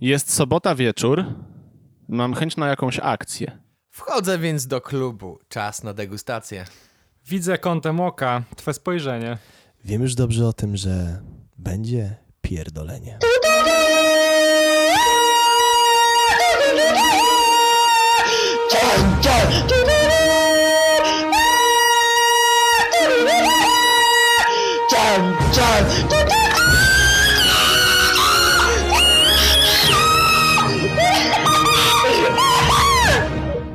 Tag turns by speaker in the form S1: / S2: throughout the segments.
S1: Jest sobota wieczór. Mam chęć na jakąś akcję.
S2: Wchodzę więc do klubu. Czas na degustację.
S3: Widzę kątem oka twe spojrzenie.
S4: Wiem już dobrze o tym, że będzie pierdolenie.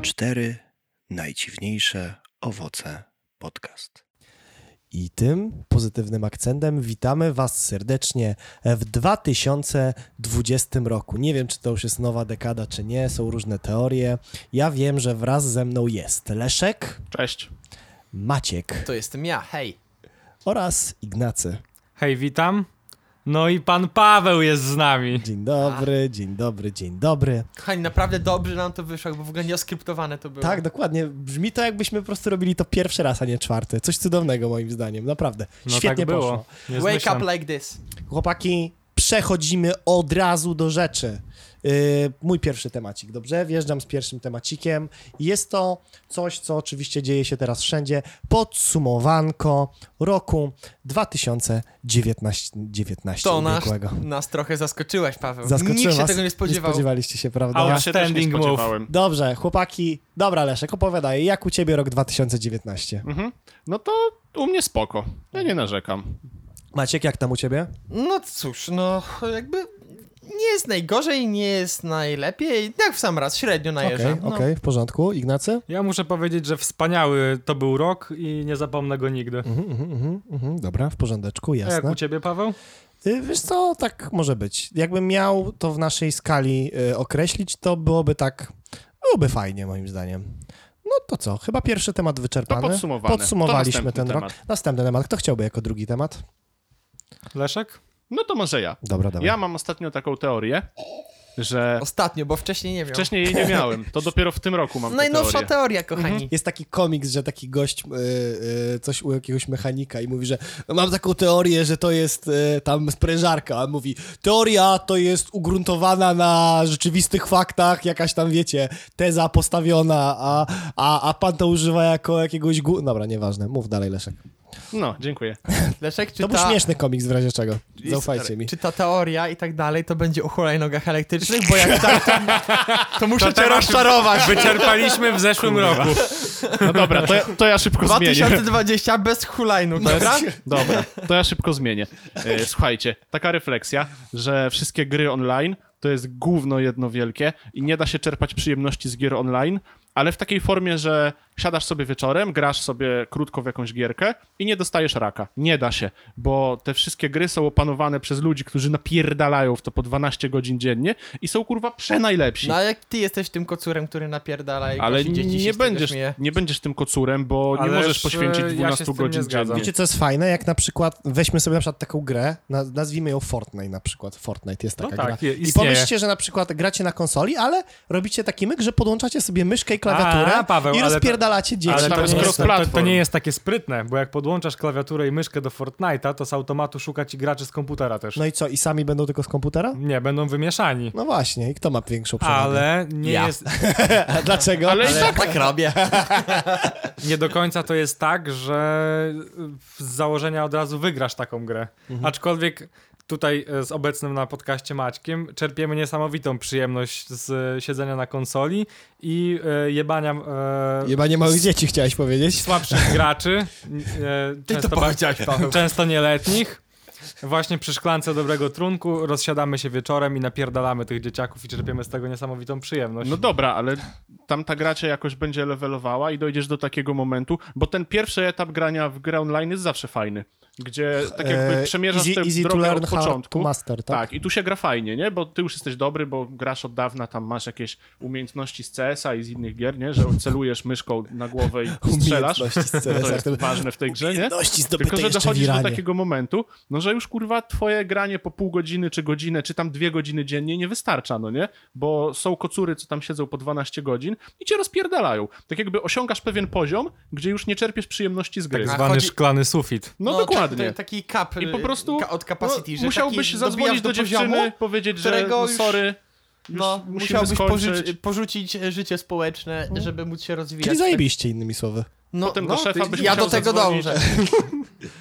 S5: Cztery najdziwniejsze owoce podcast.
S4: I tym pozytywnym akcentem witamy Was serdecznie w 2020 roku. Nie wiem, czy to już jest nowa dekada, czy nie, są różne teorie. Ja wiem, że wraz ze mną jest Leszek,
S1: Cześć.
S4: Maciek
S2: To jestem ja, hej.
S4: oraz Ignacy.
S3: Hej, witam. No i pan Paweł jest z nami.
S4: Dzień dobry, dzień dobry, dzień dobry.
S2: Kochani, naprawdę dobrze nam to wyszło, bo w ogóle nieoskryptowane to było.
S4: Tak, dokładnie. Brzmi to, jakbyśmy po prostu robili to pierwszy raz, a nie czwarty. Coś cudownego moim zdaniem, naprawdę.
S3: No
S4: Świetnie
S3: tak było.
S4: poszło.
S3: Nie
S2: Wake
S3: zmyślam.
S2: up like this.
S4: Chłopaki, przechodzimy od razu do rzeczy. Yy, mój pierwszy temacik, dobrze? Wjeżdżam z pierwszym temacikiem. Jest to coś, co oczywiście dzieje się teraz wszędzie. Podsumowanko roku 2019. 19
S2: To nas,
S4: ubiegłego.
S2: nas trochę zaskoczyłeś, Paweł.
S4: Zaskoczyłem
S2: Nikt się
S4: was.
S2: tego nie spodziewał.
S4: Nie spodziewaliście się, prawda?
S3: Ale
S1: Ja się też nie
S3: Outstanding move.
S1: spodziewałem.
S4: Dobrze, chłopaki. Dobra, Leszek, opowiadaj, jak u ciebie rok 2019?
S1: No to u mnie spoko. Ja nie narzekam.
S4: Maciek, jak tam u ciebie?
S2: No cóż, no jakby nie jest najgorzej, nie jest najlepiej. Tak w sam raz, średnio
S4: Okej,
S2: najeżdżam. No,
S4: okej,
S1: No.
S4: w porządku. Ignacy?
S3: Ja muszę powiedzieć, że wspaniały to był rok i nie zapomnę go nigdy.
S4: Mhm, mhm, mhm, mhm, dobra, w porządeczku,
S3: A jak
S4: jasne.
S3: u ciebie, Paweł?
S4: Y, Wiesz co, tak może być. Jakbym miał to w naszej skali y, określić, to byłoby tak, byłoby fajnie moim zdaniem. No to co, chyba pierwszy temat wyczerpany.
S1: To podsumowane. To
S4: Podsumowaliśmy
S1: następny
S4: ten rok.
S1: temat.
S4: Następny temat. Kto chciałby jako drugi temat?
S3: Leszek?
S1: No to może ja.
S4: Dobra, dobra.
S1: Ja mam ostatnio taką teorię, że
S2: Ostatnio, bo wcześniej nie wiem.
S1: wcześniej jej nie miałem. To dopiero w tym roku mam tę
S2: Najnowsza
S1: teorię.
S2: teoria, kochani.
S4: Jest taki komiks, że taki gość y, y, coś u jakiegoś mechanika i mówi, że "No, mam taką teorię, że to jest y, tam sprężarka, a on mówi teoria to jest ugruntowana na rzeczywistych faktach, jakaś tam wiecie, teza postawiona, a, a, a pan to używa jako jakiegoś gu... Dobra, nieważne, mów dalej Leszek.
S1: No, dziękuję.
S2: Leszek, czy
S4: to był
S2: ta...
S4: śmieszny komiks w razie czego, zaufajcie mi.
S2: Czy ta teoria i tak dalej to będzie o hulajnogach elektrycznych? Bo jak tak, to, to muszę cię rozczarować.
S3: Wyczerpaliśmy w zeszłym roku.
S1: No dobra, to ja, to ja szybko zmienię.
S2: 2020 bez hulajnóg, dobra?
S1: Dobra, to ja szybko zmienię. E, Słuchajcie, taka refleksja, że wszystkie gry online to jest gówno jedno wielkie i nie da się czerpać przyjemności z gier online, ale w takiej formie, że siadasz sobie wieczorem, grasz sobie krótko w jakąś gierkę i nie dostajesz raka. Nie da się, bo te wszystkie gry są opanowane przez ludzi, którzy napierdalają w to po 12 godzin dziennie i są kurwa przenajlepsi.
S2: No ale jak ty jesteś tym kocurem, który napierdala i
S1: Ale
S2: kosi dzieci się
S1: nie
S2: z tego
S1: będziesz,
S2: śmieje.
S1: nie będziesz tym kocurem, bo nie
S3: Ależ,
S1: możesz poświęcić
S3: e, ja się
S1: 12
S3: z tym nie
S1: godzin
S3: zgadzam.
S1: dziennie.
S4: Wiecie, co jest fajne? Jak na przykład weźmy sobie na przykład taką grę, naz- nazwijmy ją Fortnite na przykład. Fortnite jest
S3: No
S4: taka
S3: tak,
S4: gra.
S3: je-
S4: I
S3: istnieje.
S4: pomyślcie, że na przykład gracie na konsoli, ale robicie taki myk, że podłączacie sobie myszkę i klawiaturę
S3: A, Paweł,
S4: i
S3: ale to-
S4: rozpierdalacie dzieci.
S3: Ale
S1: tam
S3: to,
S1: jest
S3: nie jest, to, to
S1: cross-platform.
S3: nie jest takie sprytne, bo jak podłączasz klawiaturę i myszkę do Fortnite'a, to z automatu szuka ci graczy z komputera też.
S4: No i co, i sami będą tylko z komputera?
S3: Nie, będą wymieszani.
S4: No właśnie, i kto ma większą przewagę?
S3: Ale nie
S2: Ja.
S3: jest,
S4: A Dlaczego?
S1: Ale i
S2: Ale
S1: tak
S2: tak robię.
S3: nie do końca to jest tak, że z założenia od razu wygrasz taką grę.
S2: Mhm.
S3: Aczkolwiek tutaj e, z obecnym na podcaście Maćkiem czerpiemy niesamowitą przyjemność z e, siedzenia na konsoli i e, jebania e,
S4: Jeba nie małych dzieci chciałeś powiedzieć.
S3: słabszych graczy, n- e,
S2: Ty to
S3: często, ba-
S2: powiedziałeś, Paweł.
S3: często nieletnich. Właśnie przy szklance dobrego trunku rozsiadamy się wieczorem i napierdalamy tych dzieciaków i czerpiemy z tego niesamowitą przyjemność.
S1: No dobra, ale tam ta gra cię jakoś będzie levelowała i dojdziesz do takiego momentu, bo ten pierwszy etap grania w grę online jest zawsze fajny, gdzie tak jakby
S4: E,
S1: przemierzasz
S4: easy-
S1: tę
S4: easy to
S1: drogę
S4: learn,
S1: od
S4: hard to
S1: początku.
S4: master, tak?
S1: i tu się gra fajnie, nie? Bo ty już jesteś dobry, bo grasz od dawna, tam masz jakieś umiejętności z CS-a i z innych gier, nie? Że celujesz myszką na głowę i strzelasz.
S4: Umiejętności z
S1: To
S4: CS-a,
S1: jest
S4: to-
S1: ważne w tej grze, nie?
S4: Umiejętności zdobyte
S1: Tylko, że
S4: jeszcze w
S1: dochodzisz do
S4: Iranie.
S1: takiego momentu, no że już kurwa twoje granie po pół godziny, czy godzinę, czy tam dwie godziny dziennie nie wystarcza, no nie? Bo są kocury, co tam siedzą po 12 godzin i cię rozpierdalają. Tak jakby osiągasz pewien poziom, gdzie już nie czerpiesz przyjemności z gry.
S3: tak
S2: A
S3: zwany
S2: chodzi-
S3: szklany sufit.
S1: No, dokładnie.
S2: tak- tak- taki kap
S1: I po prostu
S2: ka- od capacity,
S1: no,
S2: że
S1: musiałbyś
S2: taki
S1: zadzwonić
S2: dobijasz
S1: do dziewczyny,
S2: poziomu,
S1: powiedzieć, że
S2: którego
S1: no,
S2: już-
S1: sorry, Już
S2: No,
S1: musimy
S2: musiałbyś
S1: skończyć. No.
S2: pożyć, porzucić e, życie społeczne, żeby móc się rozwijać.
S4: Czyli zajebiście, innymi słowy.
S2: No,
S1: Potem do
S2: no,
S1: szefa
S2: ty-
S1: byś
S2: Ja do
S1: musiał
S2: tego
S1: zadzwonić.
S2: dążę.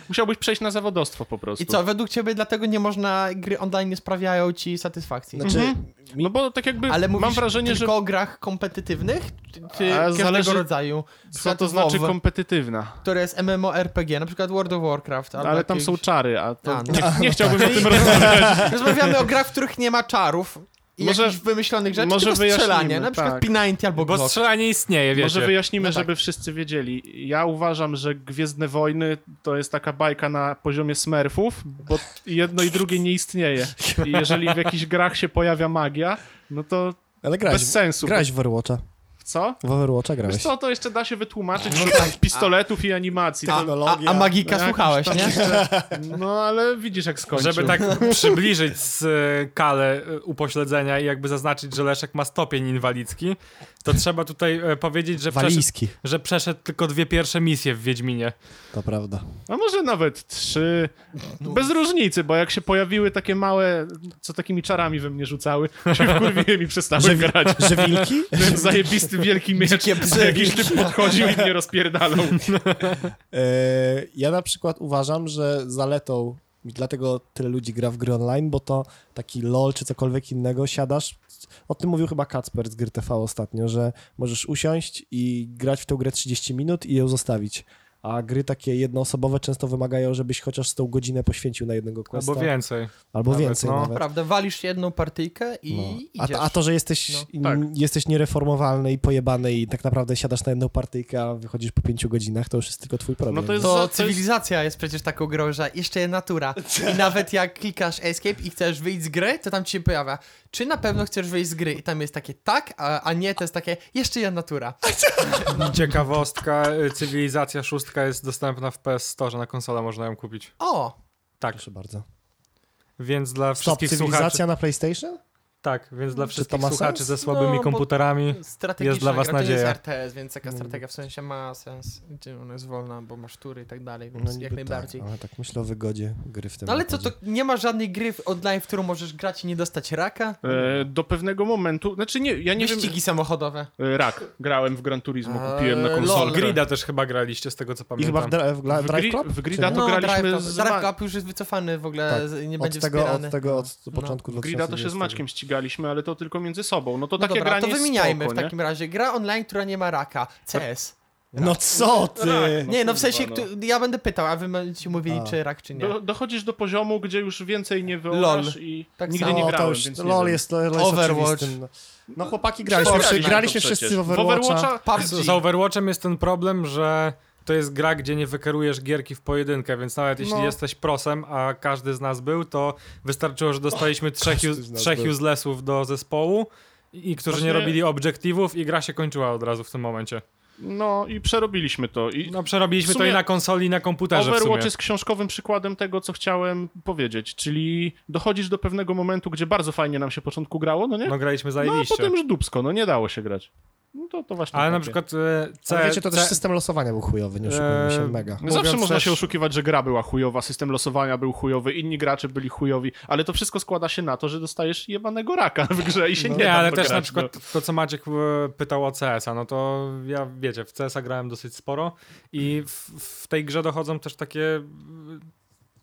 S1: Musiałbyś przejść na zawodostwo po prostu.
S2: I co, według ciebie dlatego nie można, gry online nie sprawiają ci satysfakcji?
S4: Znaczy,
S1: No bo tak jakby
S2: Ale mówisz
S1: mam wrażenie, że
S2: tylko o grach kompetytywnych, czy, czy
S1: A,
S2: każdego
S1: zależy-
S2: rodzaju?
S1: co to znaczy
S2: WoW,
S1: kompetytywna.
S2: które jest MMORPG, na przykład World of Warcraft. albo
S1: Ale tam
S2: jakieś-
S1: są czary, a to
S2: A, no.
S1: nie, nie chciałbym o tym rozmawiać.
S2: Rozmawiamy o grach, w których nie ma czarów i
S1: Może-
S2: jakichś wymyślonych rzeczy,
S1: może
S2: tylko strzelanie,
S1: wyjaśnimy,
S2: na przykład
S1: tak.
S2: P90 albo
S3: Bo
S2: Glock.
S3: strzelanie istnieje, wiecie.
S1: Może wyjaśnimy,
S2: No tak.
S1: żeby wszyscy wiedzieli. Ja uważam, że Gwiezdne Wojny to jest taka bajka na poziomie smerfów, bo jedno i drugie nie istnieje. I jeżeli w jakichś grach się pojawia magia, no to
S4: ale grałeś,
S1: bez sensu.
S4: grałeś w Overwatcha.
S1: Co?
S4: W Overwatcha
S1: Wiesz
S4: grałeś.
S1: co, to jeszcze da się wytłumaczyć no pistoletów i animacji.
S4: Ta-
S1: To-
S2: A, a magika
S1: Jakoś
S2: słuchałeś,
S1: tam
S2: nie?
S1: jeszcze- No ale widzisz jak skończył.
S3: Żeby tak przybliżyć skalę e, upośledzenia i jakby zaznaczyć, że Leszek ma stopień inwalidzki, to trzeba tutaj e, powiedzieć, że przeszedł,
S4: Walijski,
S3: że przeszedł tylko dwie pierwsze misje w Wiedźminie.
S4: to prawda.
S1: A może nawet trzy.
S4: No.
S1: Bez różnicy, bo jak się pojawiły takie małe, co takimi czarami we mnie rzucały, się wkurwiłem i
S4: Że,
S1: przestałem
S4: wi-
S1: grać.
S4: że wilki?
S1: Ten zajebisty wielki miecz,
S2: Dzikie
S1: a
S2: psy.
S1: jakiś typ podchodził i mnie rozpierdalał.
S4: E, Ja na przykład uważam, że zaletą, i dlatego tyle ludzi gra w gry online, bo to taki LOL czy cokolwiek innego, siadasz, o tym mówił chyba Kacper z gry TV ostatnio, że możesz usiąść i grać w tą grę 30 minut i ją zostawić. A gry takie jednoosobowe często wymagają, żebyś chociaż z tą godzinę poświęcił na jednego questa.
S3: Albo więcej.
S4: Albo
S3: Nawet,
S4: więcej
S3: no.
S4: nawet.
S2: Prawda, walisz jedną partyjkę i
S4: No. A,
S2: idziesz.
S4: to- a to, że jesteś,
S1: No, tak.
S4: m, jesteś niereformowalny i pojebany i tak naprawdę siadasz na jedną partyjkę, a wychodzisz po pięciu godzinach, to już jest tylko twój problem.
S1: No to jest-
S2: To
S1: za- to
S2: cywilizacja jest przecież taką grą, że jeszcze jest natura. I nawet jak klikasz escape i chcesz wyjść z gry, to tam ci się pojawia, czy na pewno chcesz wyjść z gry? I tam jest takie tak, a, a nie, to jest takie jeszcze jedna natura.
S3: Ciekawostka, e, cywilizacja szóstka jest dostępna w PS Store, na konsolę można ją kupić.
S2: O,
S3: Tak,
S4: Proszę bardzo.
S3: więc dla
S4: Stop,
S3: wszystkich
S4: cywilizacja
S3: słuchaczy...
S4: na PlayStation?
S3: Tak, więc dla wszystkich
S4: ma
S3: słuchaczy
S4: sens?
S3: ze słabymi
S2: No, bo-
S3: komputerami...
S2: strategiczna
S3: Jest dla was
S2: gra, to nie
S3: nadzieja.
S2: jest RTS, więc taka
S4: Mm.
S2: strategia w sensie ma sens, gdzie ona jest wolna, bo masz tury i tak dalej,
S4: No
S2: więc
S4: niby
S2: jak najbardziej.
S4: Tak, ale tak myślę o wygodzie gry w tym
S2: No ale co, to
S4: wygodzie.
S2: nie ma żadnej gry w- online, w którą możesz grać i nie dostać raka?
S1: E, do pewnego momentu, znaczy nie, ja nie
S2: Wyścigi samochodowe.
S1: wiem. E, Rak, grałem w Gran Turismo,
S2: Eee,
S1: kupiłem na
S2: lol.
S3: Sol
S1: konsolkę.
S3: Grida też chyba graliście, z tego co
S4: I chyba
S3: pamiętam.
S4: w, dra- w, gla-
S1: W
S4: Drive
S1: gri-
S4: Club?
S1: w
S4: Czy
S1: grida
S4: nie?
S1: to graliśmy
S2: No, Drive Club.
S1: z
S2: Drive
S1: Ma-
S2: Club już jest wycofany w ogóle,
S4: Tak.
S2: z- nie
S4: od
S2: będzie
S4: tego,
S2: wspierany. No.
S4: od tego, od początku
S1: No, W Grida to się z
S4: 2020.
S1: Maćkiem ścigaliśmy, ale to tylko między sobą. No to
S2: No
S1: takie
S2: dobra, to
S1: granie
S2: wymieniajmy
S1: jest spoko,
S2: w takim razie. Gra online, która nie ma raka. CS.
S4: No co ty?
S1: Tak, no.
S2: Nie, no w sensie,
S1: kurwa, no.
S2: kto- ja będę pytał, a wy będziecie mówili,
S4: A.
S2: czy rak, czy
S1: nie?
S2: nie.
S1: Do, dochodzisz do poziomu, gdzie już więcej nie wyobrażasz i
S2: Tak
S1: nigdy
S2: samo.
S1: nie
S4: No,
S1: grałem,
S4: to już,
S1: więc nie
S4: LOL
S1: wiem.
S4: jest, LOL jest
S2: Overwatch.
S4: oczywistym. No. No chłopaki graliśmy,
S2: Fortnite
S4: przy,
S2: to
S4: graliśmy
S1: przecież.
S4: wszyscy w
S1: W
S4: Overwatcha.
S1: Overwatcha
S2: PUBG.
S3: Z, z Overwatchem jest ten problem, że to jest gra, gdzie nie wykerujesz gierki w pojedynkę, więc nawet jeśli
S2: No.
S3: jesteś prosem, a każdy z nas był, to wystarczyło, że dostaliśmy trzech,
S4: każdy
S3: ju-
S4: z nas
S3: trzech
S4: był.
S3: uselessów do zespołu i którzy nie
S1: Właśnie-
S3: robili obiektywów i gra się kończyła od razu w tym momencie.
S1: No i przerobiliśmy to. I
S3: No przerobiliśmy
S1: w
S3: to
S1: sumie-
S3: i na konsoli, i na komputerze w sumie.
S1: Overwatch jest książkowym przykładem tego, co chciałem powiedzieć, czyli dochodzisz do pewnego momentu, gdzie bardzo fajnie nam się początku grało, no nie?
S3: No graliśmy
S1: No a
S3: zajebiście.
S1: potem już dupsko, no nie dało się grać. No to, to właśnie
S3: Ale na
S1: takie.
S3: przykład e,
S4: Ale
S3: C,
S4: wiecie, to też
S3: C,
S4: system losowania był chujowy,
S1: E,
S4: nie oszukujmy się,
S3: Eee,
S4: mega.
S1: No Zawsze
S3: mówiąc
S1: można się
S3: też-
S1: oszukiwać, że gra była chujowa, system losowania był chujowy, inni gracze byli chujowi, ale to wszystko składa się na to, że dostajesz jebanego raka w grze i się nie
S3: No. Nie,
S1: da
S3: ale
S1: w to
S3: też
S1: grać, no.
S3: na przykład to, co Maciek e, pytał o CS-a, no to ja, wiecie, w CS-a grałem dosyć sporo i w, w tej grze dochodzą też takie mm,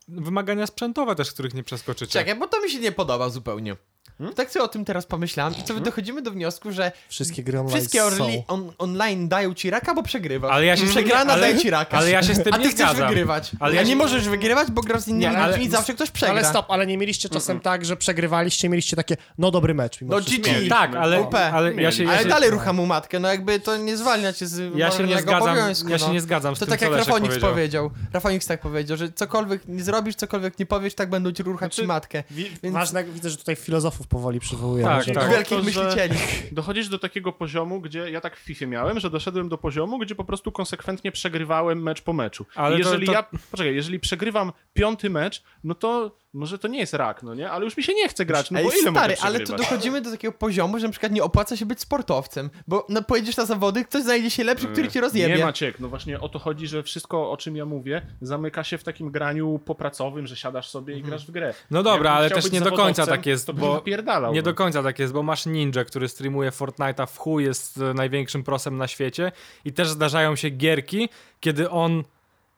S3: wymagania sprzętowe też, których nie przeskoczycie.
S2: Czekaj, bo to mi się nie podoba zupełnie.
S1: Hmm?
S2: Tak sobie o tym teraz pomyślałem i to dochodzimy do wniosku, że
S4: Wszystkie gry online
S2: wszystkie orli
S4: są.
S2: on, online dają ci raka, bo przegrywasz.
S3: Ale ja się z tym-
S2: Przegrana
S3: ale-
S2: daje ci raka.
S3: ale ja się z tym
S2: A
S3: nie
S2: ty chcesz
S3: zgadzam.
S2: wygrywać.
S3: Ale
S2: Ale
S3: ja
S2: ja nie
S3: się-
S2: możesz wygrywać, bo grasz z innymi
S3: Nie,
S2: ludźmi
S3: ale-
S2: i zawsze ktoś przegra.
S4: Ale stop, ale nie mieliście czasem tak, że przegrywaliście, mieliście takie, no dobry mecz. Mimo
S2: No
S4: wszystko.
S2: GG.
S3: Tak, ale,
S2: OP.
S3: ale ja się, ja
S2: Ale
S3: się,
S2: dalej rucha mu matkę, no jakby to nie zwalnia cię z
S3: ja się nie
S2: moralnego
S3: zgadzam,
S2: obowiązku,
S3: ja się
S2: no.
S3: nie zgadzam z
S2: To
S3: tym,
S2: tak
S3: co
S2: jak
S3: Leszek
S2: Rafonix
S3: powiedział.
S2: powiedział. Rafonix tak powiedział, że cokolwiek nie zrobisz, cokolwiek nie powiesz, tak będą ci ruchać
S1: Znaczy,
S2: ci matkę. Więc
S4: Ważne, widzę, że tutaj filozofów powoli przywołujemy.
S3: Tak,
S4: że-
S3: tak.
S2: wielkich
S1: to, że-
S2: myślicieli.
S1: Dochodzisz do takiego poziomu, gdzie ja tak w FIFA miałem, że doszedłem do poziomu, gdzie po prostu konsekwentnie przegrywałem mecz po meczu.
S3: Ale
S1: Ale
S3: to-
S1: jeżeli
S3: to-
S1: ja, poczekaj, jeżeli przegrywam piąty mecz, no to może to nie jest rak, no nie? Ale już mi się nie chce grać, no
S2: Ej,
S1: bo ile
S2: stary,
S1: mogę
S2: ale tu
S1: przegrywać?
S2: dochodzimy do takiego poziomu, że na przykład nie opłaca się być sportowcem, bo no, pojedziesz na zawody, ktoś znajdzie się lepszy,
S3: Yy,
S2: który ci rozjebie.
S1: Nie Maciek, no właśnie o to chodzi, że wszystko o czym ja mówię zamyka się w takim graniu popracowym, że siadasz sobie i grasz w grę.
S3: No dobra,
S1: Jakbym
S3: ale
S1: chciał
S3: też
S1: być
S3: nie do końca
S1: zawodowcem,
S3: tak jest,
S1: to bym
S3: bo-
S1: napierdalał,
S3: Nie
S1: no.
S3: do końca tak jest, bo masz ninja, który streamuje Fortnite'a w chuj, jest e, największym prosem na świecie i też zdarzają się gierki, kiedy on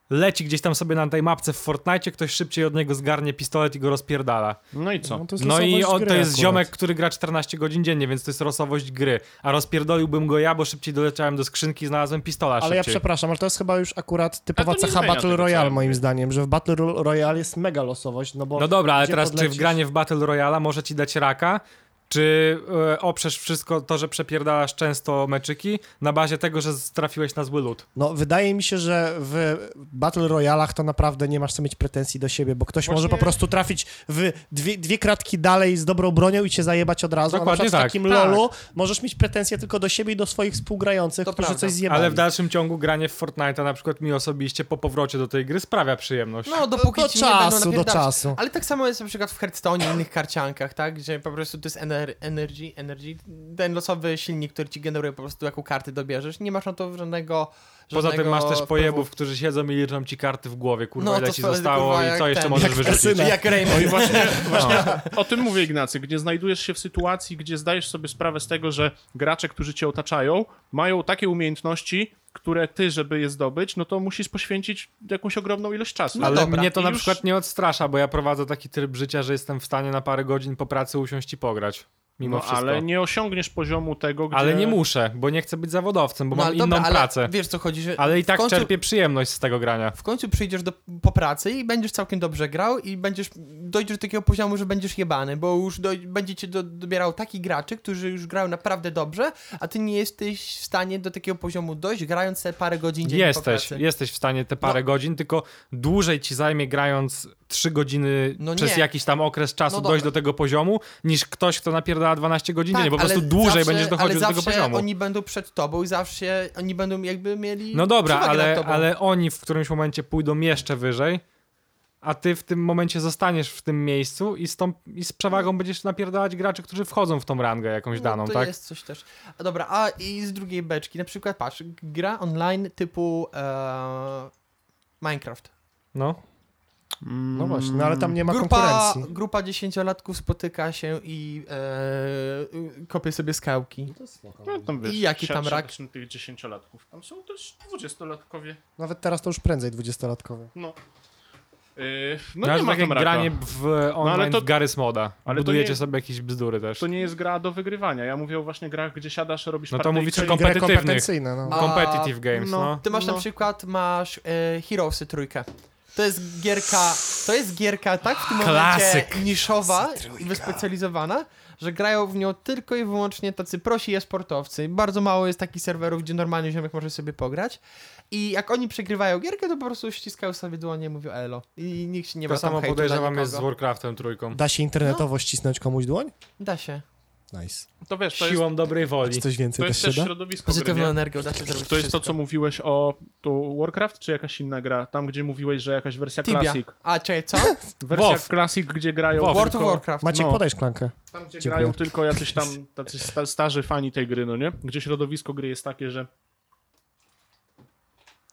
S3: leci gdzieś tam sobie na tej mapce w Fortnite, ktoś szybciej od niego zgarnie pistolet i go rozpierdala.
S1: No i co?
S4: No, to jest
S3: No i
S4: losowość
S3: on,
S4: gry
S3: to jest
S4: akurat.
S3: ziomek, który gra 14 godzin dziennie, więc to jest losowość gry. A rozpierdoliłbym go ja, bo szybciej doleciałem do skrzynki i znalazłem pistola
S4: Ale ja
S3: szybciej.
S4: przepraszam, ale to jest chyba już akurat typowa
S1: Ale to nie
S4: cecha
S1: zmienia
S4: Battle
S1: tego, co ja
S4: Royale
S1: mówię.
S4: moim zdaniem, że w Battle Ro- Royale jest mega losowość, no bo...
S3: No dobra, ale
S4: gdzie
S3: teraz czy w
S4: podlecisz?
S3: granie w Battle Royale może ci dać raka? Czy e, oprzesz wszystko to, że przepierdalasz często meczyki na bazie tego, że trafiłeś na zły lód?
S4: No wydaje mi się, że w Battle Royalach to naprawdę nie masz co mieć pretensji do siebie, bo ktoś może po prostu trafić w dwie, dwie kratki dalej z dobrą bronią i cię zajebać od razu, a na
S3: Dokładnie
S4: przykład w
S3: tak.
S4: takim
S3: Tak.
S4: lolu możesz mieć pretensje tylko do siebie i do swoich współgrających,
S2: To
S4: którzy
S2: prawda.
S4: coś zjebali.
S3: Ale w dalszym ciągu granie w Fortnite'a na przykład mi osobiście po powrocie do tej gry sprawia przyjemność.
S2: No, dopóki
S4: do
S2: ci nie
S4: czasu,
S2: będą
S4: do
S2: napierdalać.
S4: czasu.
S2: Ale tak samo jest na przykład w Hearthstone i innych karciankach, tak? Że po prostu to jest ener energy, energy. Ten losowy silnik, który ci generuje po prostu jaką kartę dobierzesz. Nie masz na to żadnego.
S3: Poza tym
S2: żadnego
S3: masz też
S2: wpływu.
S3: pojebów, którzy siedzą i liczą ci karty w głowie, kurwa,
S2: No,
S3: ile
S2: to
S3: ci
S2: wtedy,
S3: zostało
S2: kurwa,
S3: i
S2: jak
S3: co jeszcze
S2: ten.
S3: możesz
S4: Jak
S3: wyrzucić.
S4: kasyna.
S2: Jak Rayman.
S1: Właśnie, właśnie o tym mówię Ignacy, gdzie znajdujesz się w sytuacji, gdzie zdajesz sobie sprawę z tego, że gracze, którzy cię otaczają, mają takie umiejętności, które ty, żeby je zdobyć, no to musisz poświęcić jakąś ogromną ilość czasu.
S2: No
S3: Ale
S2: dobra,
S3: mnie to
S1: i
S3: na
S1: już-
S3: przykład nie odstrasza, bo ja prowadzę taki tryb życia, że jestem w stanie na parę godzin po pracy usiąść i pograć. Mimo
S1: no,
S3: wszystko.
S1: ale nie osiągniesz poziomu tego, gdzie...
S3: Ale nie muszę, bo nie chcę być zawodowcem, bo
S2: No,
S3: mam
S2: ale dobra,
S3: inną
S2: ale
S3: pracę.
S2: Wiesz co chodzi, że
S3: Ale i tak
S2: w końcu-
S3: czerpię przyjemność z tego grania.
S2: w końcu przyjdziesz do, po pracy i będziesz całkiem dobrze grał i będziesz dojdziesz do takiego poziomu, że będziesz jebany, bo już doj, będzie cię do, dobierał taki graczy, którzy już grają naprawdę dobrze, a ty nie jesteś w stanie do takiego poziomu dojść, grając sobie parę godzin dziennie po
S3: Jesteś,
S2: pracy. No.
S3: jesteś w stanie te parę godzin, tylko dłużej ci zajmie grając trzy godziny
S2: No
S3: przez
S2: nie.
S3: jakiś tam okres czasu
S2: No dobra.
S3: dojść do tego poziomu, niż ktoś, kto napierdala 12 godzin
S2: Tak,
S3: dziennie. Po
S2: ale
S3: prostu dłużej
S2: zawsze-
S3: będziesz dochodził
S2: ale
S3: do tego
S2: zawsze
S3: poziomu.
S2: oni będą przed tobą i zawsze oni będą jakby mieli
S3: No dobra,
S2: przewagę nad
S3: ale,
S2: tobą.
S3: ale oni w którymś momencie pójdą jeszcze wyżej, a ty w tym momencie zostaniesz w tym miejscu i z, tą, i z przewagą będziesz napierdalać graczy, którzy wchodzą w tą rangę jakąś daną,
S2: no, to
S3: tak?
S2: jest coś też. A dobra, a i z drugiej beczki, na przykład patrz, gra online typu e, Minecraft.
S3: No.
S1: Mm,
S4: No właśnie, no ale tam nie ma
S2: Grupa,
S4: konkurencji.
S2: grupa dziesięciolatków spotyka się i e, kopie sobie skałki.
S1: No, tam, wiesz,
S2: I jaki tam
S1: siad-
S2: rak?
S1: siadasz na tych dziesięciolatków. Tam są też dwudziestolatkowie.
S4: Nawet teraz to już prędzej dwudziestolatkowe.
S1: No. Yy, no
S3: No, no
S1: nie
S3: to
S1: ma
S3: takie
S1: tam raka. No,
S3: granie w e, online
S1: ale to-
S3: w Garys Moda.
S1: ale to
S3: Budujecie
S1: nie-
S3: sobie jakieś bzdury też.
S1: To nie jest gra do wygrywania. Ja mówię o właśnie grach, gdzie siadasz, robisz
S3: No to
S1: partyjkę
S3: mówicie
S1: i-
S3: kom-
S4: Gry
S3: Kompetywnych.
S4: kompetencyjne, no.
S2: A-
S3: Competitive games, no.
S1: no.
S2: Ty masz
S1: No.
S2: na przykład masz e, Heroesy trójkę. To jest gierka, to jest gierka tak w tym momencie
S3: Klasyk.
S2: niszowa i wyspecjalizowana, że grają w nią tylko i wyłącznie tacy prosi e-sportowcy. Bardzo mało jest takich serwerów, gdzie normalnie ziomek może sobie pograć. I jak oni przegrywają gierkę, to po prostu ściskają sobie dłonie i mówią elo. I nikt się nie
S3: to
S2: ma tam
S3: samo
S2: hejtu dla
S3: podejrzewam
S2: nikogo.
S3: jest z Warcraftem trójką.
S4: Da się internetowo ścisnąć komuś dłoń?
S2: Da się.
S4: Nice.
S1: To wiesz, to jest,
S3: Siłą dobrej
S4: Czy
S3: woli.
S4: coś
S1: to
S4: więcej
S1: jest
S4: też
S1: też
S4: się da?
S1: środowisko gry,
S2: Pozytywną
S1: nie?
S2: energią da się zrobić
S1: To jest to,
S2: wszystko.
S1: co mówiłeś o tu Warcraft, czy jakaś inna gra? Tam, gdzie mówiłeś, że jakaś wersja
S2: Tibia.
S1: Classic.
S2: A, czekaj, co?
S1: Wersja
S3: WoW.
S1: Classic, gdzie grają...
S3: WoW.
S2: World of
S3: tylko-
S2: Warcraft.
S4: Maciek,
S1: No.
S4: podaj szklankę.
S1: Tam, gdzie
S4: Dziękuję.
S1: grają tylko jacyś tam tacy sta- starzy fani tej gry, no nie? Gdzie środowisko gry jest takie, że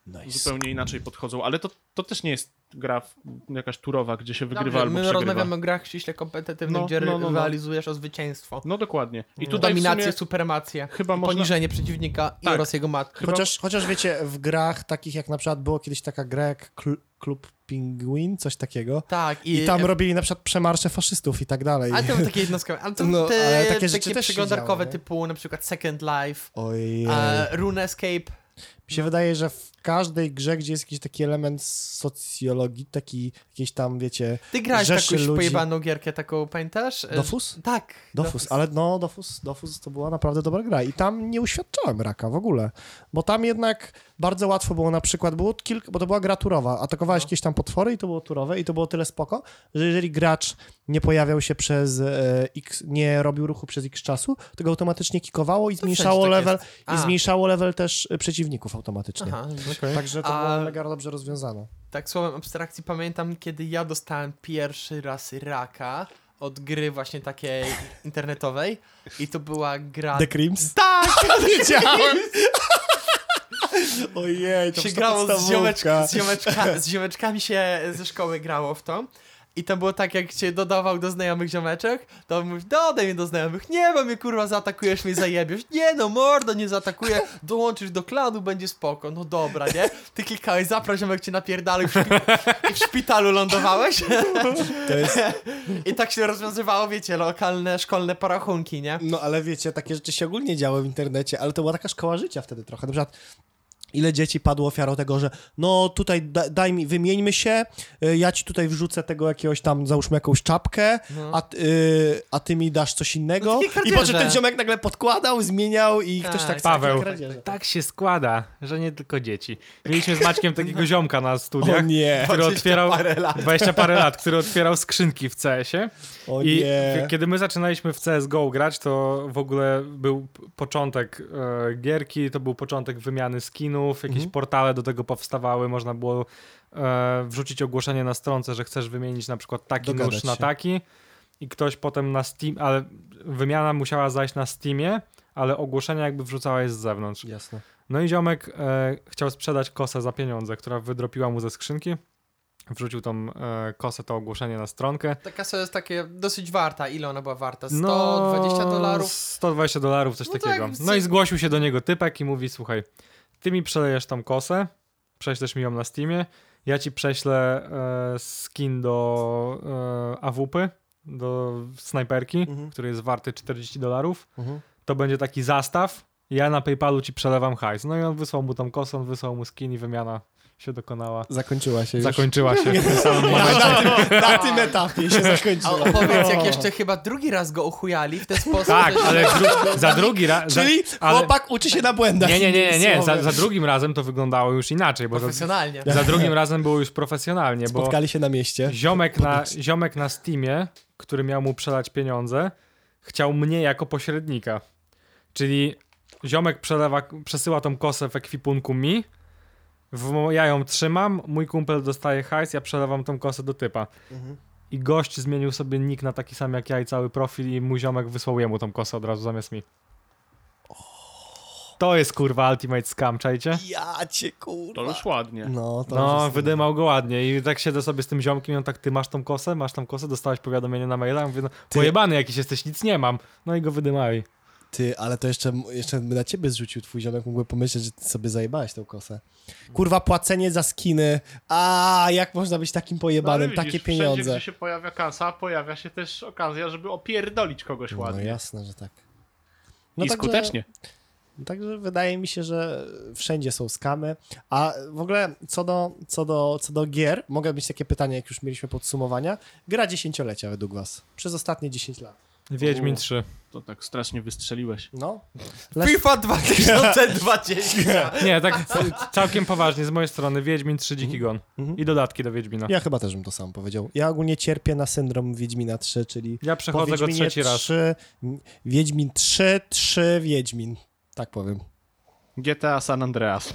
S4: Nice.
S1: zupełnie inaczej podchodzą, ale to, to też nie jest gra w, jakaś turowa, gdzie się wygrywa
S2: Dobrze,
S1: albo
S2: My
S1: przegrywa.
S2: rozmawiamy o grach ściśle kompetywnych,
S1: No,
S2: gdzie
S1: no, no, no.
S2: rywalizujesz o zwycięstwo.
S1: No dokładnie. I
S2: Tu
S1: tutaj w
S2: Dominację,
S1: sumie
S2: supremację,
S1: chyba można...
S2: poniżenie przeciwnika i
S1: Tak.
S2: oraz jego matki.
S1: Chyba-
S4: Chociaż, chociaż wiecie, w grach takich jak na przykład było kiedyś taka gra jak Kl- Klub Pingwin, coś takiego.
S2: Tak, i,
S4: I tam robili na przykład przemarsze faszystów i tak dalej.
S2: Ale to były takie jednostkowe. Ale, to,
S4: No,
S2: te,
S4: ale takie
S2: takie
S4: rzeczy też się
S2: przeglądarkowe
S4: działy, nie?
S2: typu na przykład Second Life,
S4: Ojej.
S2: e, RuneScape.
S4: Mi się wydaje, że w każdej grze, gdzie jest jakiś taki element socjologii, taki jakiś tam, wiecie,
S2: Ty grałeś w
S4: Rzeszy
S2: jakąś
S4: ludzi.
S2: pojebaną gierkę taką, pamiętasz? E,
S4: dofus?
S2: Tak.
S4: Dofus, ale no, Dofus, Dofus to była naprawdę dobra gra i tam nie uświadczałem raka w ogóle, bo tam jednak bardzo łatwo było na przykład, było kilka, bo to była gra turowa,
S2: No.
S4: atakowałeś jakieś tam potwory i to było turowe i to było tyle spoko, że jeżeli gracz nie pojawiał się przez e, x, nie robił ruchu przez x czasu, to go automatycznie kikowało i zmniejszało
S2: wszędzie tak
S4: level,
S2: A.
S4: i zmniejszało level też e, przeciwników automatycznie.
S2: Aha, no
S3: Okej.
S4: Także to
S2: A-
S4: było mega dobrze rozwiązane.
S2: tak słowem abstrakcji pamiętam, kiedy ja dostałem pierwszy raz raka od gry właśnie takiej internetowej i to była gra...
S4: The Crims?
S2: tak!
S4: Wiedziałem! Ojej, to
S2: się
S4: już ta
S2: grało z,
S4: podstawówka.
S2: ziomeczka, z, ziomeczka, z ziomeczkami się ze szkoły grało w to. I to było tak, jak cię dodawał do znajomych ziomeczek, to on mówi, dodaj mnie do znajomych, nie, bo mnie kurwa zaatakujesz, mnie zajebiesz, nie no, mordo, nie zaatakuję, dołączysz do klanu, będzie spoko, no dobra, nie? Ty klikałeś, zapraszam, jak cię napierdalał i w, szpi- i w szpitalu lądowałeś.
S4: To jest
S2: I tak się rozwiązywało, wiecie, lokalne, szkolne porachunki, nie?
S4: No ale wiecie, takie rzeczy się ogólnie działy w internecie, ale to była taka szkoła życia wtedy trochę. Na przykład ile dzieci padło ofiarą tego, że no tutaj da, daj mi, wymieńmy się, y, ja ci tutaj wrzucę tego jakiegoś tam, załóżmy jakąś czapkę,
S3: No.
S4: a, ty- y, a ty mi dasz coś
S2: No
S4: innego.
S2: takie
S4: I
S2: kradzieże.
S4: potem ten ziomek nagle podkładał, zmieniał i
S2: Tak,
S4: ktoś tak...
S3: Paweł,
S4: kradzieże.
S3: tak się składa, że nie tylko dzieci. Mieliśmy z Maćkiem takiego ziomka na studiach,
S4: O nie.
S3: tak. który
S2: 20
S3: otwierał
S2: parę lat.
S3: 20 parę lat, który otwierał skrzynki w CS-ie.
S4: O
S3: I
S4: nie.
S3: kiedy my zaczynaliśmy w CSGO grać, to w ogóle był p- początek e, gierki, to był początek wymiany skinów, jakieś
S4: Mhm.
S3: portale do tego powstawały, można było e, wrzucić ogłoszenie na stronce, że chcesz wymienić na przykład taki
S4: Dogadać
S3: nóż na
S4: się.
S3: taki i ktoś potem na Steam, ale wymiana musiała zajść na Steamie, ale ogłoszenie jakby wrzucałeś z zewnątrz.
S4: Jasne.
S3: No i ziomek e, chciał sprzedać kosę za pieniądze, która wydropiła mu ze skrzynki. Wrzucił tą e, kosę, to ogłoszenie na stronkę.
S2: Ta kasa jest takie dosyć warta, ile ona była warta?
S3: No,
S2: 120 dolarów?
S3: 120 dolarów, coś
S2: No tak,
S3: takiego.
S2: z-
S3: No i zgłosił się do niego typek i mówi, słuchaj, ty mi przelejesz tą kosę, prześlesz mi ją na Steamie, ja ci prześlę e, skin do e, AWP, do snajperki, który jest warty 40 dolarów.
S4: Mhm.
S3: To będzie taki zastaw, ja na PayPalu ci przelewam hajs. No i on wysłał mu tą kosę, on wysłał mu skin i wymiana się dokonała.
S4: Zakończyła się już.
S3: Zakończyła się w tym samym
S4: na,
S3: momencie.
S4: tym, na tym etapie się
S2: A
S4: zakończyła.
S2: opowiedz, jak jeszcze chyba drugi raz go ochujali w ten sposób.
S3: Tak,
S2: że-
S3: ale dru- za drugi raz...
S4: Czyli
S3: za, ale-
S4: chłopak uczy się na błędach.
S3: Nie, nie, nie, nie, nie. Za,
S4: Słowem.
S3: za drugim razem to wyglądało już inaczej, bo za,
S2: Profesjonalnie.
S3: za drugim razem było już profesjonalnie, bo
S4: Spotkali się na mieście.
S3: ziomek na, ziomek na Steamie, który miał mu przelać pieniądze, chciał mnie jako pośrednika. Czyli ziomek przelewa, przesyła tą kosę w ekwipunku mi, w, mo- ja ją trzymam, mój kumpel dostaje hajs, ja przelewam tą kosę do typa. I gość zmienił sobie nick na taki sam jak ja i cały profil i mój ziomek wysłał jemu tą kosę od razu zamiast mi. To jest kurwa ultimate scam, czajcie?
S4: Ja cię
S1: To
S4: kurwa.
S1: już ładnie.
S4: No, to już
S3: No,
S4: jest-
S3: wydymał go ładnie i tak siedzę sobie z tym ziomkiem i on tak, ty masz tą kosę, masz tą kosę, dostałeś powiadomienie na maila, Ja mówię, no pojebany jakiś jesteś, nic nie mam. No i go wydymali.
S4: Ty, ale to jeszcze, jeszcze by na ciebie zrzucił twój ziomek, mógłby pomyśleć, że ty sobie zajebałeś tą kosę. Kurwa, płacenie za skiny. A jak można być takim pojebanym? Takie
S1: No, Wszędzie,
S4: pieniądze.
S1: gdzie się pojawia kasa, pojawia się też okazja, żeby opierdolić kogoś
S4: No
S1: ładnie.
S4: jasne, że tak.
S1: I
S4: także-
S1: skutecznie.
S4: Także wydaje mi się, że wszędzie są skamy. A w ogóle co do, co do, co do gier, mogę mieć takie pytanie, jak już mieliśmy podsumowania. Gra dziesięciolecia według was. Przez ostatnie 10 lat.
S3: Wiedźmin
S1: U.
S3: 3.
S1: To tak strasznie wystrzeliłeś.
S4: No.
S2: FIFA 2020.
S3: Nie, tak ca- całkiem poważnie, z mojej strony Wiedźmin 3 Dziki Gon. I dodatki do Wiedźmina.
S4: Mhm. Ja chyba też bym to sam powiedział. Ja ogólnie cierpię na syndrom Wiedźmina 3, czyli
S3: Ja przechodzę go
S4: Wiedźminie
S3: trzeci raz.
S4: trzy- Wiedźmin 3, 3 Wiedźmin. Tak powiem.
S1: GTA San Andreas.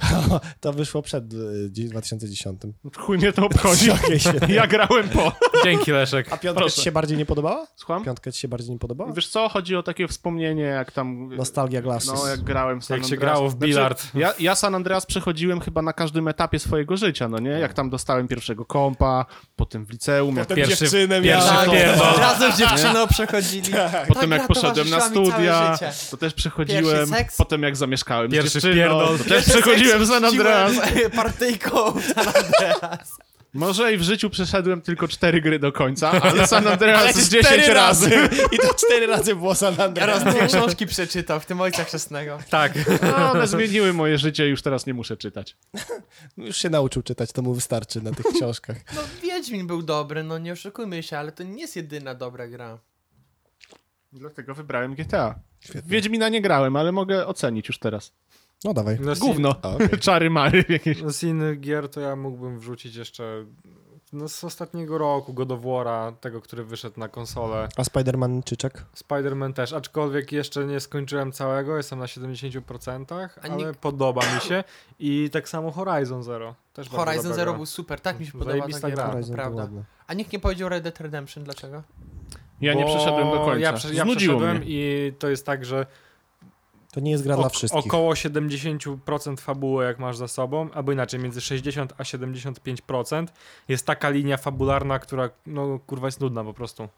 S4: To wyszło przed y, dzi- 2010.
S1: Chuj mnie to obchodzi.
S4: Okej, świetnie.
S1: Ja grałem po.
S3: Dzięki Leszek.
S4: A piątka
S1: Proszę.
S4: ci się bardziej nie podobała?
S1: Słucham?
S4: Piątka ci się bardziej nie podobała?
S1: Wiesz co, chodzi o takie wspomnienie, jak tam...
S4: Nostalgia Glasses.
S1: No, jak grałem w San
S3: Jak się
S1: Andreas.
S3: grało w bilard.
S1: Znaczy, ja, ja San Andreas przechodziłem chyba na każdym etapie swojego życia, no nie? Jak tam dostałem pierwszego kompa, potem w liceum, jak,
S4: Potem
S3: Pierwszy-
S4: dziewczynę
S3: pierwszy
S4: miałem.
S2: Tak,
S3: pierdol.
S2: razem z dziewczyną przechodzili.
S3: Tak.
S1: potem
S2: Ta
S1: jak
S2: gra
S1: poszedłem na
S2: towarzyszyła mi Tak całe
S1: studia,
S2: życie.
S1: to też
S2: Pierwszy
S1: przechodziłem.
S2: seks.
S1: Potem jak zamieszkałem
S3: Pierwszy
S1: z dziewczyną,
S3: pierdol.
S1: to też przechodziłem San Andreas.
S2: Rzuciłem Partyjką w
S3: Tak.
S2: San Andreas.
S1: Może i w życiu przeszedłem tylko cztery gry do końca, ale San Andreas z
S4: Cztery
S1: 10 razy.
S4: I to cztery razy było San
S2: Ja
S4: Andreas.
S2: raz
S3: No.
S2: dwie książki przeczytał, w tym Ojca Chrzestnego.
S3: Tak.
S1: No, one zmieniły moje życie, już teraz nie muszę czytać.
S4: Już się nauczył czytać, to mu wystarczy na tych książkach.
S2: No Wiedźmin był dobry, no nie oszukujmy się, ale to nie jest jedyna dobra gra.
S1: Dlatego wybrałem GTA. W Wiedźmina nie grałem, ale mogę ocenić już teraz.
S4: No dawaj.
S3: No, z- no,
S1: Gówno.
S4: A, okej.
S1: Czary mary jakieś.
S3: Z innych gier to ja mógłbym wrzucić jeszcze no, z ostatniego roku, God of War'a, tego, który wyszedł na konsolę.
S4: A Spider-Man czyczek?
S3: Spider-Man też, aczkolwiek jeszcze nie skończyłem całego, jestem na 70%,
S2: A
S3: ale
S2: nie-
S3: podoba mi się. I tak samo Horizon Zero. Też bardzo
S2: Horizon
S3: dobra
S2: Zero
S3: gra.
S2: był super, tak mi się podoba
S3: Zajebista
S2: ta gra,
S3: gra.
S2: to
S4: Horizon to
S2: prawda.
S4: ładne.
S2: A nikt nie powiedział Red Dead Redemption, dlaczego?
S1: Ja nie
S3: Bo
S1: przeszedłem do końca.
S3: Ja, prze, ja
S1: Znudziło
S3: przeszedłem
S1: mnie.
S3: i to jest tak, że
S4: To nie jest gra dla
S3: ok-
S4: wszystkich.
S3: około 70% fabuły, jak masz za sobą, albo inaczej, między 60 a 75% jest taka linia fabularna, która, no kurwa, jest nudna po prostu.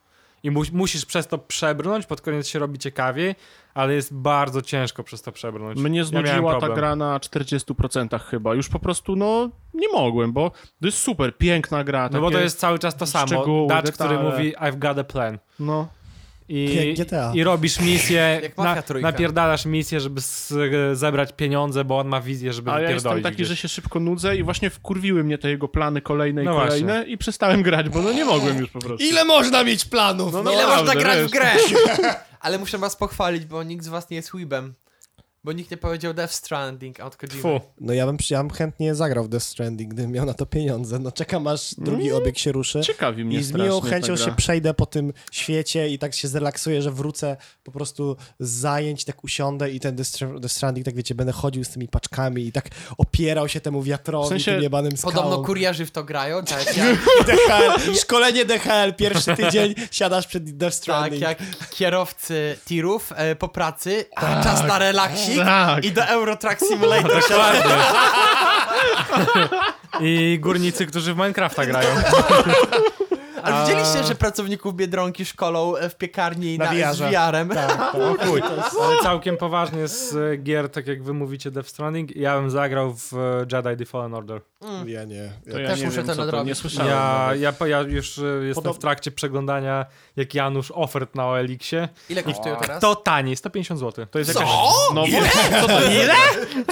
S3: I mu musisz przez to przebrnąć, pod koniec się robi ciekawiej, ale jest bardzo ciężko przez to przebrnąć.
S1: Mnie
S3: miałem
S1: znudziła ta
S3: problem.
S1: gra na 40% chyba. Już po prostu, no, nie mogłem, bo to jest super, piękna gra.
S3: No bo to
S1: takie-
S3: jest cały czas to samo.
S1: szczegóły,
S3: Dacz, który
S1: detale.
S3: mówi I've got a plan.
S1: No.
S3: I,
S4: Jak GTA.
S3: I robisz misję,
S2: Jak Mafia
S3: na,
S2: Trójka.
S3: napierdalasz misję, żeby s- e, zebrać pieniądze, bo on ma wizję, żeby
S1: A ja
S3: wypierdolić
S1: jestem taki,
S3: gdzieś.
S1: że się szybko nudzę i właśnie wkurwiły mnie te jego plany kolejne i
S3: No właśnie.
S1: kolejne i przestałem grać, bo no nie mogłem już po prostu.
S4: Ile można mieć planów? No,
S2: Ile
S1: Naprawdę,
S2: można grać w
S1: wiesz.
S2: grę? Ale muszę was pochwalić, bo nikt z was nie jest weebem. Bo nikt nie powiedział Death Stranding od Kojimy.
S3: Fu.
S4: no ja, bym, przy- ja bym chętnie zagrał w Death Stranding, gdybym miał na to pieniądze. No czekam aż drugi obieg się ruszy.
S1: Ciekawi Mm. mnie
S4: I z miłą
S1: strasznie
S4: chęcią
S1: ta gra.
S4: się przejdę po tym świecie i tak się zrelaksuję, że wrócę po prostu z zajęć, tak usiądę i ten Death Str- Death Stranding, tak wiecie, będę chodził z tymi paczkami i tak opierał się temu wiatrowi,
S1: W sensie-
S4: tym jebanym skałom.
S2: Podobno kurierzy w to grają, tak jak,
S4: DHL, szkolenie DHL, pierwszy tydzień siadasz przed
S2: tak
S4: Death Stranding.
S2: jak kierowcy tirów e, po pracy, a czas na relaksik
S1: tak.
S2: i do Euro Truck Simulator.
S3: I górnicy, którzy w Minecrafta grają.
S2: A widzieliście, że pracowników Biedronki szkolą e, w piekarni
S4: Na
S2: na, na, z
S4: VR-ze.
S2: VR-em?
S4: tak, tak.
S3: Ale całkiem poważnie z e, gier, tak jak wy mówicie, Death Stranding, ja bym zagrał w e, Jedi The Fallen Order.
S4: Ja nie.
S1: To ja
S2: Też
S1: nie
S2: muszę
S1: wiem,
S2: to
S1: co to,
S2: nadrobić.
S1: nie słyszałem.
S3: Ja, ja, po- ja już e, jestem
S4: Podob-
S3: w trakcie przeglądania, jak Janusz, ofert na OLX-ie.
S2: Ile kosztują teraz?
S3: To taniej, 150 zł. To jest jakaś...
S1: No bo- Co to, ile?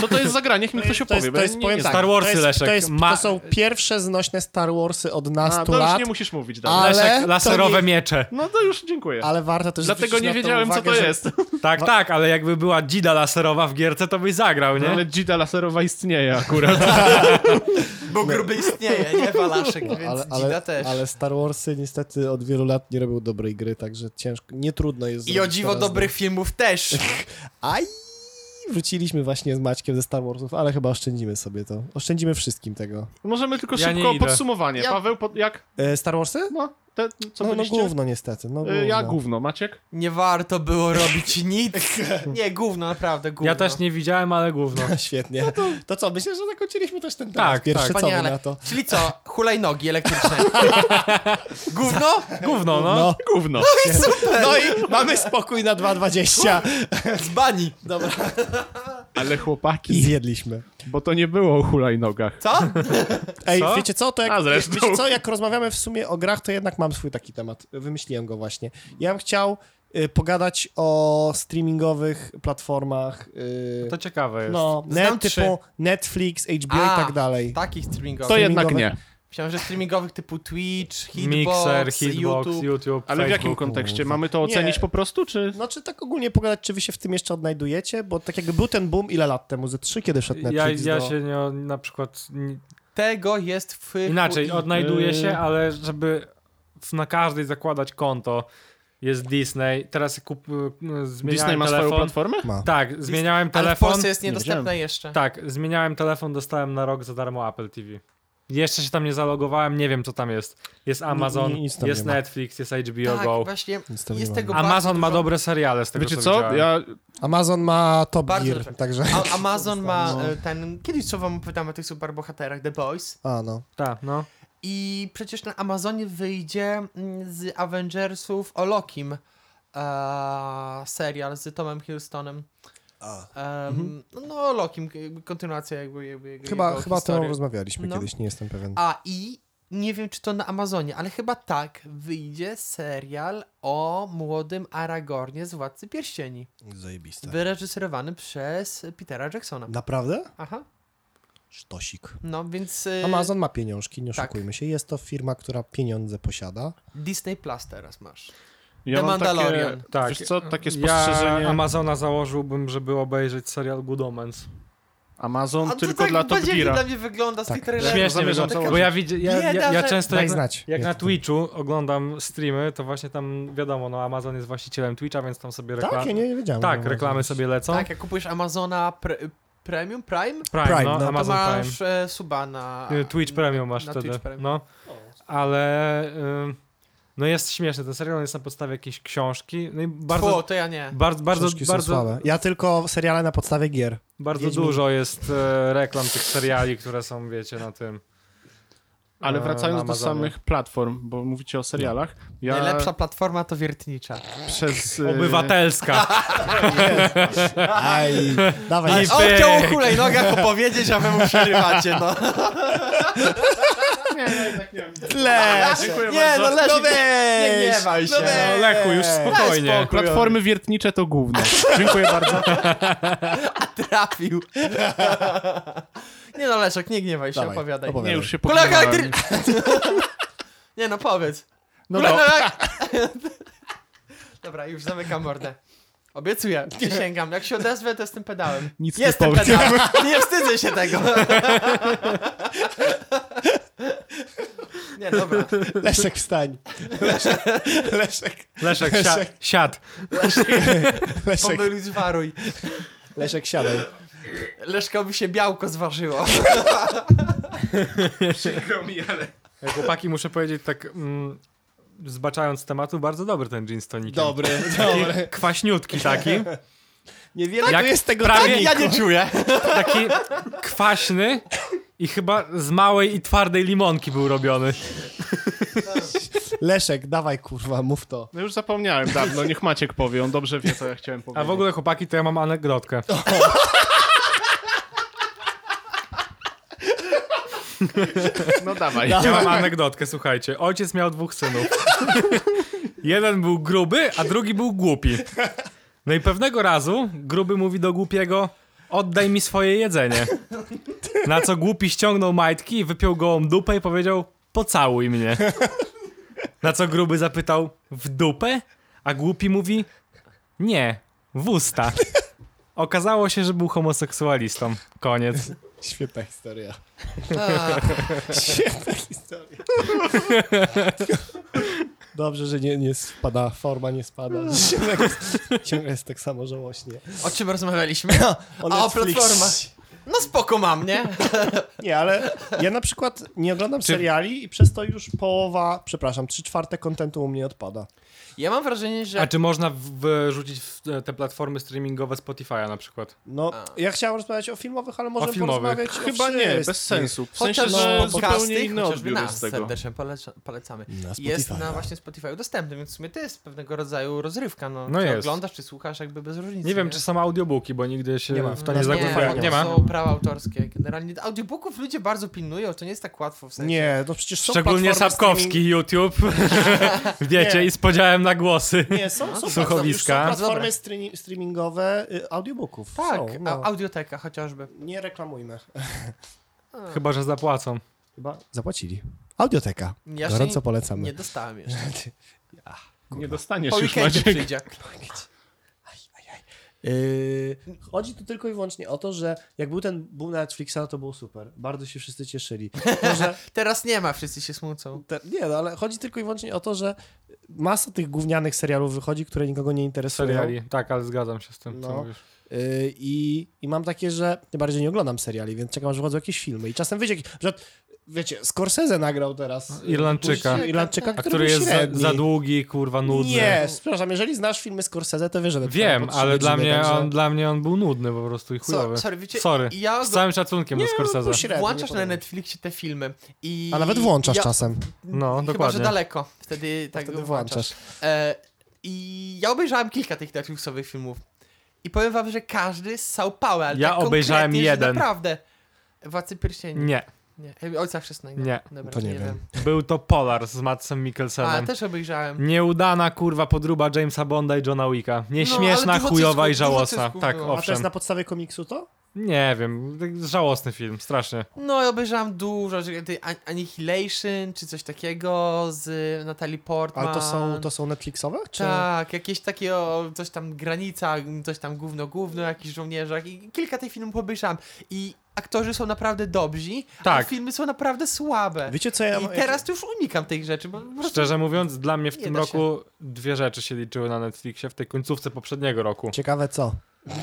S1: Co to jest za gra? Niech mi ktoś
S4: To
S1: opowie.
S4: jest,
S1: bo
S4: to
S1: ja
S4: jest
S1: nie,
S4: powiem
S1: nie
S4: tak,
S1: znam.
S3: Star Warsy,
S4: to, jest, to,
S3: Leszek,
S4: jest,
S3: ma-
S4: to są pierwsze znośne Star Warsy od
S1: A,
S4: nastu
S1: to już
S4: lat,
S1: nie musisz mówić
S4: A-
S1: dalej.
S4: ale
S3: Leszek,
S4: to
S3: laserowe
S4: nie-
S3: miecze.
S1: No to już dziękuję.
S4: ale warto też
S1: Dlatego
S4: zwrócić
S1: nie
S4: na
S1: wiedziałem, co
S4: uwagę,
S1: to
S4: że-
S1: jest.
S3: Tak, tak, ale jakby była dzida laserowa w gierce, to byś zagrał, nie?
S1: No, ale dzida laserowa istnieje akurat.
S2: Bo gruby istnieje, nie walaszek,
S4: No,
S2: więc
S4: ale,
S2: dzida
S4: ale,
S2: też.
S4: ale Star Warsy niestety od wielu lat nie robią dobrej gry, także ciężko, nie trudno jest
S2: I o
S4: zrobić
S2: dziwo
S4: teraz
S2: dobrych filmów też.
S4: Aj! Wróciliśmy właśnie z Maćkiem ze Star Warsów, ale chyba oszczędzimy sobie to. Oszczędzimy wszystkim tego.
S1: Możemy tylko
S3: Ja nie
S1: szybko
S3: idę.
S1: podsumowanie.
S2: Ja-
S1: Paweł, pod, jak?
S4: E, Star Warsy?
S1: No, te, co
S4: no, no
S1: byliście?
S4: gówno niestety. No,
S1: Y,
S4: gówno.
S1: Ja gówno. Maciek?
S2: Nie warto było robić nic. Nie, gówno, naprawdę gówno.
S3: Ja też nie widziałem, ale gówno.
S4: Świetnie.
S1: No
S4: to... co, myślę, że zakończyliśmy też ten temat.
S3: Tak,
S4: Pierwszy
S3: tak.
S4: co wy
S2: Wspaniale.
S4: na to.
S2: Czyli co? Hulajnogi elektryczne. Gówno?
S3: Gówno, no.
S4: No.
S1: Gówno.
S4: no i mamy spokój na
S1: No.
S4: 2.20.
S2: Z bani. Dobra.
S1: Ale chłopaki,
S4: Zjedliśmy.
S1: bo to nie było o hulajnogach.
S2: Co?
S4: Ej,
S3: Co?
S4: wiecie co, to jak,
S1: A zresztą.
S4: wiecie co, jak rozmawiamy w sumie o grach, to jednak mam swój taki temat. Wymyśliłem go właśnie. Ja bym chciał y, pogadać o streamingowych platformach. Y,
S3: To ciekawe jest.
S4: no,
S2: Znam
S4: net,
S2: trzy.
S4: typu Netflix, HBO
S2: A,
S4: i tak dalej.
S2: Takich streamingowych.
S1: To jednak
S4: Streamingowe-
S1: nie.
S2: Myślałem, że streamingowych typu Twitch, Hitbox,
S3: Mixer, Hitbox,
S2: YouTube.
S3: YouTube,
S1: Ale w
S3: Facebook.
S1: jakim kontekście? Mamy to
S4: Nie.
S1: ocenić po prostu, czy...
S4: Znaczy tak ogólnie pogadać, czy wy się w tym jeszcze odnajdujecie, bo tak jakby był ten boom ile lat temu, ze trzy, kiedy wszedł
S3: Ja,
S4: Netflix
S3: ja
S4: do...
S3: się nie, na przykład... nie-
S2: Tego jest w...
S3: Inaczej, odnajduję
S1: Yy.
S3: się, ale żeby w- na każdej zakładać konto, jest Disney. Teraz kup, y, zmieniałem
S1: Disney ma swoją
S3: telefon.
S1: platformę?
S4: Ma.
S3: Tak, zmieniałem
S2: Ale w
S3: telefon.
S2: Polsce jest niedostępne
S1: wiedziałem.
S2: jeszcze.
S3: Tak, zmieniałem telefon, dostałem na rok za darmo Apple TV. Jeszcze się tam nie zalogowałem, nie wiem co tam jest. Jest Amazon,
S4: nie- nic tam
S3: jest
S4: nie ma.
S3: Netflix, jest HBO
S2: Tak,
S3: Go.
S2: właśnie
S4: Nic tam nie
S2: jest
S4: mam.
S2: tego bardzo
S3: Amazon ma
S2: dużo.
S3: dobre seriale z tego
S1: Wiecie
S3: co
S1: co?
S3: widziałem.
S1: Ja
S4: Amazon ma Top
S2: Bardzo dobrze.
S4: Gear, także...
S2: A, Amazon ma
S4: No.
S2: e, ten. Kiedyś co wam opowiadam o tych superbohaterach The Boys.
S4: A no.
S3: Tak, no.
S2: I przecież na Amazonie wyjdzie mm, z Avengersów o Lokim e, serial z Tomem Hillstonem. Em, No, o Lokim, jakby kontynuacja jakby, jakby jego,
S4: Mhm. Chyba,
S2: jego
S4: chyba o tym
S2: historii.
S4: rozmawialiśmy
S2: No.
S4: kiedyś, nie jestem pewien.
S2: A i nie wiem, czy to na Amazonie, ale chyba tak wyjdzie serial o młodym Aragornie z Władcy Pierścieni.
S4: Zajebiste.
S2: Wyreżyserowany przez Petera Jacksona.
S4: Naprawdę?
S2: Aha,
S4: Sztosik.
S2: no więc. e,
S4: Amazon ma pieniążki, nie
S2: tak.
S4: oszukujmy się. Jest to firma, która pieniądze posiada.
S2: Disney Plus teraz masz.
S1: Ja
S2: The
S1: mam
S2: Mandalorian.
S1: Takie,
S3: Tak.
S1: Wiesz co, takie
S3: Ja
S1: spostrzeżenie...
S3: Amazona założyłbym, żeby obejrzeć serial Good Omens.
S1: Amazon
S2: A to
S1: tylko
S2: tak
S1: dla Top
S2: badziewnie
S1: Geara.
S2: dla mnie wygląda z
S4: Tak.
S2: tych trailerów.
S3: Śmiesznie
S1: zamierzam
S3: wygląda,
S1: założyć.
S3: bo ja, widzę, ja, ja, ja,
S2: Bieda, że-
S3: często
S4: Daj
S3: jak,
S4: znać,
S3: jak
S4: jak
S3: na
S4: to.
S3: Twitchu oglądam streamy, to właśnie tam wiadomo, no Amazon jest właścicielem Twitcha, więc tam sobie reklamy...
S4: Tak, ja nie, nie wiedziałem.
S3: tak
S4: Amazon.
S3: reklamy sobie lecą.
S2: Tak, jak kupujesz Amazona pre- Premium, Prime,
S3: Prime,
S4: Prime,
S3: no,
S4: no to
S2: to
S3: Amazon Prime.
S2: masz e, suba na...
S3: Y, Twitch Premium masz
S2: na
S3: wtedy.
S2: Twitch Premium.
S3: No, ale ym, no jest śmieszny ten serial, on jest na podstawie jakiejś książki. No i bardzo,
S2: Tfu, to ja nie.
S3: bardzo, bardzo,
S4: Książki są
S3: bardzo,
S4: słabe. Ja tylko seriale na podstawie gier.
S3: bardzo
S4: Wiedźmin.
S3: dużo jest e, reklam tych seriali, które są, wiecie, na tym.
S1: Ale
S3: e,
S1: wracając
S3: na
S1: do
S3: Amazonie.
S1: samych platform, bo mówicie o serialach, ja
S2: Najlepsza platforma to wiertnicza.
S1: przez...
S4: Y.
S1: e,
S3: Obywatelska.
S4: Aj, dawaj.
S2: Ale
S4: Nie,
S2: on chciał o hulajnogach opowiedzieć, a wy mu przerywacie, no.
S1: tak
S4: tle!
S1: Dziękuję
S2: Nie, no
S1: bardzo.
S2: leży.
S4: E, No weź!
S2: Nie gniewaj się.
S4: No weź!
S3: No, Lechu, już spokojnie.
S1: Platformy wiertnicze to gówno. Dziękuję bardzo.
S2: Trafił. nie no, Leszek, nie gniewaj się,
S4: Dawaj,
S2: opowiadaj.
S4: opowiadaj.
S1: Nie, już się
S2: Kolega
S1: pogadałem.
S2: elektryczny. nie no, powiedz.
S1: No
S2: Kolega
S1: to,
S2: elek- Dobra, już zamykam mordę. Obiecuję, przysięgam. Jak się odezwę, to jestem pedałem.
S1: Nic nie
S2: jestem
S1: powiem.
S2: pedałem. Nie wstydzę się tego. nie, dobra.
S4: Leszek wstań. Leszek, Leszek,
S3: Leszek, sia
S4: Leszek.
S3: siad.
S4: Leszek,
S2: Pomeluj, zwaruj.
S4: Leszek siadaj.
S2: Leszkowi się białko zważyło.
S3: Ej, Chłopaki, muszę powiedzieć tak, mm, zbaczając z tematu, bardzo dobry ten gin z tonikiem.
S4: Dobry, dobry.
S3: Kwaśniutki taki.
S4: Niewiele
S3: Jak
S4: tu jest tak- tego
S3: prawie-
S4: toniku.
S2: Tak, Ja nie czuję.
S3: taki kwaśny i chyba z małej i twardej limonki był robiony.
S4: Leszek, dawaj kurwa, mów to.
S1: no już zapomniałem dawno, niech Maciek powie, on dobrze wie, co ja chciałem
S3: A
S1: powiedzieć.
S3: w ogóle chłopaki, to ja mam anegdotkę.
S1: No dawaj.
S3: Ja mam anegdotkę, słuchajcie. Ojciec miał dwóch synów. Jeden był gruby, a drugi był głupi. No i pewnego razu gruby mówi do głupiego: Oddaj mi swoje jedzenie. Na co głupi ściągnął majtki, wypiął gołą dupę i powiedział: Pocałuj mnie. Na co gruby zapytał: W dupę? A głupi mówi: Nie, w usta. Okazało się, że był homoseksualistą. Koniec.
S4: Świetna historia.
S2: A,
S4: Świetna historia. Dobrze, że nie, nie spada, forma nie spada. Ciągle jest, ciągle jest tak samo żałośnie.
S2: o czym rozmawialiśmy? A o
S4: Netflix.
S2: platformach. No spoko mam, nie?
S4: Nie, ale ja na przykład nie oglądam seriali i przez to już połowa, przepraszam, trzy czwarte kontentu u mnie odpada.
S2: Ja mam wrażenie,
S3: A
S2: że...
S3: czy można w- wrzucić w e, te platformy streamingowe Spotify'a na przykład?
S4: No, ja chciałem rozmawiać o filmowych, ale możemy
S3: filmowych.
S4: porozmawiać o
S1: Chyba nie,
S4: wszystkich.
S1: bez sensu. W sensie,
S2: Chociaż
S1: że
S2: no,
S1: zupełnie
S2: podcasty,
S1: inny
S2: chociażby
S1: odbiór
S2: nas
S1: jest tego.
S2: serdecznie poleca, polecamy.
S4: Na
S2: jest
S4: Spotify'a.
S2: na właśnie Spotify dostępny, więc w sumie to jest pewnego rodzaju rozrywka. No,
S3: No
S2: czy
S3: jest.
S2: oglądasz, czy słuchasz, jakby bez różnicy.
S3: Nie wiem, czy są audiobooki, bo nigdy się
S4: Nie ma.
S3: w to
S4: Na
S3: nie zagłębiałem.
S2: bo
S3: Nie,
S4: Spotify
S2: to
S3: ma.
S2: są prawa autorskie. Generalnie audiobooków ludzie bardzo pilnują, to nie jest tak łatwo w sensie.
S4: Nie, no przecież są
S3: Szczególnie
S4: platformy
S3: Sapkowski,
S4: streaming-
S3: YouTube. Wiecie,
S4: Nie.
S3: i z podziałem na głosy.
S4: Nie, są,
S2: No,
S4: są,
S3: Słuchowiska.
S4: platformy- już są
S2: Dobra.
S4: platformy streami- streamingowe y, audiobooków.
S2: Tak,
S4: są,
S2: a,
S4: no.
S2: audioteka chociażby.
S4: Nie reklamujmy. No.
S3: Chyba, że zapłacą.
S4: Chyba zapłacili. Audioteka.
S2: Ja się
S4: Gorąco polecamy.
S2: Nie dostałem jeszcze.
S1: Nie dostaniesz
S2: Po
S1: już,
S2: weekendzie
S1: Maciek.
S2: przyjdzie.
S4: Yy, chodzi tu tylko i wyłącznie o to, że jak był ten boom na Netflixa, no to było super. Bardzo się wszyscy cieszyli. Może,
S2: Teraz nie ma, wszyscy się smucą.
S4: te, nie, no ale chodzi tylko i wyłącznie o to, że masa tych gównianych serialów wychodzi, które nikogo nie interesują.
S3: Seriali. Tak, ale zgadzam się z tym, co
S4: No.
S3: mówisz.
S4: Yy, i, I mam takie, że tym bardziej nie oglądam seriali, więc czekam, aż wychodzą jakieś filmy. I czasem wyjdzie, jakiś- na przykład, wiecie, Scorsese nagrał teraz. yy,
S3: Irlandczyka.
S4: puścił Irlandczyka,
S3: A
S2: Tak,
S4: który,
S3: który
S4: był
S3: jest za,
S4: średni.
S3: za długi, kurwa, nudny.
S4: Nie, przepraszam, jeżeli znasz filmy Scorsese, to wiesz, że...
S3: Wiem,
S4: po trzy
S3: ale dla
S4: godziny,
S3: mnie,
S4: także-
S3: on, dla mnie on był nudny po prostu i chujowy.
S2: Co, sorry, wiecie,
S3: Sorry.
S2: ja
S3: Z całym szacunkiem do
S4: był
S3: Scorsese.
S4: średni,
S2: włączasz na
S4: podobał.
S2: Netflixie te filmy i...
S4: A nawet włączasz
S2: ja,
S4: czasem.
S3: No,
S2: Chyba, że
S3: dokładnie.
S2: daleko. Wtedy tak
S4: Wtedy
S2: włączasz.
S4: włączasz.
S2: E, I ja obejrzałem kilka tych Netflixowych filmów. I powiem wam, że każdy ssał pałę, ale
S3: Ja
S2: tak
S3: obejrzałem
S2: konkretnie, że
S3: jeden.
S2: naprawdę. Władcy Pierścieni.
S3: Nie.
S2: nie. E, Ojca Chrzestnego.
S3: Nie.
S2: Dobra,
S4: To nie wiem.
S3: Był to Polar z Madsem
S2: A,
S3: Mikkelsenem.
S2: też obejrzałem.
S3: Nieudana, kurwa, podruba Jamesa Bonda i Johna Wicka. Nieśmieszna,
S2: No, ale dużo
S3: chujowa
S2: cysków,
S3: i
S2: dużo
S3: żałosna.
S2: cysków
S3: Tak,
S2: było.
S4: A to
S3: owszem.
S4: jest na podstawie komiksu to?
S3: Nie wiem, tak żałosny film, strasznie.
S2: No i obejrzałam dużo, że ty An- Annihilation czy coś takiego z Natalie Portman.
S4: Ale to są, to są Netflixowe? Czy...
S2: Tak, jakieś takie o, coś tam granica, coś tam gówno, gówno, jakiś żołnierzach i kilka tych filmów obejrzałam i aktorzy są naprawdę dobrzy, a
S3: Tak.
S2: filmy są naprawdę słabe.
S4: Wiecie co ja...
S2: I teraz to już unikam tych rzeczy, bo po prostu
S3: Szczerze mówiąc, dla mnie w
S2: Nie
S3: tym
S2: da się.
S3: roku dwie rzeczy się liczyły na Netflixie w tej końcówce poprzedniego roku.
S4: Ciekawe co?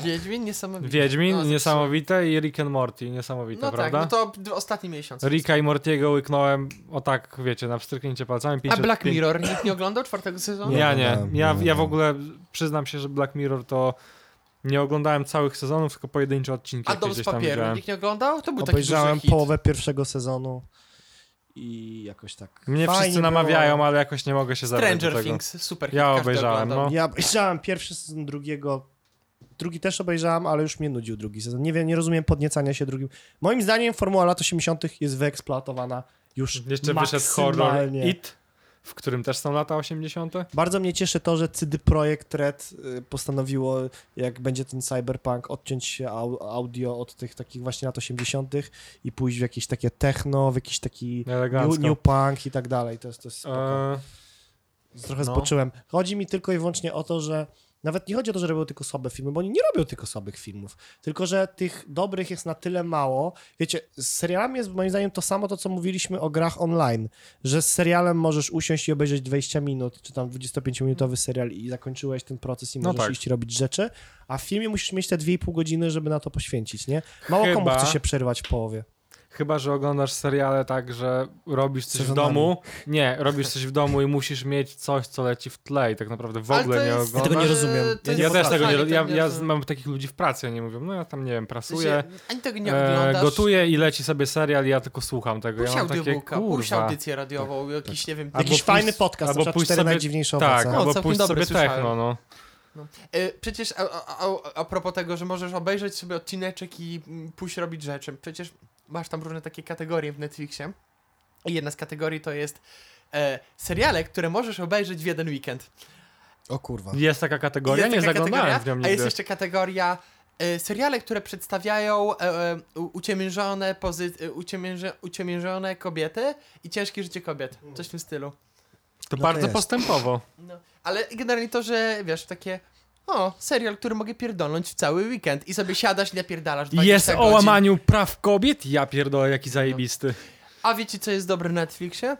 S2: Wiedźmin niesamowity.
S3: Wiedźmin,
S2: No, zepsułem.
S3: niesamowite i Rick and Morty, niesamowite,
S2: No tak,
S3: prawłda?
S2: no to d- ostatni miesiąc.
S3: Ricka i Mortiego łyknąłem, o tak, wiecie, na wstrzyknięcie palcami.
S2: A
S3: pięcio-
S2: Black
S3: pię-
S2: Mirror no. nikt nie oglądał czwartego sezonu?
S4: Nie.
S3: Ja nie.
S4: oglądałem,
S3: Ja,
S4: nie
S3: ja w
S4: oglądałem.
S3: ogóle przyznam się, że Black Mirror to nie oglądałem całych sezonów, tylko pojedyncze odcinki.
S2: A
S3: jakieś
S2: Dom z
S3: gdzieś tam
S2: papieru
S3: widziałem.
S2: nikt nie oglądał? To był taki duży
S4: Obejrzałem
S2: hit.
S4: połowę pierwszego sezonu i jakoś tak...
S3: Mnie
S4: fajnie
S3: wszyscy
S4: było.
S3: namawiają, ale jakoś nie mogę się zabrać do
S2: Stranger
S3: tego.
S2: Things, super hit,
S3: Ja
S2: każdy
S3: obejrzałem,
S2: oglądał.
S3: no.
S4: Ja obejrzałem pierwszy sezon drugiego. Drugi też obejrzałem, ale już mnie nudził drugi sezon. Nie wiem, nie rozumiem podniecania się drugim. Moim zdaniem formuła lat 80. jest wyeksploatowana już
S3: Jeszcze wyszedł horror
S4: maksymalnie.
S3: It, w którym też są lata 80.
S4: Bardzo mnie cieszy to, że CD Projekt Red y, postanowiło, jak będzie ten cyberpunk, odciąć się au- audio od tych takich właśnie lat 80. i pójść w jakieś takie techno, w jakiś taki
S3: Elegancko.
S4: new, new punk i tak dalej. To jest, to jest spoko.
S3: E,
S4: Trochę
S3: No.
S4: spoczyłem. Chodzi mi tylko i wyłącznie o to, że nawet nie chodzi o to, że robią tylko słabe filmy, bo oni nie robią tylko słabych filmów, tylko że tych dobrych jest na tyle mało. Wiecie, z serialami jest moim zdaniem to samo to, co mówiliśmy o grach online, że z serialem możesz usiąść i obejrzeć 20 minut, czy tam 25-minutowy serial i zakończyłeś ten proces i
S3: No
S4: możesz
S3: tak.
S4: iść robić rzeczy, a w filmie musisz mieć te 2,5 godziny, żeby na to poświęcić, nie? Mało komu
S3: Chyba-
S4: chce się przerwać w połowie.
S3: Chyba, że oglądasz seriale tak, że robisz coś w
S4: Sezonami.
S3: domu. Nie, robisz coś w domu i musisz mieć coś, co leci w tle i tak naprawdę w ogóle nie
S4: Ja tego nie
S3: oglądasz.
S4: rozumiem.
S2: to
S4: Ja
S2: jest
S3: Ja też
S2: fajne,
S3: tego nie
S2: tego
S3: ja, ja
S2: rozumiem.
S3: mam takich ludzi w pracy, oni mówią, no ja tam, nie wiem,
S2: W sensie,
S3: prasuję,
S2: Ani tego nie
S3: e,
S2: oglądasz.
S3: gotuję i leci sobie serial i ja tylko słucham tego.
S2: Puść
S3: ja mam takie,
S2: audiobooka, puść
S3: kurwa. Tak,
S2: audycję radiową, jakiś, nie wiem...
S3: Albo
S4: Jakiś
S3: pójść-
S4: fajny podcast,
S3: albo
S4: na przykład
S3: pójść
S4: cztery
S3: sobie-
S4: najdziwniejsze
S3: Tak,
S4: owoce.
S2: O, No,
S3: albo
S2: całkiem
S3: pójść
S2: dobry
S3: sobie techno,
S2: słyszałem.
S3: no.
S2: E, Przecież a, a, a, a propos tego, że możesz obejrzeć sobie odcineczek i mm, pójść robić rzeczy. Przecież masz tam różne takie kategorie w Netflixie. I jedna z kategorii to jest e, seriale, które możesz obejrzeć w jeden weekend.
S4: O kurwa.
S3: Jest taka kategoria,
S2: Jest
S3: nie
S2: taka
S3: zaglądałem w nią
S2: A jest
S3: nigdy.
S2: jeszcze kategoria e, seriale, które przedstawiają e, e, u- uciemiężone, pozy- e, uciemięże, uciemiężone kobiety i ciężkie życie kobiet. Coś w tym stylu.
S3: To
S4: No to
S3: bardzo
S4: jest.
S3: postępowo.
S2: No. Ale generalnie to, że wiesz, takie o, serial, który mogę pierdolnąć w cały weekend i sobie siadasz i napierdalasz 20
S3: Jest o
S2: godzin.
S3: łamaniu praw kobiet? Ja pierdolę, jaki zajebisty.
S2: A wiecie, co jest dobre na Netflixie?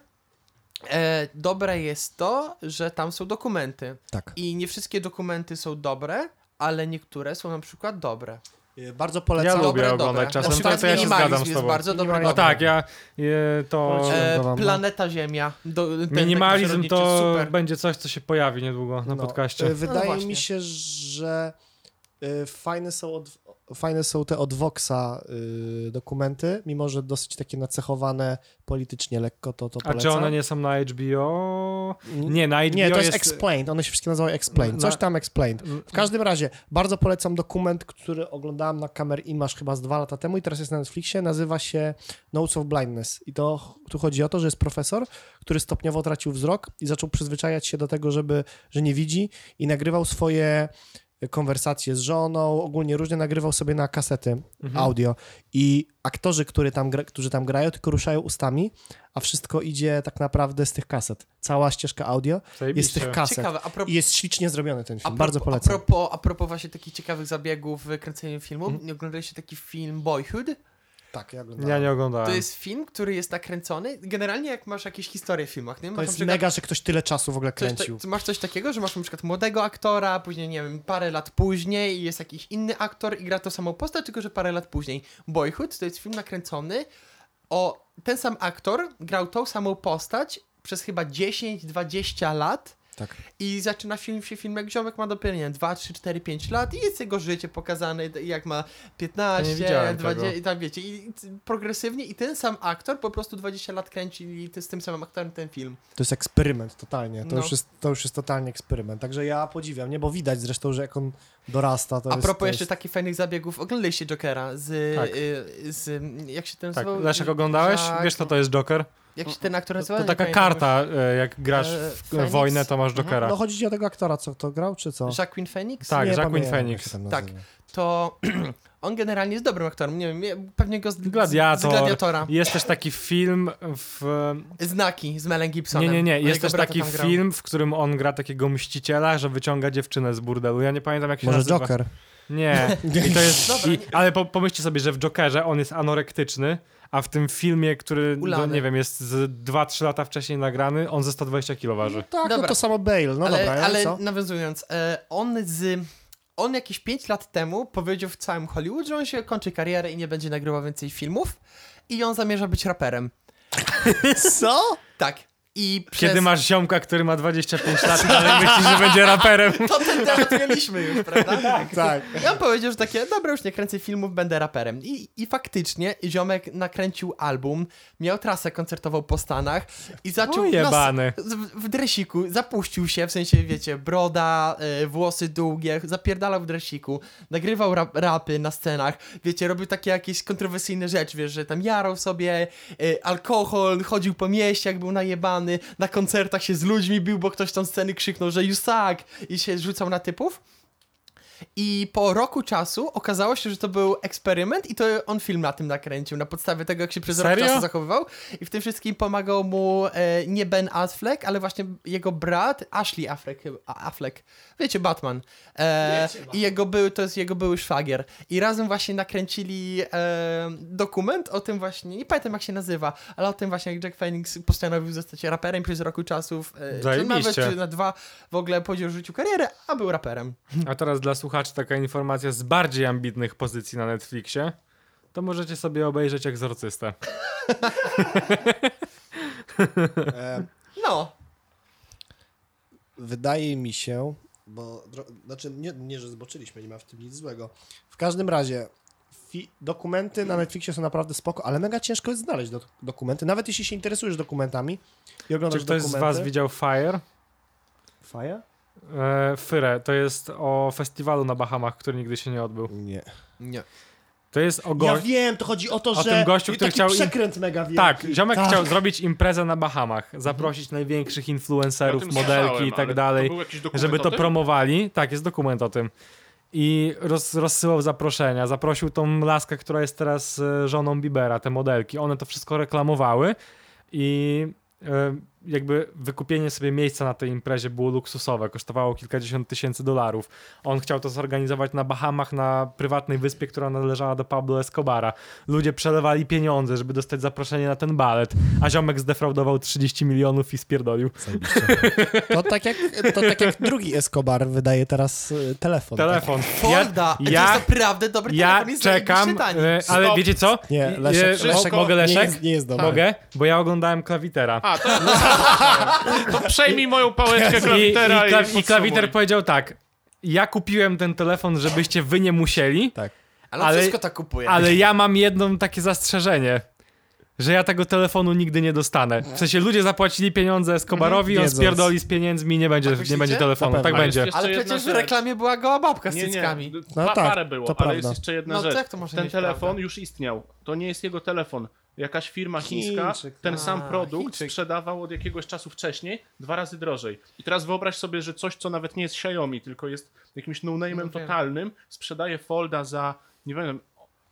S2: E, dobre jest to, że tam są dokumenty.
S4: Tak.
S2: I nie wszystkie dokumenty są dobre, ale niektóre są na przykład dobre.
S4: Y, Bardzo polecam.
S3: Ja lubię
S2: dobre,
S3: oglądać
S2: dobre.
S3: czasem,
S2: Na przykład
S3: to ja się
S2: Minimalizm
S3: zgadzam z
S2: jest
S3: tobą.
S2: bardzo dobry.
S3: No
S4: Dobra.
S3: tak, ja e, to...
S4: Poleciłem.
S2: E,
S4: Dobra, no.
S2: planeta Ziemia. Do, ten taki
S3: Minimalizm
S2: przyrodniczy,
S3: to
S2: Super.
S3: będzie coś, co się pojawi niedługo na
S4: No,
S3: podcaście.
S4: y, Wydaje
S2: właśnie.
S4: mi się, że y, fajne są, od, fajne są te od Voxa y, dokumenty, mimo że dosyć takie nacechowane politycznie lekko, to to
S3: A
S4: polecam.
S3: czy one nie są na HBO? Nie, na HBO
S4: Nie, to jest,
S3: jest... y,
S4: Explained, one się wszystkie nazywają Explained, coś
S3: Na- Mm.
S4: tam Explained. W każdym razie, bardzo polecam dokument, który oglądałem na Kamer Imasz chyba z dwa lata temu i teraz jest na Netflixie, nazywa się Notes of Blindness i to ch- tu chodzi o to, że jest profesor, który stopniowo tracił wzrok i zaczął przyzwyczajać się do tego, żeby, że nie widzi i nagrywał swoje konwersacje z żoną, ogólnie różnie nagrywał sobie na kasety
S3: Mhm.
S4: audio i aktorzy, który tam gra, którzy tam grają, tylko ruszają ustami, a wszystko idzie tak naprawdę z tych kaset. Cała ścieżka audio jest z
S3: Zajebiście.
S4: tych kaset.
S2: Ciekawe, a propos
S4: I jest ślicznie zrobiony ten film,
S2: A propos-
S4: bardzo polecam.
S2: A propos, a propos właśnie takich ciekawych zabiegów w kręceniu filmu,
S4: Mhm.
S2: nie oglądaliście taki film Boyhood?
S4: tak, ja oglądałem.
S3: Ja nie oglądałem.
S2: To jest film, który jest nakręcony. Generalnie jak masz jakieś historie w filmach, nie? Masz
S4: to
S2: na
S4: jest
S2: przykład
S4: mega, że ktoś tyle czasu w ogóle kręcił.
S2: No, Coś, ta- masz coś takiego, że masz na przykład młodego aktora, później, nie wiem, parę lat później jest jakiś inny aktor i gra tą samą postać, tylko że parę lat później. Boyhood to jest film nakręcony o... Ten sam aktor grał tą samą postać przez chyba 10-20 lat
S4: Tak.
S2: i zaczyna film się film, jak ziomek ma dopiero, nie wiem, 2, 3, 4, 5 lat i jest jego życie pokazane, jak ma
S3: Ja nie
S2: 15,
S3: widziałem
S2: 20,
S3: tego.
S2: i tam wiecie, i i progresywnie i ten sam aktor po prostu 20 lat kręci z tym samym aktorem ten film.
S4: To jest eksperyment totalnie, to,
S2: No.
S4: już jest, to już jest totalnie eksperyment. Także ja podziwiam, nie? Bo widać zresztą, że jak on dorasta, to
S2: A
S4: jest...
S2: propos
S4: to
S2: jeszcze tak-
S4: jest...
S2: takich fajnych zabiegów, oglądaliście Jokera z,
S3: Tak.
S2: y, z, jak się ten
S3: Tak,
S2: nazywał?
S3: Leszek oglądałeś?
S2: Jack-
S3: Wiesz, co to jest Joker?
S2: Jak się ten aktor nazywa?
S3: To
S2: Nie
S3: taka
S2: pamiętam
S3: karta, e, jak grasz
S2: E,
S3: w
S2: Phoenix?
S3: wojnę, to masz Jokera.
S4: No chodzi ci o tego aktora, co to grał, czy co?
S2: już. Jacqueline Phoenix?
S3: Tak,
S4: Nie
S3: Jacqueline
S4: pamiętam, jak
S3: Phoenix.
S4: się tam
S2: Tak.
S4: nazywa.
S2: To on generalnie jest dobrym aktorem. Nie wiem, ja- pewnie go z,
S3: Gladiator.
S2: z Gladiatora.
S3: Jest też taki film w...
S2: Znaki z Melem Gibsonem.
S3: Nie, nie, nie.
S2: Mojego
S3: Jest też
S2: brata
S3: taki
S2: tam grał.
S3: film, w którym on gra takiego mściciela, że wyciąga dziewczynę z burdelu. Ja nie pamiętam, jak się
S4: Może
S3: nazywa.
S4: Joker.
S3: Nie. I to jest, i, ale po, pomyślcie sobie, że w Jokerze on jest anorektyczny, a w tym filmie, który, no,
S2: Ulany.
S3: nie wiem, jest z 2-3 lata wcześniej nagrany, on ze 120 kilo waży.
S4: Tak, no
S2: Dobra.
S4: to samo Bale, no
S2: ale,
S4: dobra, ale
S2: ale
S4: co?
S2: nawiązując, e, on z. On jakieś 5 lat temu powiedział w całym Hollywood, że on się kończy karierę i nie będzie nagrywał więcej filmów. I on zamierza być raperem.
S4: Co?
S2: Tak. I przez...
S3: Kiedy masz ziomka, który ma 25 lat, ale myśli, że będzie raperem.
S2: To ten temat mieliśmy już, prawda? tak,
S4: tak.
S2: I on powiedział, że takie, dobra, już nie kręcę filmów, będę raperem. I, I faktycznie ziomek nakręcił album, miał trasę koncertową po Stanach i zaczął...
S3: O, jebany.
S2: nas- w- w dresiku, zapuścił się, w sensie, wiecie, broda, y, włosy długie, zapierdalał w dresiku, nagrywał rap, rapy na scenach, wiecie, robił takie jakieś kontrowersyjne rzeczy, wiesz, że tam jarał sobie, y, alkohol, chodził po mieściach, był najebany, na koncertach się z ludźmi bił, bo ktoś tam z sceny krzyknął, że you suck i się rzucał na typów. I po roku czasu okazało się, że to był eksperyment i to on film na tym nakręcił, na podstawie tego, jak się przez
S3: Serio?
S2: rok czasu zachowywał. I w tym wszystkim pomagał mu e, nie Ben Affleck, ale właśnie jego brat Ashley Affleck. chyba- A- Affleck. Wiecie, Batman. E, I jego były, to jest jego były szwagier. I razem właśnie nakręcili e, dokument o tym właśnie, nie pamiętam jak się nazywa, ale o tym właśnie, jak Jack Phoenix postanowił zostać raperem przez roku czasów. E, czy nawet
S3: Zajebiście.
S2: czy na dwa w ogóle powiedział, że rzucił karierę, a był raperem.
S3: A teraz dla słuchaczy taka informacja z bardziej ambitnych pozycji na Netflixie. To możecie sobie obejrzeć Egzorcystę.
S4: E,
S2: No.
S4: wydaje mi się, bo, dro- znaczy nie, nie, że zboczyliśmy, nie ma w tym nic złego. W każdym razie, fi- dokumenty na Netflixie są naprawdę spoko, ale mega ciężko jest znaleźć do- dokumenty, nawet jeśli się interesujesz dokumentami i
S3: Czy
S4: oglądasz
S3: ktoś z
S4: dokumenty.
S3: was widział Fire?
S4: Faja?
S3: E, Fyre, to jest o festiwalu na Bahamach, który nigdy się nie odbył.
S4: Nie.
S2: Nie.
S3: To jest o
S4: Ja
S3: gościu.
S4: wiem, to chodzi o to,
S3: O
S4: że
S3: tym gościu, który
S4: taki
S3: chciał im-
S4: przekręt mega wielki.
S3: Tak, ziomek
S4: Tak. Mhm.
S3: chciał zrobić imprezę na Bahamach, zaprosić największych influencerów, modelki i tak dalej, żeby to promowali. Tak, jest dokument o tym. I roz, rozsyłał zaproszenia. Zaprosił tą laskę, która jest teraz e, żoną Bibera, te modelki. One to wszystko reklamowały i e, jakby wykupienie sobie miejsca na tej imprezie było luksusowe, kosztowało kilkadziesiąt tysięcy dolarów. On chciał to zorganizować na Bahamach, na prywatnej wyspie, która należała do Pablo Escobara. Ludzie przelewali pieniądze, żeby dostać zaproszenie na ten balet, a ziomek zdefraudował 30 milionów i spierdolił.
S4: To tak, jak, to tak jak drugi Escobar wydaje teraz e, telefon.
S3: Telefon.
S2: Folda! Ja,
S3: ja-
S2: to jest naprawdę dobry
S3: Ja
S2: telefon jest
S3: czekam,
S2: zajebiście tani.
S3: e, ale
S1: Stop.
S3: wiecie co?
S4: Nie,
S3: I-
S4: Leszek,
S3: e,
S4: Leszek,
S3: mo- mogę
S4: Nie
S3: Leszek?
S4: jest, nie jest dobry.
S3: Mogę? Bo ja oglądałem klawitera.
S1: A, to, to przejmij moją pałeczkę
S3: I, i,
S1: klawitera i,
S3: klaw- i klawiter
S1: podsumuj.
S3: powiedział tak, ja kupiłem ten telefon, żebyście wy nie musieli,
S4: Tak.
S2: Ale, on
S3: ale-
S2: wszystko to kupuje.
S3: ale ja mam jedno takie zastrzeżenie. Że ja tego telefonu nigdy nie dostanę. W sensie ludzie zapłacili pieniądze Escobarowi, on
S4: Mhm. Wiedząc.
S3: spierdoli z pieniędzmi, nie będzie,
S2: myślicie?
S3: nie będzie
S4: Na
S3: telefonu.
S4: pewno.
S3: Tak
S1: Ale
S3: będzie.
S1: jest
S2: Ale
S1: jeszcze
S2: przecież w
S1: jedna rzecz.
S2: reklamie była goła babka z
S1: Nie, nie,
S2: cyckami.
S1: no,
S4: No
S1: pa,
S4: tak,
S1: parę było,
S4: to
S1: ale
S4: prawda.
S1: jest jeszcze jedna
S2: No
S1: rzecz.
S2: tak, to może
S1: ten
S2: być
S1: telefon
S2: prawda.
S1: już istniał. To nie jest jego telefon. Jakaś firma chińska
S4: Chińczyk,
S1: ten
S4: a,
S1: sam produkt
S2: Chińczyk.
S1: sprzedawał od jakiegoś czasu wcześniej dwa razy drożej. I teraz wyobraź sobie, że coś, co nawet nie jest Xiaomi, tylko jest jakimś no-name'em
S2: No wiem.
S1: totalnym, sprzedaje Folda za, nie wiem,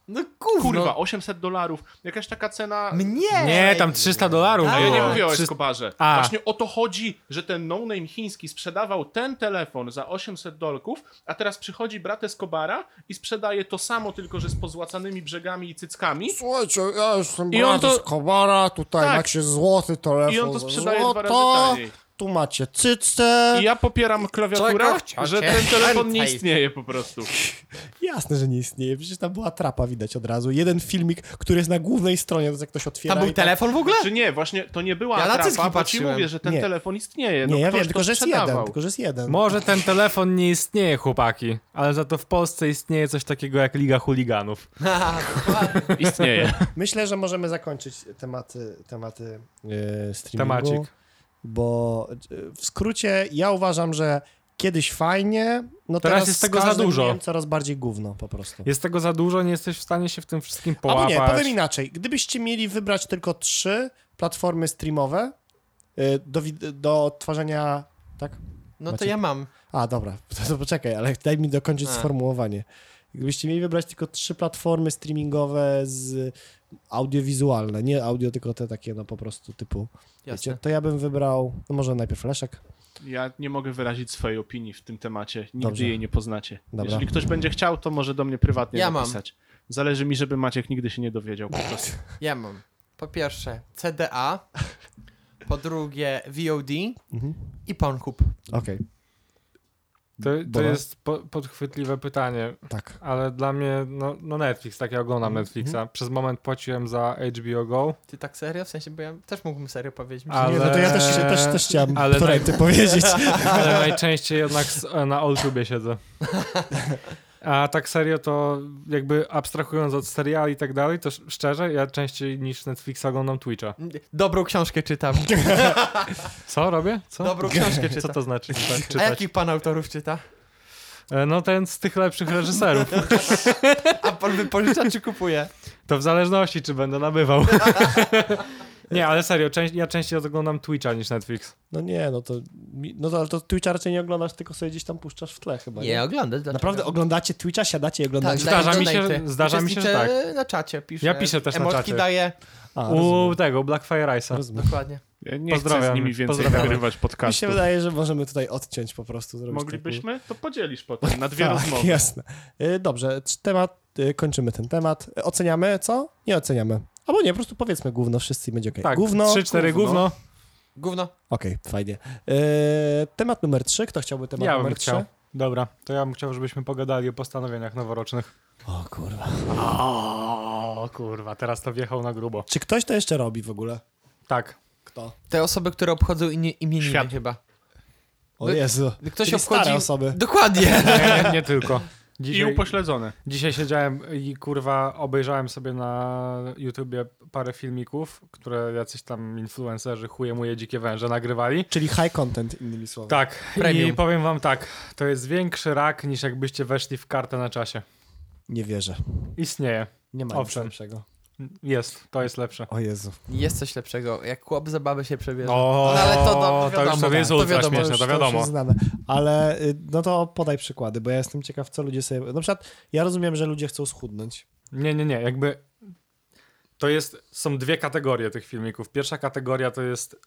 S2: No kurwa.
S1: kurwa, 800 dolarów. Jakaś taka cena...
S2: Mnie!
S3: Nie, tam 300 dolarów no.
S2: A,
S1: Ja nie
S2: O,
S1: mówię o
S3: 300
S1: Escobarze.
S3: A.
S1: Właśnie o to chodzi, że ten no-name chiński sprzedawał ten telefon za 800 dolków, a teraz przychodzi brat Escobara i sprzedaje to samo, tylko że z pozłacanymi brzegami i cyckami.
S4: Słuchajcie, ja jestem
S1: I on
S4: brat
S1: to-
S4: z Kowara, tutaj
S1: Tak.
S4: macie złoty telefon.
S1: I on to
S4: za
S1: sprzedaje dwa razy
S4: złoto,
S1: taniej.
S4: Tu macie cycce.
S1: I ja popieram klawiaturę,
S2: Czego chcecie?
S1: że ten telefon nie
S2: Więcej.
S1: istnieje po prostu.
S4: Jasne, że nie istnieje, przecież tam była trapa widać od razu. Jeden filmik, który jest na głównej stronie, to jak ktoś otwiera
S2: Tam był
S4: i tak...
S2: telefon w ogóle?
S1: Czy nie, właśnie to nie była
S2: Ja na cycki
S1: atrapa, bo ci
S2: patrzyłem.
S1: mówię, że ten
S4: Nie.
S1: telefon istnieje. No,
S4: Nie, ja
S1: ktoś
S4: wiem,
S1: to
S4: tylko że jest jeden,
S1: sprzedawał.
S4: tylko że jest jeden.
S3: Może ten telefon nie istnieje, chłopaki, ale za to w Polsce istnieje coś takiego jak Liga Chuliganów.
S1: Istnieje.
S4: Myślę, że możemy zakończyć tematy, tematy e, streamingu.
S3: Temacik.
S4: Bo e, w skrócie ja uważam, że kiedyś fajnie, no
S3: Teraz
S4: teraz,
S3: jest
S4: z
S3: tego za
S4: każdym
S3: dużo.
S4: dniem coraz bardziej gówno po prostu.
S3: Jest tego za dużo, nie jesteś w stanie się w tym wszystkim
S4: Albo
S3: połapać.
S4: nie, powiem inaczej. Gdybyście mieli wybrać tylko trzy platformy streamowe y, do, wid- do odtwarzania, tak?
S2: No to
S4: Macie-
S2: ja mam.
S4: A, dobra, to, to poczekaj, ale daj mi dokończyć
S2: A.
S4: sformułowanie. Gdybyście mieli wybrać tylko trzy platformy streamingowe z audiowizualne, nie audio, tylko te takie, no po prostu typu, wiecie,
S2: Jasne.
S4: to ja bym wybrał, no może najpierw Leszek.
S1: Ja nie mogę wyrazić swojej opinii w tym temacie. Nigdy
S4: Dobrze.
S1: jej nie poznacie.
S4: Dobra.
S1: Jeżeli ktoś będzie chciał, to może do mnie prywatnie
S2: Ja mam.
S1: napisać. Zależy mi, żeby Maciek nigdy się nie dowiedział po prostu.
S2: Ja mam. Po pierwsze CDA, po drugie VOD
S4: Mhm.
S2: i Pornhub.
S4: Okej,
S3: To, to
S4: Dobra.
S3: jest po, podchwytliwe pytanie,
S4: tak.
S3: ale dla mnie, no, no Netflix, tak ja oglądam Netflixa. Przez moment płaciłem za HBO Go,
S2: Ty tak serio? W sensie, bo ja też mógłbym serio powiedzieć. Mi się
S3: Ale-
S4: Nie, no to ja też, się- też, też chciałem
S3: ale-
S4: wczoraj ty powiedzieć.
S3: ale najczęściej jednak s- e, na Oldtubie siedzę. A tak serio to jakby abstrahując od seriali i tak dalej, to sz- szczerze ja częściej niż Netflixa oglądam Twitcha.
S2: nie- no, Dobrą książkę czytam.
S3: Co robię? Co?
S2: Dobrą książkę czytam.
S3: Co to znaczy czyta-
S2: A
S3: czytać?
S2: jakich pan autorów czyta?
S3: E, No ten z tych lepszych reżyserów.
S2: A pan wypożycza czy kupuje?
S3: To w zależności, czy będę nabywał. nie, ale serio, część, ja częściej oglądam Twitcha niż Netflix.
S4: No nie, no to, mi- no to, ale to Twitcha raczej nie oglądasz, tylko sobie gdzieś tam puszczasz w tle chyba, nie?
S2: oglądasz. dlaczego?
S4: Naprawdę oglądacie Twitcha, siadacie i
S2: Tak,
S4: oglądacie?
S3: Zdarza
S2: daję
S3: mi się, że-
S2: donaty.
S3: zdarza mi się, że
S2: Uczestniczę na czacie piszę.
S3: Ja piszę też na
S2: Emotki
S3: czacie.
S2: daję.
S4: A,
S2: tak.
S3: U
S4: rozumiem,
S3: tego, Blackfire Rice'a.
S4: rozumiem.
S2: Dokładnie.
S1: Ja nie chcę z
S3: Pozdrawiamy.
S1: nimi więcej
S3: Pozdrawiamy.
S1: nagrywać
S4: Mi się
S1: podcastów.
S4: wydaje, że możemy tutaj odciąć po prostu. Zrobić taki-
S1: Moglibyśmy? To podzielisz potem na dwie
S4: tak,
S1: rozmowy.
S4: jasne. Y, Dobrze, c- temat, y, kończymy ten temat. Y, Oceniamy, co? Nie oceniamy. Albo nie, po prostu powiedzmy gówno, wszyscy i będzie okej.
S3: Tak,
S4: Gówno.
S3: 3-4
S2: gówno.
S3: gówno.
S2: Gówno.
S4: Okej, fajnie. Y, Temat numer 3, kto chciałby temat
S3: Ja bym
S4: numer
S3: chciał. Dobra, to ja bym chciał, żebyśmy pogadali o postanowieniach noworocznych.
S4: 3? O kurwa.
S3: O kurwa, teraz to wjechał na grubo.
S4: Czy ktoś to jeszcze robi w ogóle?
S3: Tak.
S4: Kto?
S2: Te osoby, które obchodzą imię, imieniny
S1: Świat.
S2: chyba.
S4: O
S2: No,
S4: Jezu.
S2: Ktoś
S4: Czyli
S2: obchodzi...
S4: stare osoby.
S2: Dokładnie.
S3: Nie, nie tylko.
S1: I
S3: Dzisiaj,
S1: upośledzone.
S3: dzisiaj siedziałem i kurwa obejrzałem sobie na YouTubie parę filmików, które jacyś tam influencerzy chuje moje dzikie węże nagrywali.
S4: Czyli high content, innymi słowy.
S3: Tak, i
S2: Premium.
S3: powiem wam tak, to jest większy rak niż jakbyście weszli w kartę na czasie.
S4: Nie wierzę.
S3: Istnieje,
S4: Nie ma
S3: Owszem.
S4: nic lepszego.
S3: jest, to jest lepsze.
S4: O Jezu.
S2: Jest coś lepszego. Jak chłop za babę się przebierze.
S3: O,
S2: No ale to do-
S3: to już
S2: wiadomo, tak.
S3: sobie jest
S2: to
S3: ultra
S2: wiadomo,
S3: śmieszne,
S4: już-
S3: to
S4: To już
S3: wiadomo.
S4: jest znane. Ale y, no to podaj przykłady, bo ja jestem ciekaw, co ludzie sobie... Na przykład ja rozumiem, że ludzie chcą schudnąć.
S3: Nie, nie, nie, jakby to jest, są dwie kategorie tych filmików. Pierwsza kategoria to jest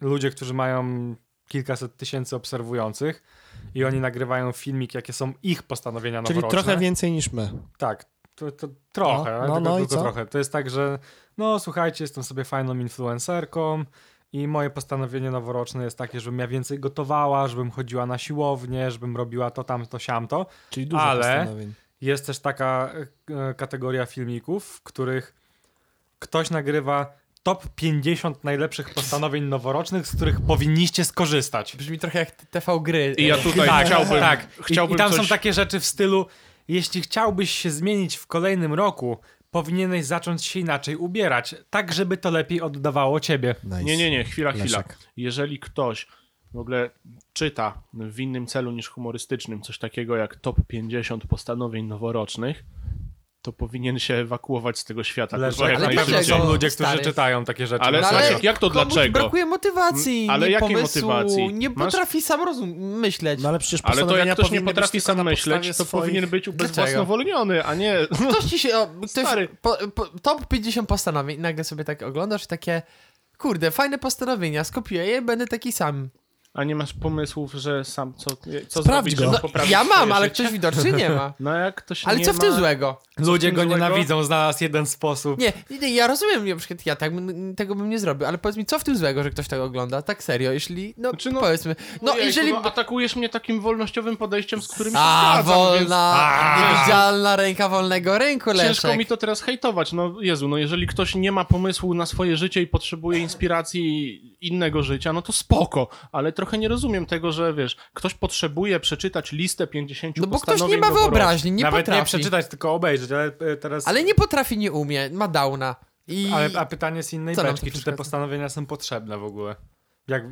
S3: ludzie, którzy mają kilkaset tysięcy obserwujących i oni nagrywają filmik, jakie są ich
S1: No,
S3: postanowienia
S4: Czyli
S3: noworoczne.
S4: trochę więcej niż my.
S3: Tak, to, to trochę,
S4: No,
S3: ale
S4: no,
S3: tylko,
S4: no i
S3: tylko
S4: co?
S3: trochę. To jest tak, że no słuchajcie, jestem sobie fajną influencerką i moje postanowienie noworoczne jest takie, żebym ja więcej gotowała, żebym chodziła na siłownię, żebym robiła to, tamto, siamto.
S4: Czyli dużo
S3: Ale-
S4: postanowień.
S3: Jest też taka e, kategoria filmików, w których ktoś nagrywa top 50 najlepszych postanowień noworocznych, z których powinniście skorzystać.
S2: Brzmi trochę jak TV gry.
S1: I ja tutaj
S3: tak,
S1: chciałbym,
S3: tak.
S1: chciałbym
S3: I, I tam
S1: coś...
S3: są takie rzeczy w stylu, jeśli chciałbyś się zmienić w kolejnym roku, powinieneś zacząć się inaczej ubierać, tak żeby to lepiej oddawało ciebie.
S4: Nice.
S1: Nie, nie, nie, chwila, chwila.
S4: Leszek.
S1: Jeżeli ktoś w ogóle czyta w innym celu niż humorystycznym coś takiego jak top 50 postanowień noworocznych, to powinien się ewakuować z tego świata.
S3: Leżek,
S1: kurwa, jak
S3: ale na pewno
S1: najszybciej.
S2: dlaczego?
S3: są ludzie, którzy
S2: No, Stary.
S3: czytają takie rzeczy.
S1: Ale
S3: na
S1: no słuchaj,
S3: serio.
S1: jak to
S2: No, komuś
S1: dlaczego?
S2: brakuje motywacji,
S1: Mm, ale
S2: nie
S1: jakiej
S2: pomysłu,
S1: motywacji?
S2: nie
S1: Masz-
S2: potrafi sam rozum- myśleć.
S4: No ale przecież
S1: Ale to
S4: postanowienia
S1: jak ktoś nie
S4: powinny być
S1: potrafi
S4: tylko
S1: sam
S4: na
S1: myśleć,
S4: podstawie
S1: to
S4: swoich-
S1: powinien być ubezwłasnowolniony,
S2: Dlaczego?
S1: a nie...
S2: Ktoś ci się, o, ktoś,
S1: Stary.
S2: po, po, top 50 postanowień, i nagle sobie tak oglądasz i takie, kurde, fajne postanowienia, skopiuję je, będę taki sam.
S1: A nie masz pomysłów, że sam co, co
S4: Sprawdź
S1: zrobić,
S4: go.
S1: żeby
S4: No,
S1: poprawić
S2: ja mam,
S1: swoje
S2: ale
S1: życie?
S2: ktoś widocznie nie ma.
S1: No jak ktoś
S2: Ale
S1: nie
S2: co w tym
S1: ma...
S2: złego?
S3: Ludzie
S1: tym
S3: go
S1: złego?
S3: nienawidzą, znalazł jeden sposób.
S2: Nie, nie, ja rozumiem, na przykład ja tak, bym- tego bym nie zrobił, ale powiedz mi, co w tym złego, że ktoś tak ogląda? Tak serio, jeśli, no,
S1: Znaczy, no-
S2: powiedzmy, no,
S1: Ojejku,
S2: jeżeli...
S1: no, atakujesz mnie takim wolnościowym podejściem, z którym się
S2: A,
S1: zgadzam, więc...
S2: wolna, niewidzialna ręka wolnego rynku, Leszek.
S1: Ciężko mi to teraz hejtować. No Jezu, no jeżeli ktoś nie ma pomysłu na swoje życie i potrzebuje inspiracji innego życia, no to spoko, ale trochę nie rozumiem tego, że wiesz, ktoś potrzebuje przeczytać listę 50
S2: No bo ktoś nie
S1: postanowień
S2: ma
S1: noworocznych.
S2: wyobraźni, nie
S3: Nawet nie
S2: potrafi.
S3: przeczytać, tylko obejrzeć, ale e, teraz...
S2: Ale nie potrafi, nie umie, ma downa. I...
S3: Ale, a pytanie z innej
S2: Co nam to
S3: beczki, czy te
S2: przeszkadza?
S3: postanowienia są potrzebne w ogóle? Jak,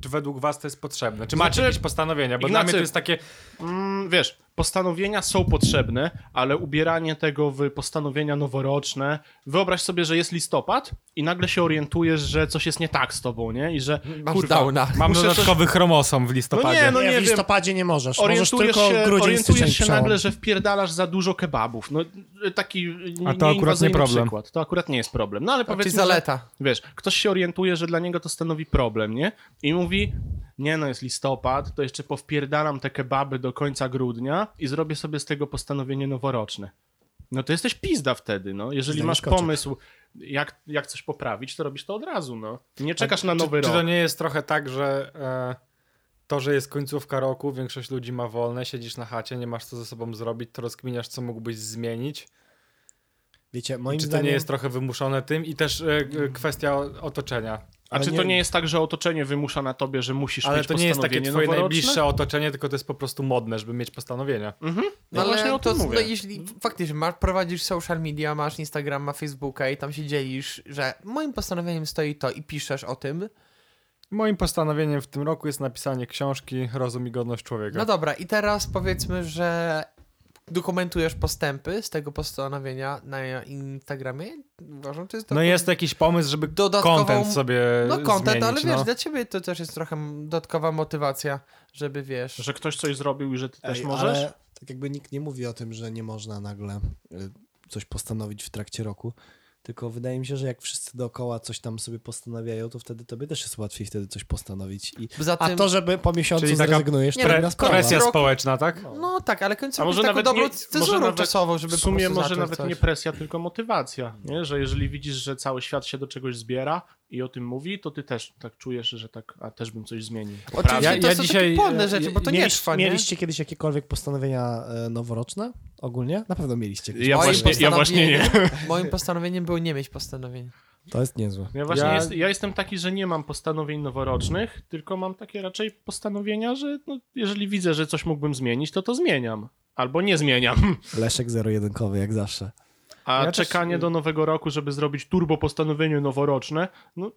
S3: czy według was to jest potrzebne? Czy macie
S1: Znaczy-
S3: jakieś postanowienia? Bo dla mnie
S1: Ignacy-
S3: to jest takie,
S1: Mm, wiesz, postanowienia są potrzebne, ale ubieranie tego w postanowienia noworoczne. Wyobraź sobie, że jest listopad i nagle się orientujesz, że coś jest nie tak z tobą, nie? I że
S2: Masz
S1: kurwa,
S2: downa.
S3: Mam
S1: muszę coś-
S3: dodatkowy chromosom w listopadzie.
S1: No nie
S6: nie,
S1: wiem.
S6: w listopadzie nie możesz. Możesz
S1: Orientujesz
S6: tylko
S1: się,
S6: grudzień, styczeń,
S1: orientujesz się
S6: przełom.
S1: nagle, że wpierdalasz za dużo kebabów. No, y, taki y,
S3: A to akurat
S1: nieinwazyjny
S3: nie problem.
S1: przykład. To akurat nie jest problem. No ale
S2: Czyli
S1: powiedzmy, że-
S2: zaleta.
S1: wiesz, ktoś się orientuje, że dla niego to stanowi problem, nie? I mówi, nie no, jest listopad, to jeszcze powpierdalam te kebaby do końca grudnia i zrobię sobie z tego postanowienie noworoczne. No to jesteś pizda wtedy, no. Jeżeli
S6: Zdajesz
S1: masz
S6: koczek.
S1: pomysł, jak, jak coś poprawić, to robisz to od razu, no. Nie czekasz na nowy
S3: czy, Czy
S1: rok.
S3: to nie jest trochę tak, że e, to, że jest końcówka roku, większość ludzi ma wolne, siedzisz na chacie, nie masz co ze sobą zrobić, to rozkminiasz, co mógłbyś zmienić?
S6: Wiecie, moim
S3: Czy to
S6: zdaniem...
S3: nie jest trochę wymuszone tym? I też e,
S2: Mm.
S3: e, kwestia o- otoczenia.
S1: A czy
S6: ale
S1: to
S6: nie-
S1: nie jest tak, że otoczenie wymusza na tobie, że musisz
S3: Ale
S1: mieć
S3: to nie jest takie
S1: postanowienie
S3: twoje
S1: noworoczne?
S3: najbliższe otoczenie, tylko to jest po prostu modne, żeby mieć postanowienia.
S2: Mm.
S1: No
S2: ale
S1: właśnie o tym
S2: to,
S1: mówię.
S2: No, jeśli faktycznie masz, prowadzisz social media, masz Instagrama, Facebooka i tam się dzielisz, że moim postanowieniem stoi to i piszesz o tym,
S3: Moim postanowieniem w tym roku jest napisanie książki Rozum i godność człowieka.
S2: No dobra, i teraz powiedzmy, że dokumentujesz postępy z tego postanowienia na Instagramie. Uważam, to jest
S3: No jest jakiś pomysł, żeby
S2: Dodatkową-
S3: content sobie
S2: No content,
S3: zmienić,
S2: ale wiesz,
S3: no.
S2: dla ciebie to też jest trochę dodatkowa motywacja, żeby wiesz.
S1: Że ktoś coś zrobił i że ty też
S4: Ej,
S1: możesz?
S4: Ale tak jakby nikt nie mówi o tym, że nie można nagle y, coś postanowić w trakcie roku. Tylko wydaje mi się, że jak wszyscy dookoła coś tam sobie postanawiają, to wtedy tobie też jest łatwiej wtedy coś postanowić. I...
S2: Za
S4: A
S2: tym,
S4: to, żeby po miesiącu
S3: Czyli taka
S4: zrezygnujesz,
S2: nie,
S4: to
S2: pre-
S4: inna sprawa.
S3: Presja
S2: Roku-
S3: społeczna, tak?
S2: No tak, ale końcu
S1: A
S2: może
S1: może
S2: taką
S1: nawet
S2: dobrą
S1: nie- może
S2: cezurą
S1: nawet-
S2: czasową, żeby
S1: W sumie
S2: po prostu
S1: może
S2: zacząć
S1: nawet
S2: coś.
S1: nie presja, tylko motywacja, nie? że jeżeli widzisz, że cały świat się do czegoś zbiera i o tym mówi, to ty też tak czujesz, że tak, a też bym coś zmienił.
S2: Oczywiście
S3: Ja-
S2: to
S3: ja
S2: są
S3: dzisiaj- e,
S2: takie płodne
S3: ja-
S2: rzeczy, bo to nie
S4: Mieliś-
S2: trwa, nie?
S4: Mieliście kiedyś jakiekolwiek postanowienia e, noworoczne ogólnie? Na pewno mieliście. jakieś.
S1: Ja
S2: Moim
S1: właśnie, ja właśnie nie.
S2: postanowieniem- Moim postanowieniem było nie mieć postanowień.
S4: To jest niezłe.
S1: Ja właśnie
S3: Ja-
S1: Jest, ja jestem taki, że nie mam postanowień noworocznych, tylko mam takie raczej postanowienia, że no, jeżeli widzę, że coś mógłbym zmienić, to to zmieniam. Albo nie zmieniam.
S4: Leszek zero-jedynkowy, jak zawsze.
S1: A
S3: Ja też-
S1: czekanie do nowego roku, żeby zrobić turbo postanowienie noworoczne, no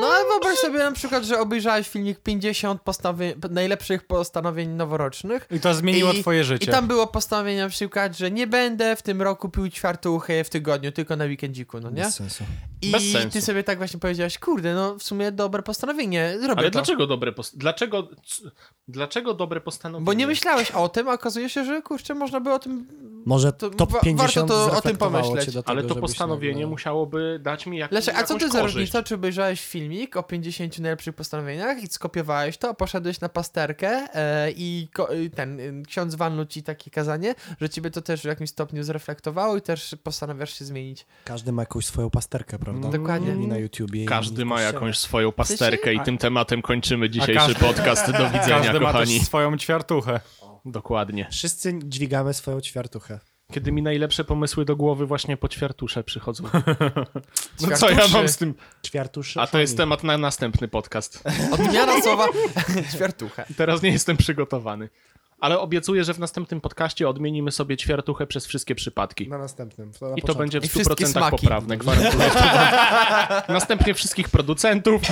S2: No ale wyobraź sobie na przykład, że obejrzałeś filmik 50 postanowień, najlepszych postanowień noworocznych.
S3: I to zmieniło
S2: I-
S3: twoje życie.
S2: I tam było postanowienie na przykład, że nie będę w tym roku pił ćwiartuchy w tygodniu, tylko na weekendziku, no nie?
S4: Bez sensu.
S2: I
S1: Bez sensu.
S2: ty sobie tak właśnie powiedziałeś, kurde, no w sumie dobre postanowienie, zrobię
S1: ale
S2: to.
S1: dlaczego dobre, post- dlaczego, c- dlaczego dobre postanowienie?
S2: Bo nie myślałeś o tym, a okazuje się, że kurczę, można by o tym...
S4: Może
S2: Mm, To
S4: top
S2: wa- warto
S4: 50
S2: to o tym
S4: zreflektowało
S2: pomyśleć.
S4: cię do tego,
S1: Ale to
S4: żebyś
S1: postanowienie
S4: nagle-
S1: musiałoby dać mi jak,
S2: no. Leszek, a co
S1: jakąś
S2: ty za
S1: korzyść.
S2: różnica, czy obejrzałeś filmik o 50 najlepszych postanowieniach i skopiowałeś to, a poszedłeś na pasterkę e, i ko- i ten y, ksiądz walnął ci takie kazanie, że ciebie to też w jakimś stopniu zreflektowało i też postanawiasz się zmienić.
S4: Każdy ma jakąś swoją pasterkę, prawda?
S2: Mm, Dokładnie.
S4: I na YouTubie. i-
S1: Każdy ma
S4: i-
S1: jakąś swoją pasterkę i tym tematem kończymy dzisiejszy
S3: każdy-
S1: podcast. Do widzenia,
S3: Każdy ma też
S1: kochani.
S3: swoją ćwiartuchę.
S1: Dokładnie.
S4: Wszyscy dźwigamy swoją ćwiartuchę.
S1: Kiedy mi najlepsze pomysły do głowy właśnie po ćwiartusze przychodzą. No co ja
S2: Ćwiartuszy.
S1: mam z tym?
S4: Ćwiartuszy.
S1: A to jest temat na następny podcast.
S2: Odmiana słowa ćwiartucha.
S1: Teraz nie jestem przygotowany. Ale obiecuję, że w następnym podcaście odmienimy sobie ćwiartuchę przez wszystkie przypadki.
S4: Na następnym. na
S1: I to
S4: początku.
S1: będzie w
S2: I wszystkie
S1: 100%
S2: smaki.
S1: poprawne, gwarantuję. Następnie wszystkich producentów.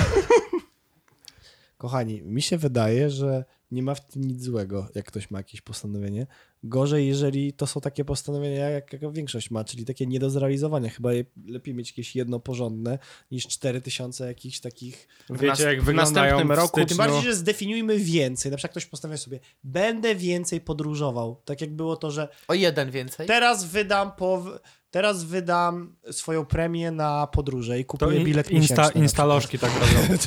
S4: Kochani, mi się wydaje, że nie ma w tym nic złego, jak ktoś ma jakieś postanowienie. Gorzej, jeżeli to są takie postanowienia, jak, jak większość ma, czyli takie nie do zrealizowania. Chyba je, lepiej mieć jakieś jedno porządne niż 4000 jakichś takich. No.
S1: W
S3: Wiecie, jak
S1: nas- w
S3: wyglądają
S1: następnym
S3: w
S1: roku.
S4: Tym
S3: styczniu.
S4: bardziej, że zdefiniujmy więcej. Na przykład ktoś postanawia sobie, będę więcej podróżował. Tak jak było to, że
S2: O jeden więcej.
S4: teraz wydam po. Teraz wydam swoją premię na podróże i
S3: To
S4: kupuję
S3: in,
S4: bilet miesięczny.
S3: insta,
S4: na
S3: instalożki tak robią.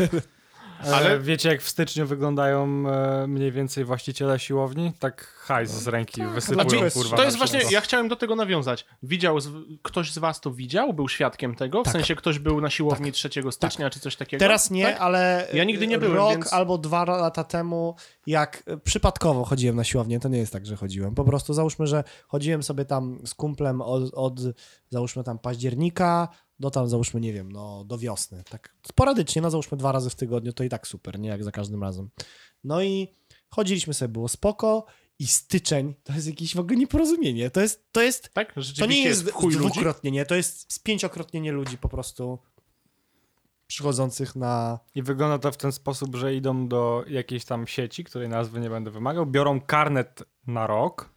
S1: Ale-
S3: Ale wiecie, jak w styczniu wyglądają e, mniej więcej właściciele siłowni? Tak hajs z ręki wysypują,
S1: Znaczy,
S3: kurwa.
S1: to
S3: na
S1: jest właśnie,
S3: wszystko.
S1: ja chciałem do tego nawiązać. Widział, z, ktoś z was to widział? Był świadkiem tego? W sensie ktoś był na siłowni 3 stycznia czy coś takiego?
S4: Teraz nie,
S1: Tak?
S4: ale
S1: Ja nigdy nie byłem,
S4: rok
S1: więc-
S4: albo dwa lata temu, jak y, przypadkowo chodziłem na siłownię, to nie jest tak, że chodziłem. Po prostu załóżmy, że chodziłem sobie tam z kumplem od, od załóżmy tam października do tam załóżmy, nie wiem, no do wiosny. Tak sporadycznie, no załóżmy dwa razy w tygodniu, to i tak super, nie jak za każdym razem. No i chodziliśmy sobie, było spoko i styczeń, to jest jakieś w ogóle nieporozumienie. To jest, to jest
S1: Tak?
S4: to
S1: Rzeczywiście
S4: nie jest
S1: chuj ludzi?
S4: dwukrotnienie, to jest spięciokrotnienie ludzi po prostu. przychodzących na...
S3: I wygląda to w ten sposób, że idą do jakiejś tam sieci, której nazwy nie będę wymagał, biorą karnet na rok,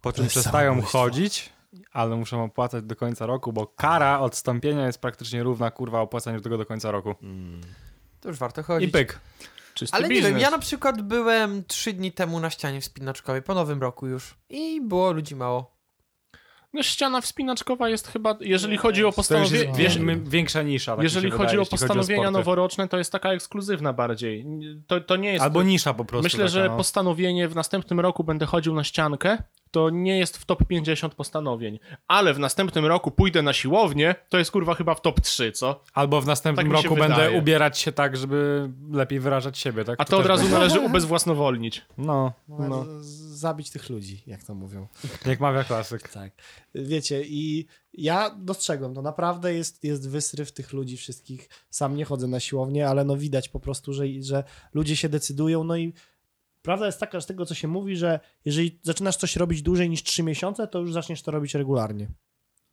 S3: po czym
S7: jest
S3: przestają
S7: samobójstwo.
S3: chodzić, ale muszą opłacać do końca roku, bo kara odstąpienia jest praktycznie równa kurwa opłacaniu tego do końca roku.
S2: To już warto
S3: I
S2: chodzić.
S3: pyk.
S1: Czysty
S2: Ale nie
S1: biznes.
S2: wiem, ja na przykład byłem trzy dni temu na ścianie wspinaczkowej, po nowym roku już. I było ludzi mało.
S1: No, ściana wspinaczkowa jest chyba, jeżeli chodzi o
S3: To już
S1: postanowienie...
S3: jest wiesz, m- większa nisza. Tak mi
S1: Jeżeli
S3: się
S1: chodzi
S3: wydaje,
S1: o postanowienia
S3: sporty.
S1: noworoczne, to jest taka ekskluzywna bardziej. To, to nie jest.
S3: Albo nisza po prostu.
S1: Myślę,
S3: taka,
S1: że
S3: no.
S1: postanowienie w następnym roku będę chodził na ściankę. To nie jest w top 50 postanowień. Ale w następnym roku pójdę na siłownię, to jest kurwa chyba w top 3, co?
S3: Albo w następnym
S1: Tak mi się
S3: roku będę
S1: wydaje.
S3: ubierać się tak, żeby lepiej wyrażać siebie. Tak?
S1: A to od
S3: też
S1: razu
S3: będzie.
S1: należy ubezwłasnowolnić.
S3: No,
S4: No.
S3: no.
S4: Zabić tych ludzi, jak to mówią.
S3: Jak mawia klasyk.
S4: Tak. Wiecie, i ja dostrzegłem, to naprawdę jest, jest wysryw tych ludzi wszystkich. Sam nie chodzę na siłownię, ale no widać po prostu, że, że ludzie się decydują, no i prawda jest taka, z tego co się mówi, że jeżeli zaczynasz coś robić dłużej niż 3 miesiące, to już zaczniesz to robić regularnie.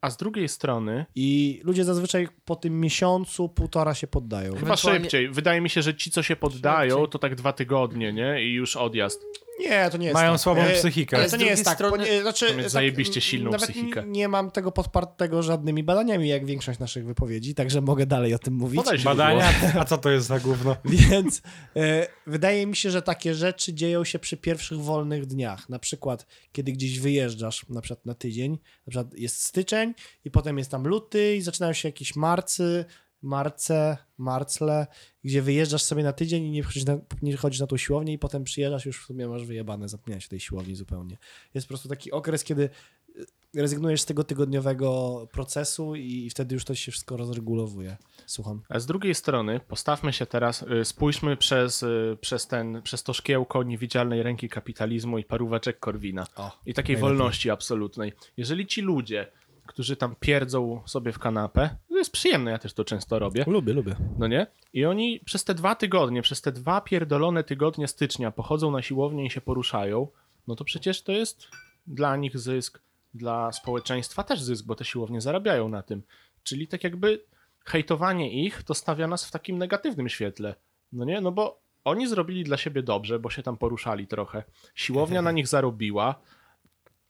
S1: A z drugiej strony,
S4: I ludzie zazwyczaj po tym miesiącu, półtora się poddają.
S1: chyba
S2: Ewentualnie-
S1: szybciej. Wydaje mi się, że ci, co się poddają,
S2: Szybciej.
S1: to tak dwa tygodnie, nie? I już odjazd.
S4: Nie, to nie jest
S3: Mają
S4: tak.
S3: słabą
S4: E,
S3: psychikę.
S4: Ale
S2: Ale
S4: to
S2: z
S4: nie jest
S2: drugiej
S4: tak. bo
S2: strony-
S4: nie, znaczy,
S1: To mieć
S4: tak,
S1: zajebiście silną
S4: nawet
S1: psychikę.
S4: n- Nie mam tego podpartego żadnymi badaniami, jak większość naszych wypowiedzi, także mogę dalej o tym mówić.
S1: Podaj źródło.
S3: Badania? A co to jest za gówno?
S4: Więc e, wydaje mi się, że takie rzeczy dzieją się przy pierwszych wolnych dniach. Na przykład, kiedy gdzieś wyjeżdżasz, na przykład na tydzień, na przykład jest styczeń i potem jest tam luty i zaczynają się jakieś marcy, marce, marcle, gdzie wyjeżdżasz sobie na tydzień i nie chodzisz na, nie chodzisz na tą siłownię i potem przyjeżdżasz już w sumie masz wyjebane, zapomniałeś o tej siłowni zupełnie. Jest po prostu taki okres, kiedy e, rezygnujesz z tego tygodniowego procesu i wtedy już to się wszystko rozregulowuje. Słucham.
S1: A z drugiej strony, postawmy się teraz, y, spójrzmy przez, y, przez, ten, przez to szkiełko niewidzialnej ręki kapitalizmu i paróweczek Korwina.
S4: O,
S1: I takiej wolności absolutnej. Jeżeli ci ludzie, którzy tam pierdzą sobie w kanapę, to jest przyjemne, ja też to często robię,
S4: Lubię, lubię.
S1: no nie? I oni przez te dwa tygodnie, przez te dwa pierdolone tygodnie stycznia pochodzą na siłownię i się poruszają, no to przecież to jest dla nich zysk, dla społeczeństwa też zysk, bo te siłownie zarabiają na tym. Czyli tak jakby hejtowanie ich to stawia nas w takim negatywnym świetle. No nie? No bo oni zrobili dla siebie dobrze, bo się tam poruszali trochę. Siłownia na nich zarobiła.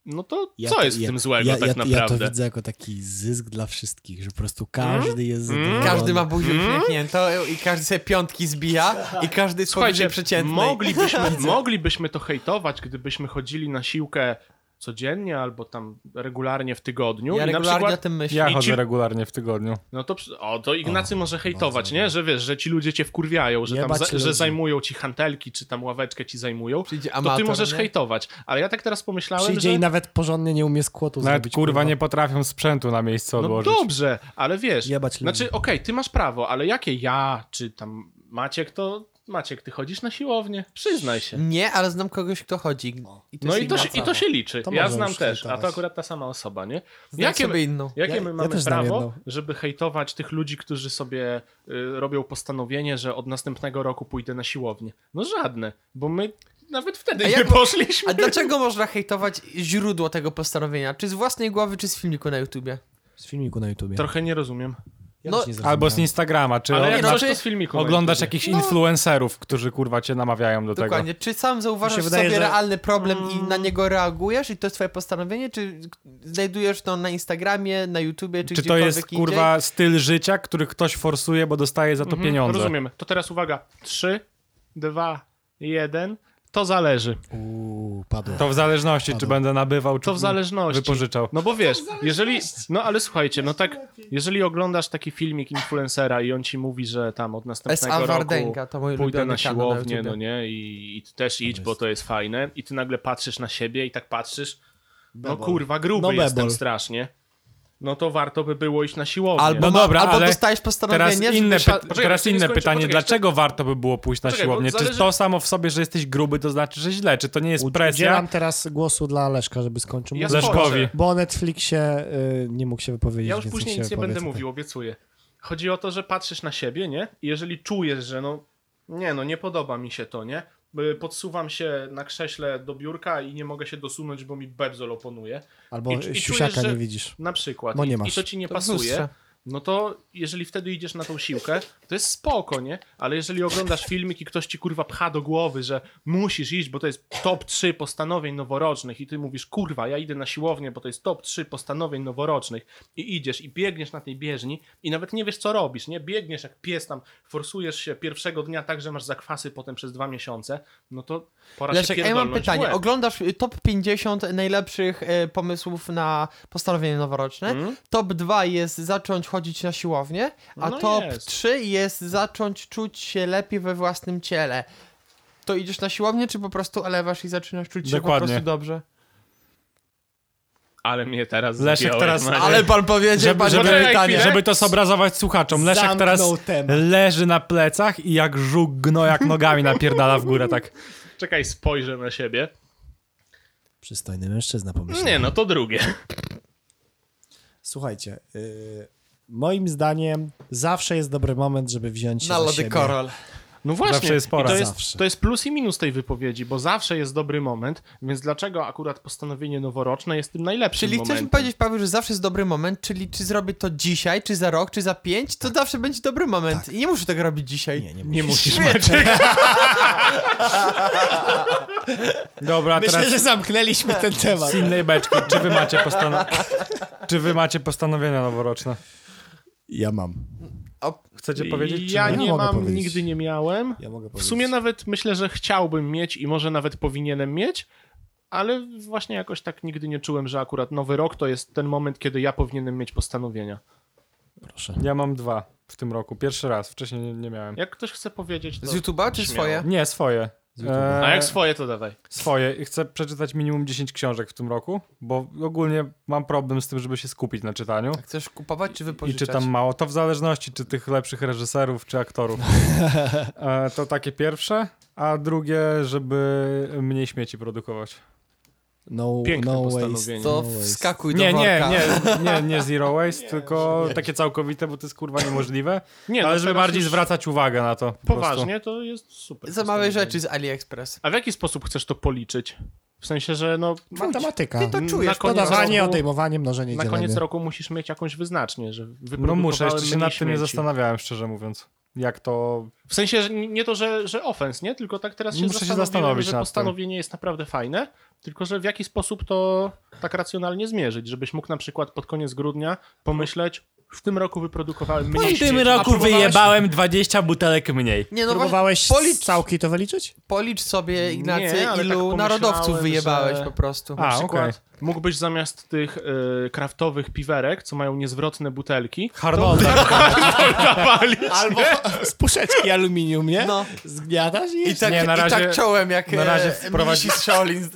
S1: No to
S7: Ja
S1: co
S7: to-
S1: jest w
S7: ja-
S1: tym złego
S7: ja,
S1: tak
S7: ja, ja
S1: naprawdę? Mm?
S7: to widzę jako taki zysk dla wszystkich, że po prostu każdy jest
S1: No.
S7: zadowolony.
S2: Każdy ma buzię
S1: Hmm?
S2: uśmiechniętą i każdy sobie piątki zbija i każdy jest powyżej przeciętnej.
S1: Moglibyśmy, moglibyśmy to hejtować, gdybyśmy chodzili na siłkę codziennie albo tam regularnie w tygodniu.
S2: Ja
S1: I na
S2: regularnie o
S1: przykład,
S2: tym myślę.
S3: Ja
S1: I
S3: chodzę
S1: ci-
S3: regularnie w tygodniu.
S1: no to, przy- o, to Ignacy może hejtować, nie? Że wiesz, że ci ludzie cię wkurwiają, że, tam
S4: Jebać
S1: za, że
S4: ludzi.
S1: zajmują ci hantelki, czy tam ławeczkę ci zajmują.
S2: Przyjdzie
S1: to ty
S2: amator,
S1: możesz
S2: nie?
S1: hejtować. Ale ja tak teraz pomyślałem,
S4: Przyjdzie
S1: że...
S4: i nawet porządnie nie umie skłotu
S3: Nawet
S4: zrobić.
S3: kurwa nie potrafią sprzętu na miejsce
S1: No
S3: odłożyć.
S1: dobrze, ale wiesz,
S4: Jebać ludzi.
S1: znaczy okej, ty masz prawo, ale jakie ja, czy tam Maciek, to Maciek, ty chodzisz na siłownię, przyznaj się.
S2: Nie, ale znam kogoś, kto chodzi. I to
S1: No
S2: jest
S1: i to, się,
S2: inna
S1: i to się liczy.
S4: To
S1: ja
S4: może
S1: znam
S4: już
S1: też, a
S4: hejtować.
S1: to akurat ta sama osoba, nie?
S2: Znam sobie inną.
S1: jakie
S4: Ja-
S1: my
S4: ja
S1: mamy
S4: też znam
S1: prawo,
S4: jedną.
S1: żeby hejtować tych ludzi, którzy sobie y, robią postanowienie, że od następnego roku pójdę na siłownię? No żadne, bo my nawet wtedy
S2: A
S1: nie
S2: jak-
S1: poszliśmy.
S2: A dlaczego można hejtować źródło tego postanowienia? Czy z własnej głowy, czy z filmiku na YouTubie?
S4: Z filmiku na YouTubie.
S1: Trochę nie rozumiem.
S4: Ja
S2: no,
S4: też nie zrozumiałem.
S3: Albo z Instagrama, czy
S1: Ale jak
S3: oglądasz,
S1: to z filmiku? na
S3: oglądasz
S1: YouTubie?
S3: jakichś influencerów, którzy kurwa cię namawiają do
S2: Dokładnie. Czy sam
S4: Mi
S2: zauważasz
S4: się wydaje,
S2: w sobie
S4: że-
S2: realny problem i na niego reagujesz i to jest twoje postanowienie, czy znajdujesz to na Instagramie, na YouTubie, czy,
S3: tego. Czy to
S2: gdziekolwiek
S3: jest
S2: indziej?
S3: kurwa styl życia, który ktoś forsuje, bo dostaje za to pieniądze?
S1: Mhm, Rozumiem. To teraz uwaga. Trzy, dwa, jeden. To zależy.
S7: Uuu, padło.
S3: To w zależności, czy będę nabywał, czy
S1: To w zależności.
S3: wypożyczał.
S1: No bo wiesz, jeżeli. No ale słuchajcie, no tak, jeżeli oglądasz taki filmik influencera i on ci mówi, że tam od następnego
S2: S.A.
S1: roku
S2: Wardenga, to mój
S1: pójdę
S2: ulubiony
S1: na
S2: kanał na
S1: siłownię,
S2: YouTubie.
S1: no nie, i, i ty też idź, bo to jest fajne, i ty nagle patrzysz na siebie i tak patrzysz, no kurwa, gruby
S7: No
S1: jestem
S7: bebol.
S1: strasznie. No to warto by było iść na siłownię.
S2: Albo,
S3: No dobra,
S2: albo
S3: ale
S2: dostajesz
S3: Teraz
S2: postanowienie,
S3: inne,
S2: że...
S3: py-
S1: poczekaj,
S3: teraz
S1: jeszcze nie
S3: inne
S1: skończę,
S3: pytanie,
S1: poczekaj,
S3: dlaczego warto by było pójść na
S1: Poczekaj, bo
S3: siłownię?
S1: zależy-
S3: Czy to samo w sobie, że jesteś gruby, to znaczy, że źle? Czy to nie jest
S4: Ud-
S3: presja?
S4: Udzielam teraz głosu dla Leszka, żeby skończył
S1: Ja
S4: mówić,
S1: skończę.
S3: Leszkowi.
S4: bo o Netflixie y, nie mógł się wypowiedzieć.
S1: Ja już
S4: więc
S1: później
S4: się
S1: nic nie będę
S4: wypowie tutaj.
S1: mówił, obiecuję. Chodzi o to, że patrzysz na siebie, nie? I jeżeli czujesz, że no nie, no nie podoba mi się to, nie? Y, Podsuwam się na krześle do biurka i nie mogę się dosunąć, bo mi bebzol oponuje.
S4: Albo
S1: I- i czujesz,
S4: siusiaka
S1: że-
S4: nie widzisz.
S1: Na przykład.
S4: Bo
S1: I-
S2: No
S4: nie
S1: I
S4: masz.
S1: to ci nie
S2: To w
S1: pasuje.
S2: lustrze.
S1: no to jeżeli wtedy idziesz na tą siłkę, to jest spoko, nie? Ale jeżeli oglądasz filmik i ktoś ci kurwa pcha do głowy, że musisz iść, bo to jest top 3 postanowień noworocznych i ty mówisz, kurwa, ja idę na siłownię, bo to jest top 3 postanowień noworocznych i idziesz i biegniesz na tej bieżni i nawet nie wiesz, co robisz, nie? Biegniesz jak pies tam, forsujesz się pierwszego dnia tak, że masz zakwasy potem przez dwa miesiące, no to pora się
S2: Leszek, a ja mam
S1: pierdolnąć w
S2: pytanie.
S1: łeb.
S2: Oglądasz y, top 50 najlepszych y, pomysłów na postanowienie noworoczne.
S1: Mm?
S2: Top 2 jest zacząć chodzić na siłownię, a
S1: No
S2: top
S1: jest.
S2: 3 jest zacząć czuć się lepiej we własnym ciele. To idziesz na siłownię, czy po prostu elewasz i zaczynasz czuć się
S3: Dokładnie.
S2: po prostu dobrze?
S1: Ale mnie teraz
S3: Leszek
S1: zgięłeś,
S3: teraz-
S1: Maciek.
S2: Ale pan powiedział,
S3: Żeby,
S2: pan
S3: żeby,
S1: Poczekaj chwilę.
S3: żeby to zobrazować słuchaczom, Leszek
S6: Zamknął
S3: teraz
S6: temat.
S3: leży na plecach i jak żuk gno, jak nogami napierdala w górę, tak.
S1: Czekaj, spojrzę na siebie.
S4: Przystojny mężczyzna pomyślał.
S1: Nie, no to drugie.
S6: Słuchajcie, y, moim zdaniem zawsze jest dobry moment, żeby wziąć się
S2: na
S6: za
S2: lody
S6: siebie.
S2: koral.
S1: No właśnie,
S3: Zawsze jest pora.
S1: I to, jest,
S6: Zawsze.
S1: to jest plus i minus tej wypowiedzi, bo zawsze jest dobry moment, więc dlaczego akurat postanowienie noworoczne jest tym najlepszym
S2: Czyli chcesz
S1: momentem?
S2: mi powiedzieć, Paweł, że zawsze jest dobry moment, czyli czy zrobię to dzisiaj, czy za rok, czy za pięć, to zawsze będzie dobry moment. I nie muszę tego robić dzisiaj.
S6: Nie, nie
S1: Nie musisz,
S2: Świetnie.
S1: Maciek.
S3: Dobra,
S6: Myślę,
S3: teraz
S6: że zamknęliśmy ten temat.
S3: z innej beczki. Czy wy macie, postano- czy wy macie postanowienia noworoczne?
S6: Ja mam.
S2: O,
S3: Chcecie powiedzieć? Czy
S1: Ja
S6: nie?
S1: nie
S6: Mogę
S1: mam,
S6: powiedzieć.
S1: nigdy nie miałem.
S6: Ja mogę
S1: W
S6: powiedzieć.
S1: sumie nawet myślę, że chciałbym mieć i może nawet powinienem mieć, ale właśnie jakoś tak nigdy nie czułem, że akurat nowy rok to jest ten moment, kiedy ja powinienem mieć postanowienia.
S3: Ja mam dwa w tym roku. Pierwszy raz, wcześniej nie, nie miałem.
S1: Jak ktoś chce powiedzieć, to...
S2: z YouTube'a, czy
S1: Śmiało.
S2: swoje?
S3: Nie, swoje.
S1: A
S3: Eee,
S1: jak swoje, to dawaj.
S3: Swoje. I chcę przeczytać minimum 10 książek w tym roku, bo ogólnie mam problem z tym, żeby się skupić na czytaniu.
S2: Chcesz kupować, Tak. czy
S3: I
S2: wypożyczać?
S3: czytam mało. To w zależności, czy tych lepszych reżyserów, czy aktorów. E, to takie pierwsze. A drugie, żeby mniej śmieci produkować.
S6: No,
S1: Piękne
S6: no waste.
S1: postanowienie.
S6: No
S2: To
S6: waste.
S2: wskakuj
S3: Nie,
S2: do
S3: nie,
S2: worka.
S3: nie, nie, nie zero waste, tylko takie całkowite, bo to jest kurwa niemożliwe.
S1: Nie, no
S3: Ale żeby
S1: teraz
S3: bardziej
S1: już
S3: zwracać uwagę na to. po prostu.
S1: Poważnie, to jest super.
S2: Za małe
S1: postanowienie.
S2: rzeczy z AliExpress.
S1: A w jaki sposób chcesz to policzyć? W sensie, że no.
S6: Matematyka.
S2: Ty to
S1: Na
S2: czujesz,
S1: koniec
S6: Dodawanie,
S1: roku-
S6: odejmowanie, mnożenie,
S1: Na
S6: dzielenie.
S1: koniec roku musisz mieć jakąś wyznacznię, że
S3: No muszę, jeszcze
S1: wyprodukowałem
S3: się nad tym nie
S1: mniej śmieci.
S3: zastanawiałem, szczerze mówiąc. Jak to
S1: W sensie, że nie nie to, że, że ofens, nie? Tylko tak teraz się
S3: Muszę się
S1: zastanowiłem,
S3: zastanowić
S1: że
S3: nad tym.
S1: postanowienie jest naprawdę fajne, tylko że w jaki sposób to tak racjonalnie zmierzyć, żebyś mógł na przykład pod koniec grudnia pomyśleć, w tym roku wyprodukowałem
S3: No
S1: mniej śmieci. A próbowałeś-
S3: 20 butelek mniej.
S2: Nie no właśnie,
S6: Próbowałeś
S2: policz-
S6: z całki to wyliczyć?
S2: policz sobie, Ignacy,
S1: Nie, ale tak
S2: ilu
S1: pomyślałem,
S2: narodowców wyjebałeś
S1: że-
S2: po prostu.
S3: A,
S1: Na
S3: okej.
S1: przykład mógłbyś zamiast tych y, kraftowych piwerek, co mają niezwrotne butelki,
S3: Harnolda.
S1: dawali
S6: Albo z puszeczki aluminium, nie?
S2: No.
S6: Zgniatasz i...
S2: I tak,
S3: Nie, na
S2: i
S3: razie-
S2: tak czołem jak
S3: na razie
S2: e,
S3: wprowadzi-
S2: mnisi z Shaolin.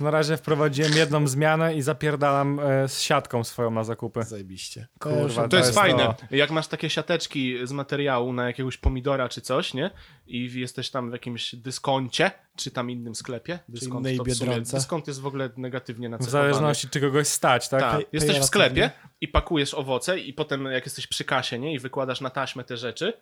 S3: Na razie wprowadziłem jedną zmianę i zapierdalam e, z siatką swoją na zakupy.
S6: Zajebiście.
S3: Kurwa,
S1: To jest,
S3: jest
S1: fajne. Jak masz takie siateczki z materiału na jakiegoś pomidora czy coś, nie? I w- jesteś tam w jakimś dyskoncie, czy tam innym sklepie. Dyskont,
S6: innej
S1: to w sumie,
S6: Biedronce.
S1: dyskont jest w ogóle negatywnie
S3: W
S1: nacechowany.
S3: zależności, czy kogoś stać, tak?
S1: Tak.
S6: pe-
S1: Jesteś w
S6: pejoratywnie.
S1: sklepie i pakujesz owoce i potem jak jesteś przy kasie, nie? I wykładasz na taśmę te rzeczy,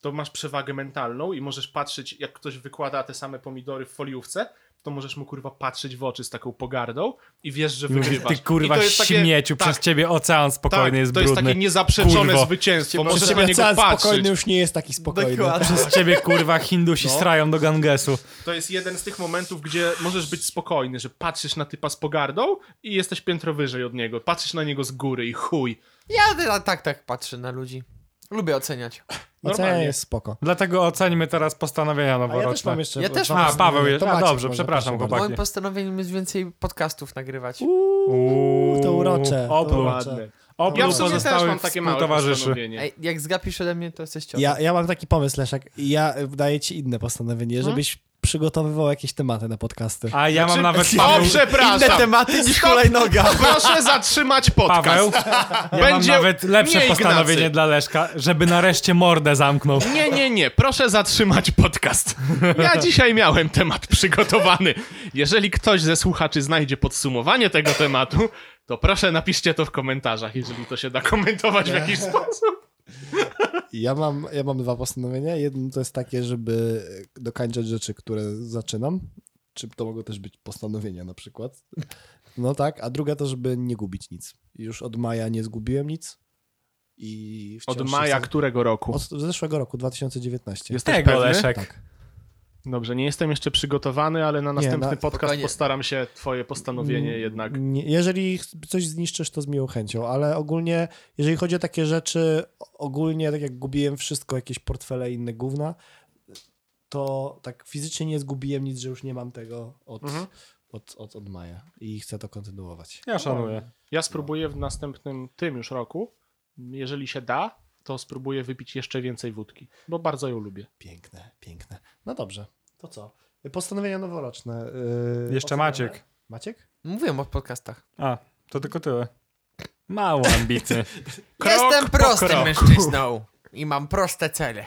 S1: to masz przewagę mentalną i możesz patrzeć, jak ktoś wykłada te same pomidory w foliówce, to możesz mu kurwa patrzeć w oczy z taką pogardą i wiesz, że
S3: I mówisz,
S1: wygrywasz.
S3: ty kurwa
S1: I to jest takie-
S3: śmieciu,
S1: tak,
S3: przez ciebie ocean spokojny jest
S1: to jest
S3: brudny.
S1: takie niezaprzeczone
S3: Kurwo.
S1: zwycięstwo.
S6: Przez
S1: Możesz na
S6: ciebie
S1: niego
S6: cały
S1: patrzeć.
S6: spokojny już nie jest taki spokojny.
S2: Dokładnie.
S3: Przez ciebie kurwa Hindusi
S1: No.
S3: strają do Gangesu.
S1: To jest jeden z tych momentów, gdzie możesz być spokojny, że patrzysz na typa z pogardą i jesteś piętro wyżej od niego. Patrzysz na niego z góry i chuj.
S2: Ja na- tak, tak patrzę na ludzi. Lubię oceniać.
S6: Ocena
S1: Normalnie.
S6: jest spoko.
S3: Dlatego oceńmy teraz postanowienia
S6: A ja też
S3: noworoczne.
S6: mam jeszcze...
S2: Ja też mam.
S3: A, Paweł
S6: To
S3: jest. A,
S6: Maciek
S3: dobrze,
S6: może,
S3: przepraszam,
S6: proszę bardzo.
S3: chłopaki.
S2: Moim postanowieniem jest więcej podcastów nagrywać.
S3: Uuu,
S6: to urocze, to
S3: Opluł.
S6: urocze.
S3: Opluł
S1: Ja w sumie też
S3: pozostałych
S1: mam takie małe
S3: współtowarzyszy.
S1: postanowienie.
S2: Ej, jak zgapisz ode mnie, to jesteś ciągle.
S6: Ja, ja mam taki pomysł, Leszek. i Ja y, daję ci inne postanowienie,
S2: Mhm.
S6: żebyś przygotowywał jakieś tematy na podcasty.
S3: A ja mam nawet
S1: O,
S3: Paweł,
S2: Inne
S1: przepraszam.
S2: tematy niż
S1: Stop.
S2: kolejnoga.
S1: Proszę zatrzymać podcast.
S3: Paweł. Ja
S1: Będzie
S3: mam nawet lepsze
S1: nie Ignacy.
S3: postanowienie dla Leszka, żeby nareszcie mordę zamknął.
S1: Nie, nie, nie, proszę zatrzymać podcast. Ja dzisiaj miałem temat przygotowany. Jeżeli ktoś ze słuchaczy znajdzie podsumowanie tego tematu, to proszę napiszcie to w komentarzach, jeżeli to się da komentować w jakiś sposób.
S6: Ja mam, ja mam dwa postanowienia. Jedno to jest takie, żeby dokańczać rzeczy, które zaczynam. Czy to mogą też być postanowienia na przykład. No tak, a druga to, żeby nie gubić nic. Już od maja nie zgubiłem nic.
S4: i wciąż
S1: Od
S4: się
S1: maja
S4: chcę-
S1: którego roku?
S4: Od zeszłego roku,
S1: Jest Jesteś
S3: Tego,
S1: pewny?
S6: Tak.
S3: Leszek.
S1: Dobrze, nie jestem jeszcze przygotowany, ale na następny
S4: na- Mm.
S1: podcast
S2: Spokojnie.
S1: postaram się twoje postanowienie jednak.
S4: Nie, jeżeli ch- coś zniszczysz, to z miłą chęcią, ale ogólnie, jeżeli chodzi o takie rzeczy, o- ogólnie tak jak gubiłem wszystko, jakieś portfele i inne gówna, to tak fizycznie nie zgubiłem nic, że już nie mam tego od,
S3: Mhm.
S4: od, od, od maja i chcę to kontynuować.
S3: Ja szanuję.
S1: Ja spróbuję w następnym tym już roku, jeżeli się da, to spróbuję wypić jeszcze więcej wódki, bo bardzo ją lubię.
S4: Piękne, piękne. No dobrze, to co? Postanowienia noworoczne. yy,
S3: Jeszcze
S4: ocenione?
S3: Maciek.
S4: Maciek?
S2: Mówiłem o podcastach.
S3: A, to tylko tyle. Mało ambitny.
S2: Jestem prostym
S1: kroku.
S2: mężczyzną i mam proste cele.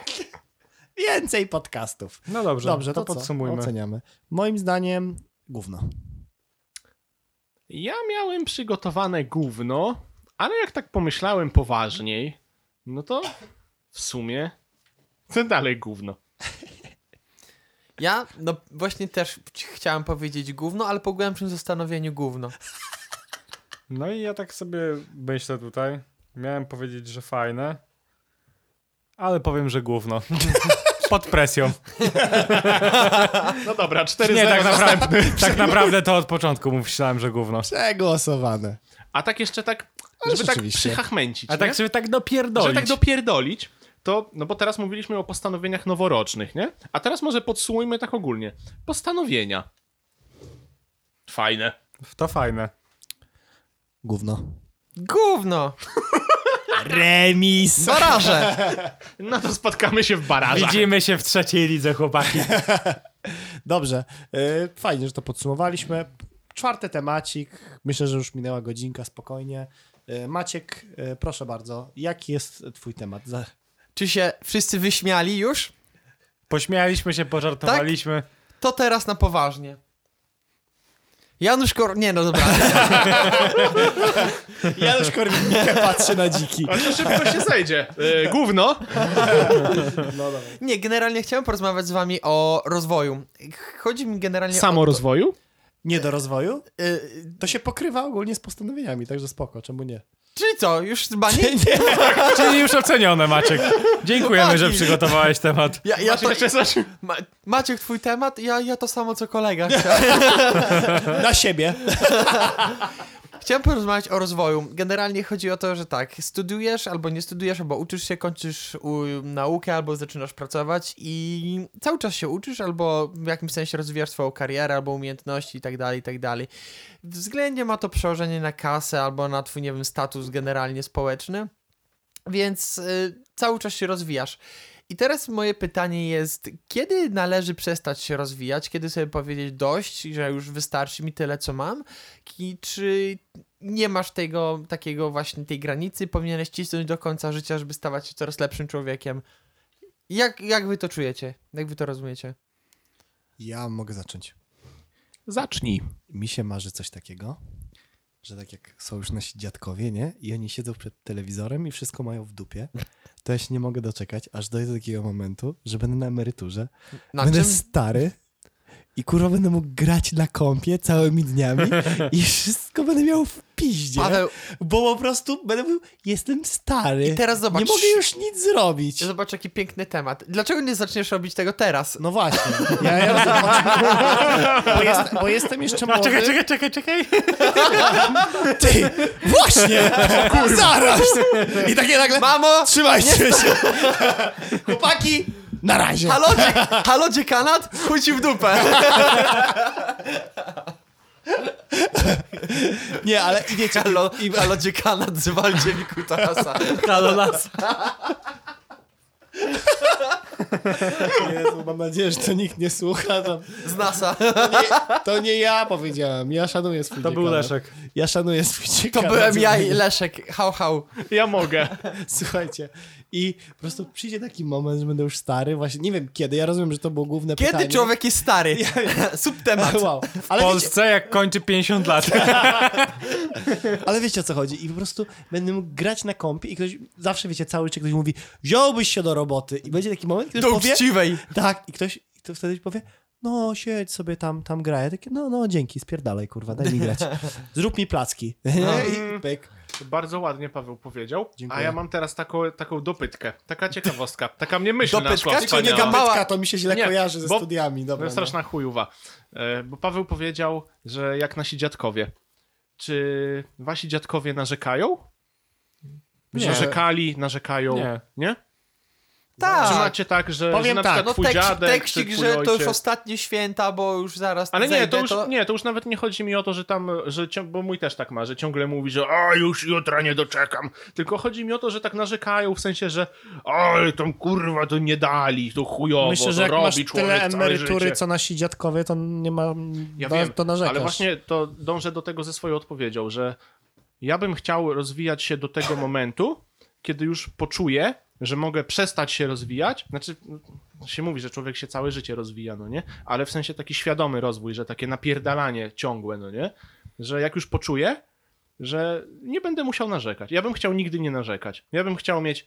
S4: Więcej podcastów.
S3: No dobrze,
S4: Dobrze,
S3: to,
S4: to, co?
S3: podsumujmy.
S4: Oceniamy. Moim zdaniem gówno.
S1: Ja miałem przygotowane gówno, ale jak tak pomyślałem poważniej, no to w sumie to dalej gówno.
S2: Ja, no właśnie też ch- chciałem powiedzieć gówno, ale po głębszym zastanowieniu gówno.
S3: No i ja tak sobie myślę tutaj. Miałem powiedzieć, że fajne, ale powiem, że gówno. Pod presją.
S1: No dobra, 4
S3: Nie, tak naprawdę, tak naprawdę to od początku myślałem, że gówno.
S4: Przegłosowane.
S1: A tak jeszcze tak,
S4: Ale
S1: żeby tak
S4: rzeczywiście.
S1: przychachmęcić,
S3: A
S1: nie?
S3: tak sobie tak
S1: Żeby
S3: dopierdolić.
S1: tak dopierdolić, to, no bo teraz mówiliśmy o postanowieniach noworocznych, nie? A teraz może podsumujmy tak ogólnie. Postanowienia. Fajne.
S3: To fajne.
S4: Gówno.
S2: Gówno!
S4: Remis!
S2: Baraże!
S1: No to spotkamy się w barażach.
S3: Widzimy się w trzeciej lidze, chłopaki.
S4: Dobrze, e, fajnie, że to podsumowaliśmy. Czwarty temacik, myślę, że już minęła godzinka, spokojnie. E, Maciek, e, proszę bardzo, jaki jest twój temat? Za-
S2: Czy się wszyscy wyśmiali już?
S3: Pośmialiśmy się, pożartowaliśmy.
S2: To teraz na poważnie. Janusz Kor... Nie, no dobra.
S4: Janusz Korwin-Mikke patrzy na dziki.
S1: A to szybko się zejdzie. Yy, gówno.
S2: Nie, generalnie chciałem porozmawiać z wami o rozwoju. Chodzi mi generalnie o...
S1: Samorozwoju?
S4: Nie do rozwoju?
S2: Y,
S4: To się pokrywa ogólnie z postanowieniami, także spoko, czemu nie?
S2: czyli co, już chyba nie?
S3: Czyli już ocenione, Maciek. Dziękujemy, że
S2: Tak. Chłopaki.
S3: przygotowałeś temat.
S2: Ja, ja to...
S1: Jeszcze coś?
S2: Ma, Maciek, twój temat? Ja, ja to samo, co kolega. Chciałem-
S4: Na siebie.
S2: Chciałem porozmawiać o rozwoju. Generalnie chodzi o to, że tak, studiujesz albo nie studiujesz, albo uczysz się, kończysz u, naukę, albo zaczynasz pracować i cały czas się uczysz, albo w jakimś sensie rozwijasz swoją karierę, albo umiejętności i tak dalej, i tak dalej. Względnie ma to przełożenie na kasę, albo na twój, nie wiem, status generalnie społeczny, więc y, cały czas się rozwijasz. I teraz moje pytanie jest, kiedy należy przestać się rozwijać, kiedy sobie powiedzieć dość, że już wystarczy mi tyle, co mam, i czy nie masz tego takiego właśnie tej granicy, powinieneś cisnąć do końca życia, żeby stawać się coraz lepszym człowiekiem. Jak, jak wy to czujecie? Jak wy to rozumiecie?
S4: Ja mogę zacząć.
S1: Zacznij.
S4: mi się marzy coś takiego, że tak jak są już nasi dziadkowie, nie? I oni siedzą przed telewizorem i wszystko mają w dupie, to ja się nie mogę doczekać, aż dojdę do takiego momentu, że będę na emeryturze,
S2: Na
S4: będę
S2: czym?
S4: stary i kurwa będę mógł grać na kompie całymi dniami i wszystko będę miał w piździe,
S2: Paweł,
S4: bo po prostu będę mówił, jestem stary,
S2: i teraz zobacz.
S4: nie mogę już nic zrobić.
S2: Zobacz, jaki piękny temat. Dlaczego nie zaczniesz robić tego teraz?
S4: No właśnie, ja, ja bo, jest, bo jestem jeszcze młody.
S3: Czekaj, czekaj, czekaj, czekaj.
S4: Ty! Właśnie! Kurwa. Zaraz! I takie nagle...
S2: Mamo!
S4: Trzymajcie się! Chłopaki! Na razie!
S2: Halo, dzie- halo dziekanat? Chuj ci w dupę.
S4: Nie, ale i wiecie...
S2: Halo, halo dziekanat, zwalcie mi kutasa.
S3: Kalolas.
S4: Jezu, mam nadzieję, że to nikt nie słucha. To,
S2: Z NASA.
S4: nie, to nie ja powiedziałem. Ja szanuję swój
S3: To był
S4: dziekanat.
S3: Leszek.
S4: Ja szanuję swój
S2: To
S4: dziekanat.
S2: byłem ja i Leszek. Hał, hał.
S1: Ja mogę.
S4: Słuchajcie. I po prostu przyjdzie taki moment, że będę już stary. Właśnie nie wiem kiedy. Ja rozumiem, że to było główne
S2: Kiedy
S4: pytanie.
S2: człowiek jest stary? Subtemat.
S4: Wow.
S3: W
S4: Ale wiecie,
S3: Polsce jak kończy 50 lat.
S4: Ale wiecie o co chodzi. I po prostu będę mógł grać na kompie i ktoś, zawsze wiecie, cały czas ktoś mówi, wziąłbyś się do roboty. I będzie taki moment, kiedy
S2: Do
S4: powie,
S2: uczciwej.
S4: tak, i ktoś i to wtedy powie, no siedź sobie tam, tam graj. Ja takie, no, no, dzięki, spierdalaj, kurwa, daj mi grać. Zrób mi placki. I pyk.
S1: Bardzo ładnie Paweł powiedział.
S4: Dziękuję.
S1: A ja mam teraz taką, taką dopytkę. Taka ciekawostka. Taka mnie myśl naszła
S2: Dopytka czy nie
S1: wspaniała.
S2: gamba-
S4: Mała... To mi się źle
S1: Nie,
S4: kojarzy ze
S1: bo-
S4: studiami. Dobra, no.
S1: To jest straszna chujowa. E, Bo Paweł powiedział, że jak nasi dziadkowie. Czy wasi dziadkowie narzekają?
S3: Nie.
S1: Narzekali, narzekają.
S3: Nie.
S1: Nie? Czy
S2: Tak.
S1: macie tak, że,
S6: Powiem
S1: że na
S6: tak,
S1: przykład
S2: No
S1: twój
S2: tekst,
S1: dziadek
S2: tekstik,
S1: czy twój
S2: że to już
S1: ojciec...
S2: ostatnie święta, bo już zaraz
S1: Ale nie,
S2: zejdę,
S1: to już, nie, to już nawet nie chodzi mi o to, że tam, że cią... bo mój też tak ma, że ciągle mówi, że a już jutra nie doczekam. Tylko chodzi mi o to, że tak narzekają w sensie, że oj, tam kurwa to nie dali, to chujowo,
S6: Myślę,
S1: to
S6: że jak
S1: robi
S6: masz
S1: człowiek
S6: tyle
S1: całe
S6: emerytury,
S1: życie.
S6: co nasi dziadkowie, to nie ma...
S1: Ja
S6: to,
S1: wiem,
S6: to narzekasz.
S1: ale właśnie to dążę do tego ze swoją odpowiedzią, że ja bym chciał rozwijać się do tego momentu, kiedy już poczuję, że mogę przestać się rozwijać. Znaczy, no, się mówi, że człowiek się całe życie rozwija, no nie? Ale w sensie taki świadomy rozwój, że takie napierdalanie ciągłe, no nie? Że jak już poczuję, że nie będę musiał narzekać. Ja bym chciał nigdy nie narzekać. Ja bym chciał mieć.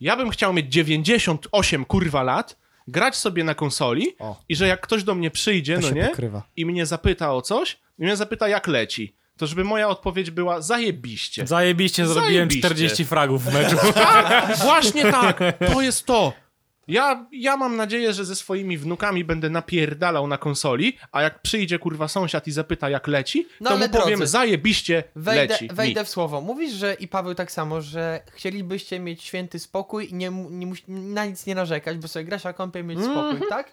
S1: Ja bym chciał mieć 98 kurwa lat, grać sobie na konsoli
S6: O.
S1: i że jak ktoś do mnie przyjdzie,
S6: To
S1: no
S6: się
S1: nie?
S6: pokrywa.
S1: I mnie zapyta o coś, i mnie zapyta jak leci. To żeby moja odpowiedź była zajebiście.
S3: Zajebiście zrobiłem
S1: Zajebiście.
S3: 40 fragów w meczu.
S1: Tak, właśnie tak. To jest to. Ja, ja mam nadzieję, że ze swoimi wnukami będę napierdalał na konsoli, a jak przyjdzie kurwa sąsiad i zapyta jak leci,
S2: No
S1: to
S2: ale
S1: mu powiem
S2: drodzy,
S1: zajebiście
S2: Wejdę,
S1: leci.
S2: wejdę
S1: mi.
S2: w słowo. Mówisz, że i Paweł tak samo, że chcielibyście mieć święty spokój i nie, mu- nie mus- na nic nie narzekać, bo sobie grasz na kąpie i mieć
S1: Mhm.
S2: spokój, tak?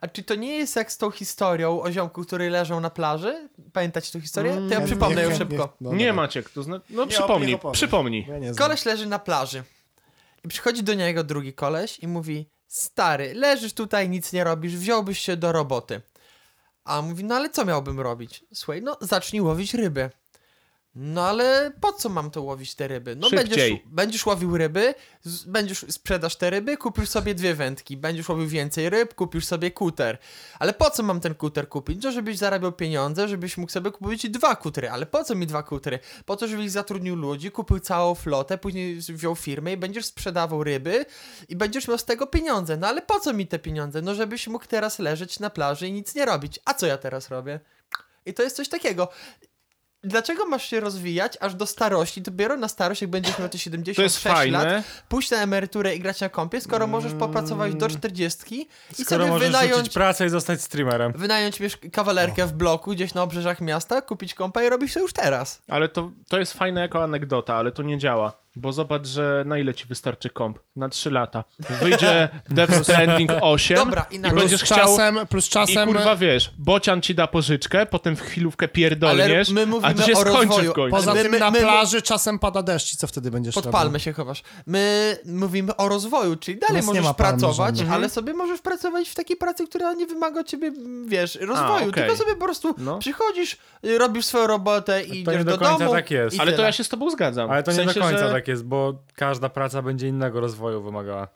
S2: A czy to nie jest jak z tą historią o ziomku, który leżą na plaży? Pamiętacie tą historię? To ja przypomnę ją szybko.
S1: Mm, Nie Maciek, to zna... no
S4: Nie,
S1: przypomnij,
S4: opowiem.
S1: przypomnij.
S2: Koleś leży na plaży. I przychodzi do niego drugi koleś i mówi: Stary, leżysz tutaj, nic nie robisz, wziąłbyś się do roboty. A on mówi: No ale co miałbym robić? Słuchaj, no zacznij łowić ryby. No ale po co mam to łowić te ryby? No
S1: Szybciej.
S2: będziesz, będziesz łowił ryby, z, będziesz sprzedasz te ryby, kupisz sobie dwie wędki, będziesz łowił więcej ryb, kupisz sobie kuter. Ale po co mam ten kuter kupić? No żebyś zarabiał pieniądze, żebyś mógł sobie kupić dwa kutry. Ale po co mi dwa kutry? Po to, żebyś zatrudnił ludzi, kupił całą flotę, później wziął firmę i będziesz sprzedawał ryby i będziesz miał z tego pieniądze. No ale po co mi te pieniądze? No żebyś mógł teraz leżeć na plaży i nic nie robić. A co ja teraz robię? I to jest coś takiego. Dlaczego masz się rozwijać aż do starości? Dopiero na starość, jak będziesz miał te 76
S1: To jest fajne.
S2: lat, pójść na emeryturę i grać na kompie, skoro możesz popracować do 40 i
S3: Skoro
S2: sobie
S3: możesz
S2: wynająć
S3: rzucić pracę i zostać streamerem.
S2: wynająć mieszk- kawalerkę w bloku gdzieś na obrzeżach miasta, kupić kompa i robisz to już teraz.
S1: Ale to, to jest fajne jako anegdota, ale to nie działa. Bo zobacz, że na ile ci wystarczy komp? Na 3 lata. Wyjdzie Death Stranding 8
S2: Dobra,
S1: i
S2: inaczej.
S1: będziesz
S6: Plus
S1: chciał...
S6: czasem, plus
S1: I
S6: czasem...
S1: kurwa wiesz, bocian ci da pożyczkę, potem w chwilówkę
S2: Ale
S1: pierdolniesz,
S2: my
S1: a
S2: mówimy
S1: to się
S2: o
S1: skończy
S2: rozwoju.
S1: w końcu.
S6: Poza
S2: My-
S6: tym
S2: my-
S6: na
S2: my-
S6: plaży czasem pada deszcz i co wtedy będziesz robił?
S2: Podpalmy się chowasz. My mówimy o rozwoju, czyli dalej
S6: Nas nie
S2: możesz
S6: ma palmy
S2: pracować,
S6: żadnej.
S2: ale sobie możesz pracować w takiej pracy, która nie wymaga od ciebie, wiesz, rozwoju.
S1: okej.
S2: Tylko sobie po prostu
S1: No.
S2: przychodzisz, y, robisz swoją robotę i
S3: To
S2: idziesz
S3: nie
S2: do
S3: do końca
S2: domu.
S3: tak jest.
S2: i
S1: Ale to
S2: tyle.
S1: ja się z tobą zgadzam.
S3: Ale to
S1: W
S3: nie
S1: sensie,
S3: do końca
S1: że...
S3: tak jest, bo każda praca będzie innego rozwoju wymagała.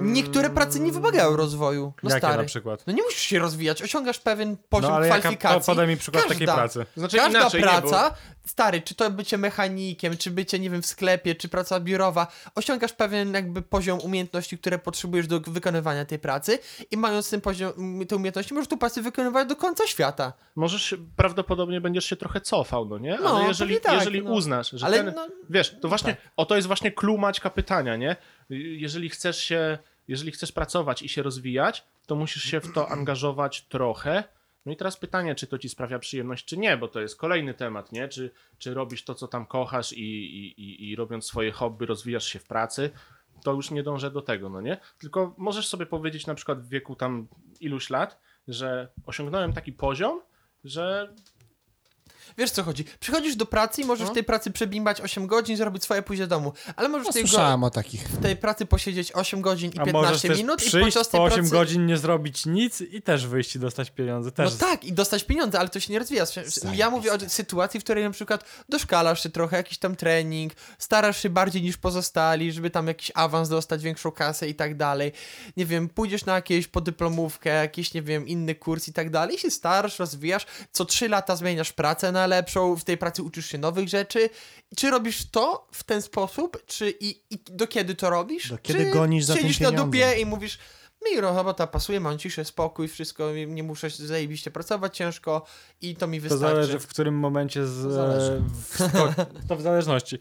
S2: Niektóre prace nie wymagają rozwoju. No
S3: Mm. Jakie
S2: stary.
S3: na przykład?
S2: No nie musisz się rozwijać, osiągasz pewien poziom
S3: No ale jaka,
S2: kwalifikacji.
S3: po- podaj mi przykład takiej
S2: Każda.
S3: pracy.
S1: Znaczy
S2: Każda
S1: inaczej,
S2: praca,
S1: Nie,
S2: stary, czy to bycie mechanikiem, czy bycie, nie wiem, w sklepie, czy praca biurowa, osiągasz pewien jakby poziom umiejętności, które potrzebujesz do wykonywania tej pracy i mając ten poziom, m, te umiejętności, możesz tu pracę wykonywać do końca świata.
S1: bo możesz, prawdopodobnie będziesz się trochę cofał, no nie?
S2: No,
S1: Ale jeżeli,
S2: pewnie tak,
S1: jeżeli
S2: no.
S1: uznasz, że
S2: Ale
S1: ten...
S2: no-
S1: Wiesz, to właśnie, o to jest właśnie clue Maćka pytania, nie? Jeżeli chcesz się, jeżeli chcesz pracować i się rozwijać, to musisz się w to angażować trochę. No i teraz pytanie, czy to ci sprawia przyjemność, czy nie, bo to jest kolejny temat, nie? Czy, czy robisz to, co tam kochasz i, i, i, i robiąc swoje hobby rozwijasz się w pracy, to już nie dążę do tego, no nie? Tylko możesz sobie powiedzieć na przykład w wieku tam iluś lat, że osiągnąłem taki poziom, że
S2: Wiesz co chodzi? Przychodzisz do pracy i możesz
S3: No.
S2: w tej pracy przebimbać 8 godzin, zrobić swoje, pójść do domu, ale możesz
S6: No,
S2: w tej, go-
S6: słyszałem o takich.
S2: w tej pracy posiedzieć 8 godzin i
S3: A możesz
S2: 15
S3: też
S2: minut i
S3: przyjść
S2: podczas tej
S3: po 8
S2: pracy...
S3: godzin, nie zrobić nic i też wyjść i dostać pieniądze. Też
S2: No tak, i dostać pieniądze, ale to się nie rozwija. Ja mówię o sytuacji, w której na przykład doszkalasz się trochę, jakiś tam trening, starasz się bardziej niż pozostali, żeby tam jakiś awans dostać, większą kasę i tak dalej. Nie wiem, pójdziesz na jakieś podyplomówkę, jakiś, nie wiem, inny kurs i tak dalej, i się starasz, rozwijasz, co trzy lata zmieniasz pracę na lepszą, w tej pracy uczysz się nowych rzeczy. Czy robisz to w ten sposób, czy i, i do kiedy to robisz?
S6: Do kiedy
S2: czy
S6: gonisz za tym
S2: siedzisz na
S6: pieniądzem?
S2: dupie i mówisz... mi robota pasuje, mam ciszę, spokój, wszystko, nie- nie muszę się zajebiście pracować ciężko i to mi
S3: To
S2: wystarczy.
S3: zależy w którym momencie z, e,
S2: To zależy.
S3: wsko- to w zależności.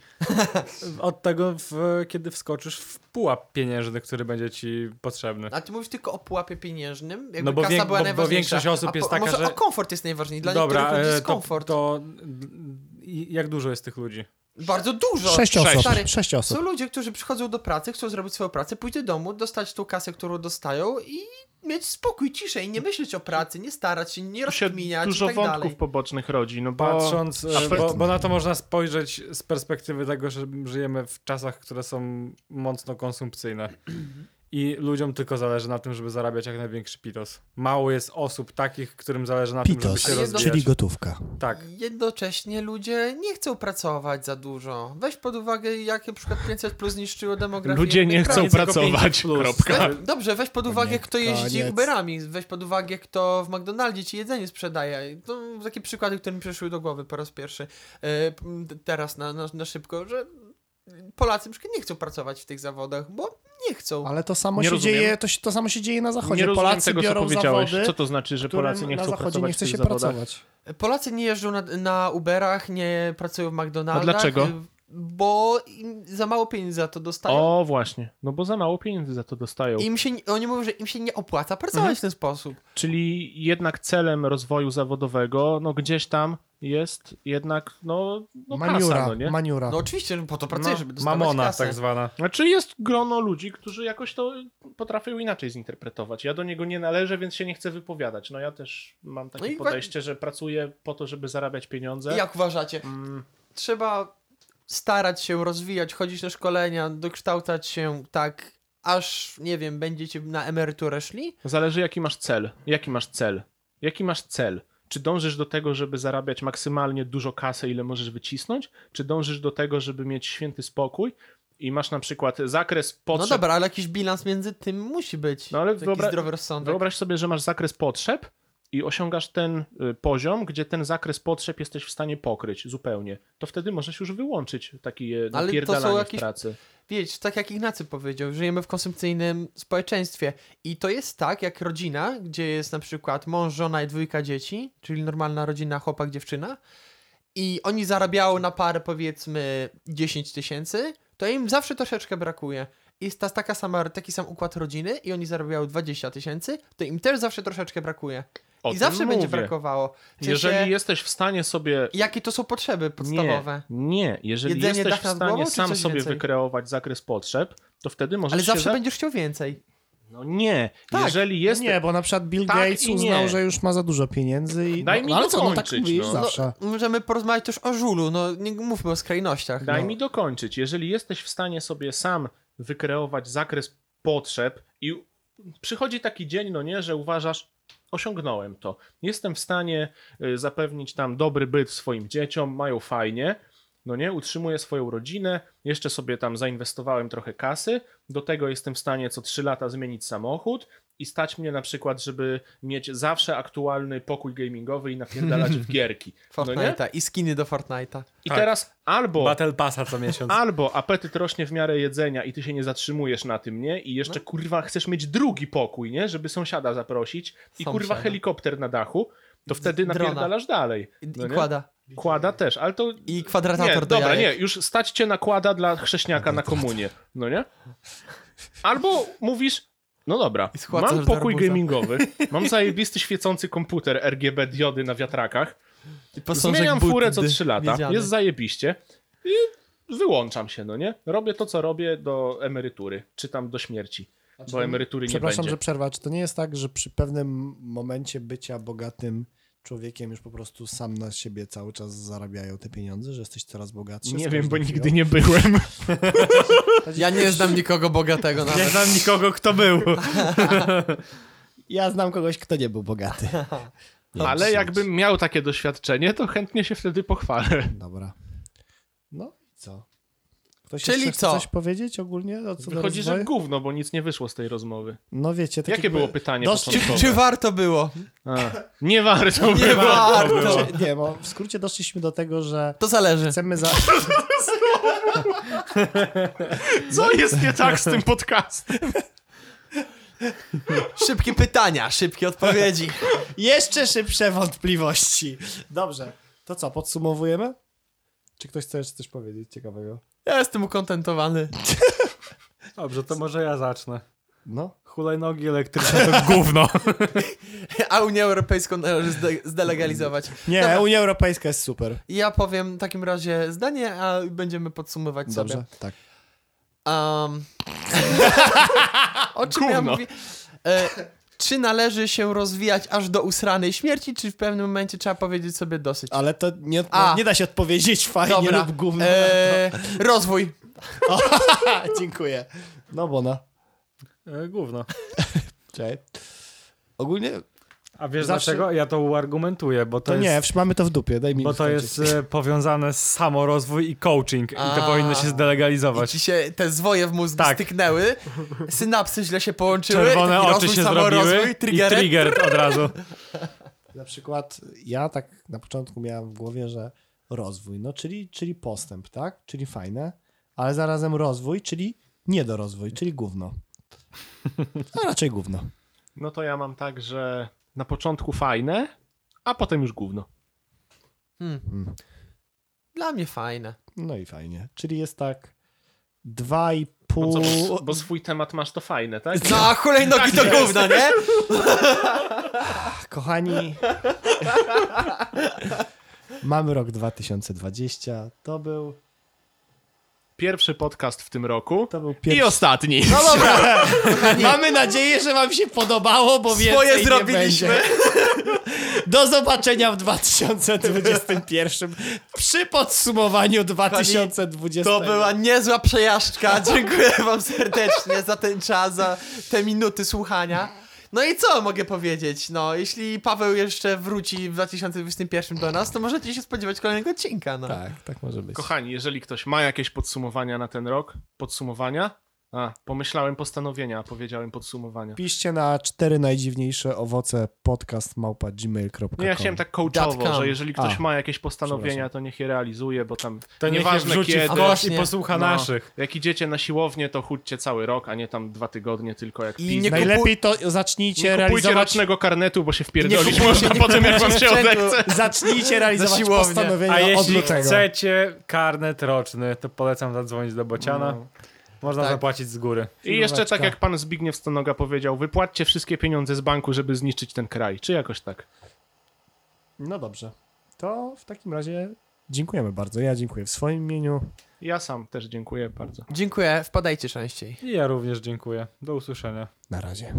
S3: Od tego, w, kiedy wskoczysz w pułap pieniężny, który będzie ci potrzebny.
S2: A ty mówisz tylko o pułapie pieniężnym? Jakby
S3: No bo
S2: kasa
S3: wiek-
S2: była
S3: bo- bo
S2: najważniejsza.
S3: większość osób
S2: A po-
S3: jest taka,
S2: może
S3: że-
S2: o komfort jest najważniejszy. Dla
S3: Dobra,
S2: niektórych ludzi
S3: e,
S2: jest
S3: to,
S2: komfort.
S3: to i- jak dużo jest tych ludzi?
S2: Bardzo dużo.
S4: Sześć osób.
S2: Stary,
S4: Sześć osób.
S2: Są ludzie, którzy przychodzą do pracy, chcą zrobić swoją pracę, pójść do domu, dostać tą kasę, którą dostają i mieć spokój, ciszę i nie myśleć o pracy, nie starać się, nie
S1: Tu się
S2: rozkminiać
S1: dużo
S2: i tak
S1: wątków
S2: dalej.
S1: pobocznych rodzi, no bo...
S3: Patrząc,
S1: a
S3: e,
S1: per-
S3: bo, bo na to można spojrzeć z perspektywy tego, że żyjemy w czasach, które są mocno konsumpcyjne.
S2: Mhm.
S3: I ludziom tylko zależy na tym, żeby zarabiać jak największy pitos. Mało jest osób takich, którym zależy na tym,
S4: Pitos,
S3: żeby się rozwijać.
S4: czyli gotówka.
S3: Tak.
S2: Jednocześnie ludzie nie chcą pracować za dużo. Weź pod uwagę, jak na przykład 500 plus zniszczyło demografię.
S1: Ludzie nie
S2: innych krajów.
S1: chcą
S3: tylko
S1: pracować,
S3: 500 plus.
S1: kropka.
S2: Weź, dobrze, weź pod uwagę, kto jeździ
S4: koniec.
S2: Uberami, weź pod uwagę, kto w McDonaldzie ci jedzenie sprzedaje. To takie przykłady, które mi przyszły do głowy po raz pierwszy e, p- teraz na, na, na szybko, że Polacy na przykład nie chcą pracować w tych zawodach, bo nie chcą.
S6: Ale to samo,
S1: Nie
S6: się
S1: rozumiem.
S6: dzieje, to, się- to samo się dzieje na zachodzie.
S1: Nie rozumiem
S6: Polacy
S1: tego, co
S6: biorą
S1: powiedziałeś.
S6: zawody,
S1: co to znaczy, że
S6: którym
S1: Polacy nie
S6: na
S1: chcą
S6: zachodzie
S1: pracować
S6: nie chce
S1: w
S6: się
S1: tych zawodach?
S6: pracować.
S2: Polacy nie jeżdżą na, na Uberach, nie pracują w McDonaldach.
S1: A dlaczego?
S2: y, Bo im za mało pieniędzy za to dostają.
S1: O, właśnie. No bo za mało pieniędzy za to dostają.
S2: Im się, nie- oni mówią, że im się nie opłaca pracować
S1: Mhm.
S2: w ten sposób.
S1: Czyli jednak celem rozwoju zawodowego, no gdzieś tam jest jednak, no, no kasa,
S6: maniura,
S1: no nie?
S6: maniura.
S2: No oczywiście, po to pracujesz, żeby dostawać
S3: mamona
S2: kasę.
S3: tak zwana.
S1: Znaczy jest grono ludzi, którzy jakoś to potrafią inaczej zinterpretować. Ja do niego nie należę, więc się nie chcę wypowiadać. No ja też mam
S2: No
S1: takie
S2: i wa-
S1: podejście, że pracuję po to, żeby zarabiać pieniądze.
S2: Jak uważacie?
S1: Mm,
S2: trzeba starać się rozwijać, chodzić na szkolenia, dokształcać się tak, aż, nie wiem, będziecie na emeryturę szli? No
S1: Zależy jaki masz cel. Jaki masz cel? Jaki masz cel? Czy dążysz do tego, żeby zarabiać maksymalnie dużo kasy, ile możesz wycisnąć? Czy dążysz do tego, żeby mieć święty spokój i masz na przykład zakres potrzeb
S2: No dobra, ale jakiś bilans między tym musi być.
S1: No ale
S2: Taki
S1: wyobra-
S2: zdrowy rozsądek.
S1: Wyobraź sobie, że masz zakres potrzeb i osiągasz ten y, poziom, gdzie ten zakres potrzeb jesteś w stanie pokryć zupełnie. To wtedy możesz już wyłączyć takie y,
S2: Ale to są
S1: napierdalanie w
S2: jakieś-
S1: pracy.
S2: Wiesz, tak jak Ignacy powiedział, żyjemy w konsumpcyjnym społeczeństwie i to jest tak, jak rodzina, gdzie jest na przykład mąż, żona i dwójka dzieci, czyli normalna rodzina, chłopak, dziewczyna i oni zarabiają na parę powiedzmy 10 tysięcy, to im zawsze troszeczkę brakuje. Jest ta, taka sama, taki sam układ rodziny i oni zarabiają 20 tysięcy, to im też zawsze troszeczkę brakuje.
S1: O
S2: I
S1: tym
S2: zawsze będzie
S1: mówię.
S2: brakowało. W sensie,
S1: Jeżeli jesteś w stanie sobie...
S2: Jakie to są potrzeby podstawowe?
S1: Nie, nie. jeżeli
S2: Jedzenie
S1: jesteś
S2: dach
S1: w
S2: nad
S1: stanie
S2: głową, czy
S1: sam
S2: coś
S1: sobie
S2: więcej?
S1: wykreować zakres potrzeb, to wtedy możesz
S2: Ale
S1: się...
S2: zawsze
S1: za-
S2: będziesz chciał więcej.
S1: No nie,
S2: Tak,
S1: jeżeli
S6: No
S1: jest...
S6: Nie, bo na przykład Bill
S1: Tak
S6: Gates
S1: i nie.
S6: uznał, że już ma za dużo pieniędzy i...
S1: Daj
S6: no,
S1: mi
S6: ale co, no tak
S1: dokończyć,
S6: mówisz
S1: no.
S6: zawsze.
S2: No, możemy porozmawiać też o żulu, no nie mówmy o skrajnościach.
S1: Daj
S2: no.
S1: mi dokończyć. Jeżeli jesteś w stanie sobie sam wykreować zakres potrzeb i u- przychodzi taki dzień, no nie, że uważasz, osiągnąłem to. Jestem w stanie y, zapewnić tam dobry byt swoim dzieciom, mają fajnie, no nie, utrzymuję swoją rodzinę, jeszcze sobie tam zainwestowałem trochę kasy, do tego jestem w stanie co 3 lata zmienić samochód i stać mnie na przykład, żeby mieć zawsze aktualny pokój gamingowy i napierdalać w gierki. No nie?
S2: Fortnite'a i skiny do Fortnite'a.
S1: I
S3: Tak.
S1: teraz albo
S3: Battle Passa co miesiąc.
S1: Albo apetyt rośnie w miarę jedzenia i ty się nie zatrzymujesz na tym, nie? I
S2: No.
S1: jeszcze kurwa chcesz mieć drugi pokój, nie? Żeby sąsiada zaprosić i
S2: Sąsiada.
S1: kurwa helikopter na dachu, to wtedy
S2: drona.
S1: napierdalasz dalej.
S2: I,
S1: No
S2: i
S1: nie?
S2: kłada.
S1: Kłada też, ale to...
S2: I
S1: Nie,
S2: kwadratator do
S1: dobra,
S2: jajek.
S1: nie, już stać cię na kłada dla chrześniaka na komunie, no nie? Albo mówisz, no dobra,
S2: I schładzasz
S1: mam
S2: do
S1: pokój
S2: arbuza.
S1: gamingowy, mam zajebisty świecący komputer RGB diody na wiatrakach,
S2: I posążek
S1: Zmieniam
S2: Buddy
S1: furę co 3 lata.
S2: miedziany.
S1: Jest zajebiście. I wyłączam się, no nie? Robię to, co robię do emerytury, czy tam do śmierci. bo emerytury nie
S6: Przepraszam,
S1: będzie.
S6: że przerwa. Czy to nie jest tak, że przy pewnym momencie bycia bogatym człowiekiem już po prostu sam na siebie cały czas zarabiają te pieniądze, że jesteś coraz bogatszy?
S1: Nie wiem, bo nigdy nie byłem.
S2: Ja nie znam nikogo bogatego
S3: Nie
S2: nawet.
S3: znam nikogo, kto był.
S6: Ja znam kogoś, kto nie był bogaty. Nie,
S1: Ale
S6: absolutnie.
S1: jakbym miał takie doświadczenie, to chętnie się wtedy pochwalę.
S6: Dobra. No i co? Ktoś
S2: Czyli
S6: jeszcze chce
S2: co?
S6: coś powiedzieć ogólnie? O co do
S1: Wychodzi, że
S6: rozwoju?
S1: gówno, bo nic nie wyszło z tej rozmowy.
S6: No wiecie, tak
S1: Jakie
S6: jakby-
S1: było pytanie
S6: Dosyć-
S1: początkowe?
S2: Czy warto było?
S1: A, nie warto
S2: Nie
S1: było.
S2: warto!
S6: Czy- Nie, bo w skrócie doszliśmy do tego, że
S2: To zależy.
S6: chcemy za...
S1: Co jest nie tak z tym podcastem?
S2: Szybkie pytania, szybkie odpowiedzi.
S4: Jeszcze szybsze wątpliwości. Dobrze. To co, podsumowujemy? Czy ktoś chce jeszcze coś powiedzieć ciekawego?
S2: Ja jestem ukontentowany.
S3: Dobrze, to może ja zacznę.
S4: No.
S3: Hulajnogi elektryczne to gówno.
S2: A Unię Europejską należy zde- zdelegalizować.
S4: Nie,
S2: Dobra.
S4: Unia Europejska jest super.
S2: Ja powiem w takim razie zdanie, a będziemy podsumować
S4: Dobrze,
S2: sobie.
S4: tak.
S2: Um, o czym ja
S1: Gówno.
S2: mówię? E, czy należy się rozwijać aż do usranej śmierci, czy w pewnym momencie trzeba powiedzieć sobie dosyć?
S4: Ale to nie, no,
S2: A.
S4: nie da się odpowiedzieć fajnie
S2: Dobra.
S4: lub gówno.
S2: E, rozwój.
S4: Dziękuję. No bo na.
S3: E, Gówno.
S4: Cześć. Ogólnie
S3: A wiesz
S4: Zawsze-
S3: dlaczego? Ja to uargumentuję, bo to,
S4: to, nie,
S3: jest...
S4: wsz- mamy to w dupie, daj mi
S3: Bo to
S4: skończyć.
S3: jest e, powiązane z samorozwój i coaching i to
S2: A.
S3: powinno się
S2: I
S3: zdelegalizować.
S2: ci się te zwoje w mózgu
S3: Tak.
S2: styknęły, synapsy źle się połączyły.
S3: Czerwone
S2: taki
S3: oczy
S2: rozwój,
S3: się
S2: samorozwój,
S3: zrobiły i
S2: triggery.
S3: trigger od razu.
S4: Na przykład ja tak na początku miałem w głowie, że rozwój, no czyli, czyli postęp, tak? Czyli fajne, ale zarazem rozwój, czyli niedorozwój, czyli gówno. A raczej gówno.
S1: No to ja mam tak, że na początku fajne, a potem już gówno.
S2: Dla mnie fajne.
S4: No i fajnie. Czyli jest tak dwa i
S1: No
S4: pół...
S1: co, bo, bo swój temat masz to fajne, tak?
S2: No a hulajnogi to gówno, nie?
S4: Kochani, mamy rok 2020. To był,
S1: Pierwszy podcast w tym roku
S4: to był pierwszy...
S1: i ostatni.
S2: No dobra,
S4: Mamy nadzieję, że wam się podobało, bo więcej
S2: Swoje
S4: nie
S2: zrobiliśmy.
S4: Będzie. Do zobaczenia w 2021 przy podsumowaniu 2020.
S2: to była niezła przejażdżka. Dziękuję wam serdecznie za ten czas, za te minuty słuchania. No i co mogę powiedzieć? No, jeśli Paweł jeszcze wróci w 2021 do nas, to możecie się spodziewać kolejnego odcinka, no.
S4: Tak, tak może być.
S1: Kochani, jeżeli ktoś ma jakieś podsumowania na ten rok, podsumowania? A, pomyślałem postanowienia, a powiedziałem podsumowania.
S4: Piszcie na cztery najdziwniejsze owoce podcast małpa gmail.com.
S1: Nie, ja chciałem tak
S2: Dot
S1: coachowo,
S2: com.
S1: że jeżeli ktoś
S4: A,
S1: ma jakieś postanowienia, to niech je realizuje, bo tam
S3: To niech je
S1: nieważne
S3: wrzuci
S1: kiedy.
S3: w kosz i
S2: Właśnie.
S3: posłucha
S1: no,
S3: naszych.
S1: Jak idziecie na siłownię, to chudźcie cały rok, a nie tam dwa tygodnie tylko jak
S2: I
S1: pizda.
S2: nie
S4: Najlepiej to zacznijcie
S1: Nie kupujcie
S4: realizować,
S1: rocznego karnetu, bo się
S2: Nie
S1: wpierdolić
S2: kupujcie
S1: można
S2: nie
S1: potem, jak wam się
S2: sprzętu.
S1: odechce.
S4: zacznijcie realizować
S2: siłownię.
S4: postanowienia
S3: A
S4: od
S3: jeśli
S4: lutego.
S3: chcecie karnet roczny, to polecam zadzwonić do Bociana. Można
S2: Tak.
S3: zapłacić z góry.
S1: I jeszcze tak jak pan Zbigniew Stonoga powiedział, wypłaccie wszystkie pieniądze z banku, żeby zniszczyć ten kraj, czy jakoś tak.
S4: No dobrze. To w takim razie dziękujemy bardzo. Ja dziękuję w swoim imieniu.
S1: Ja sam też dziękuję bardzo.
S2: Dziękuję, wpadajcie częściej.
S3: I ja również dziękuję. Do usłyszenia.
S4: Na razie.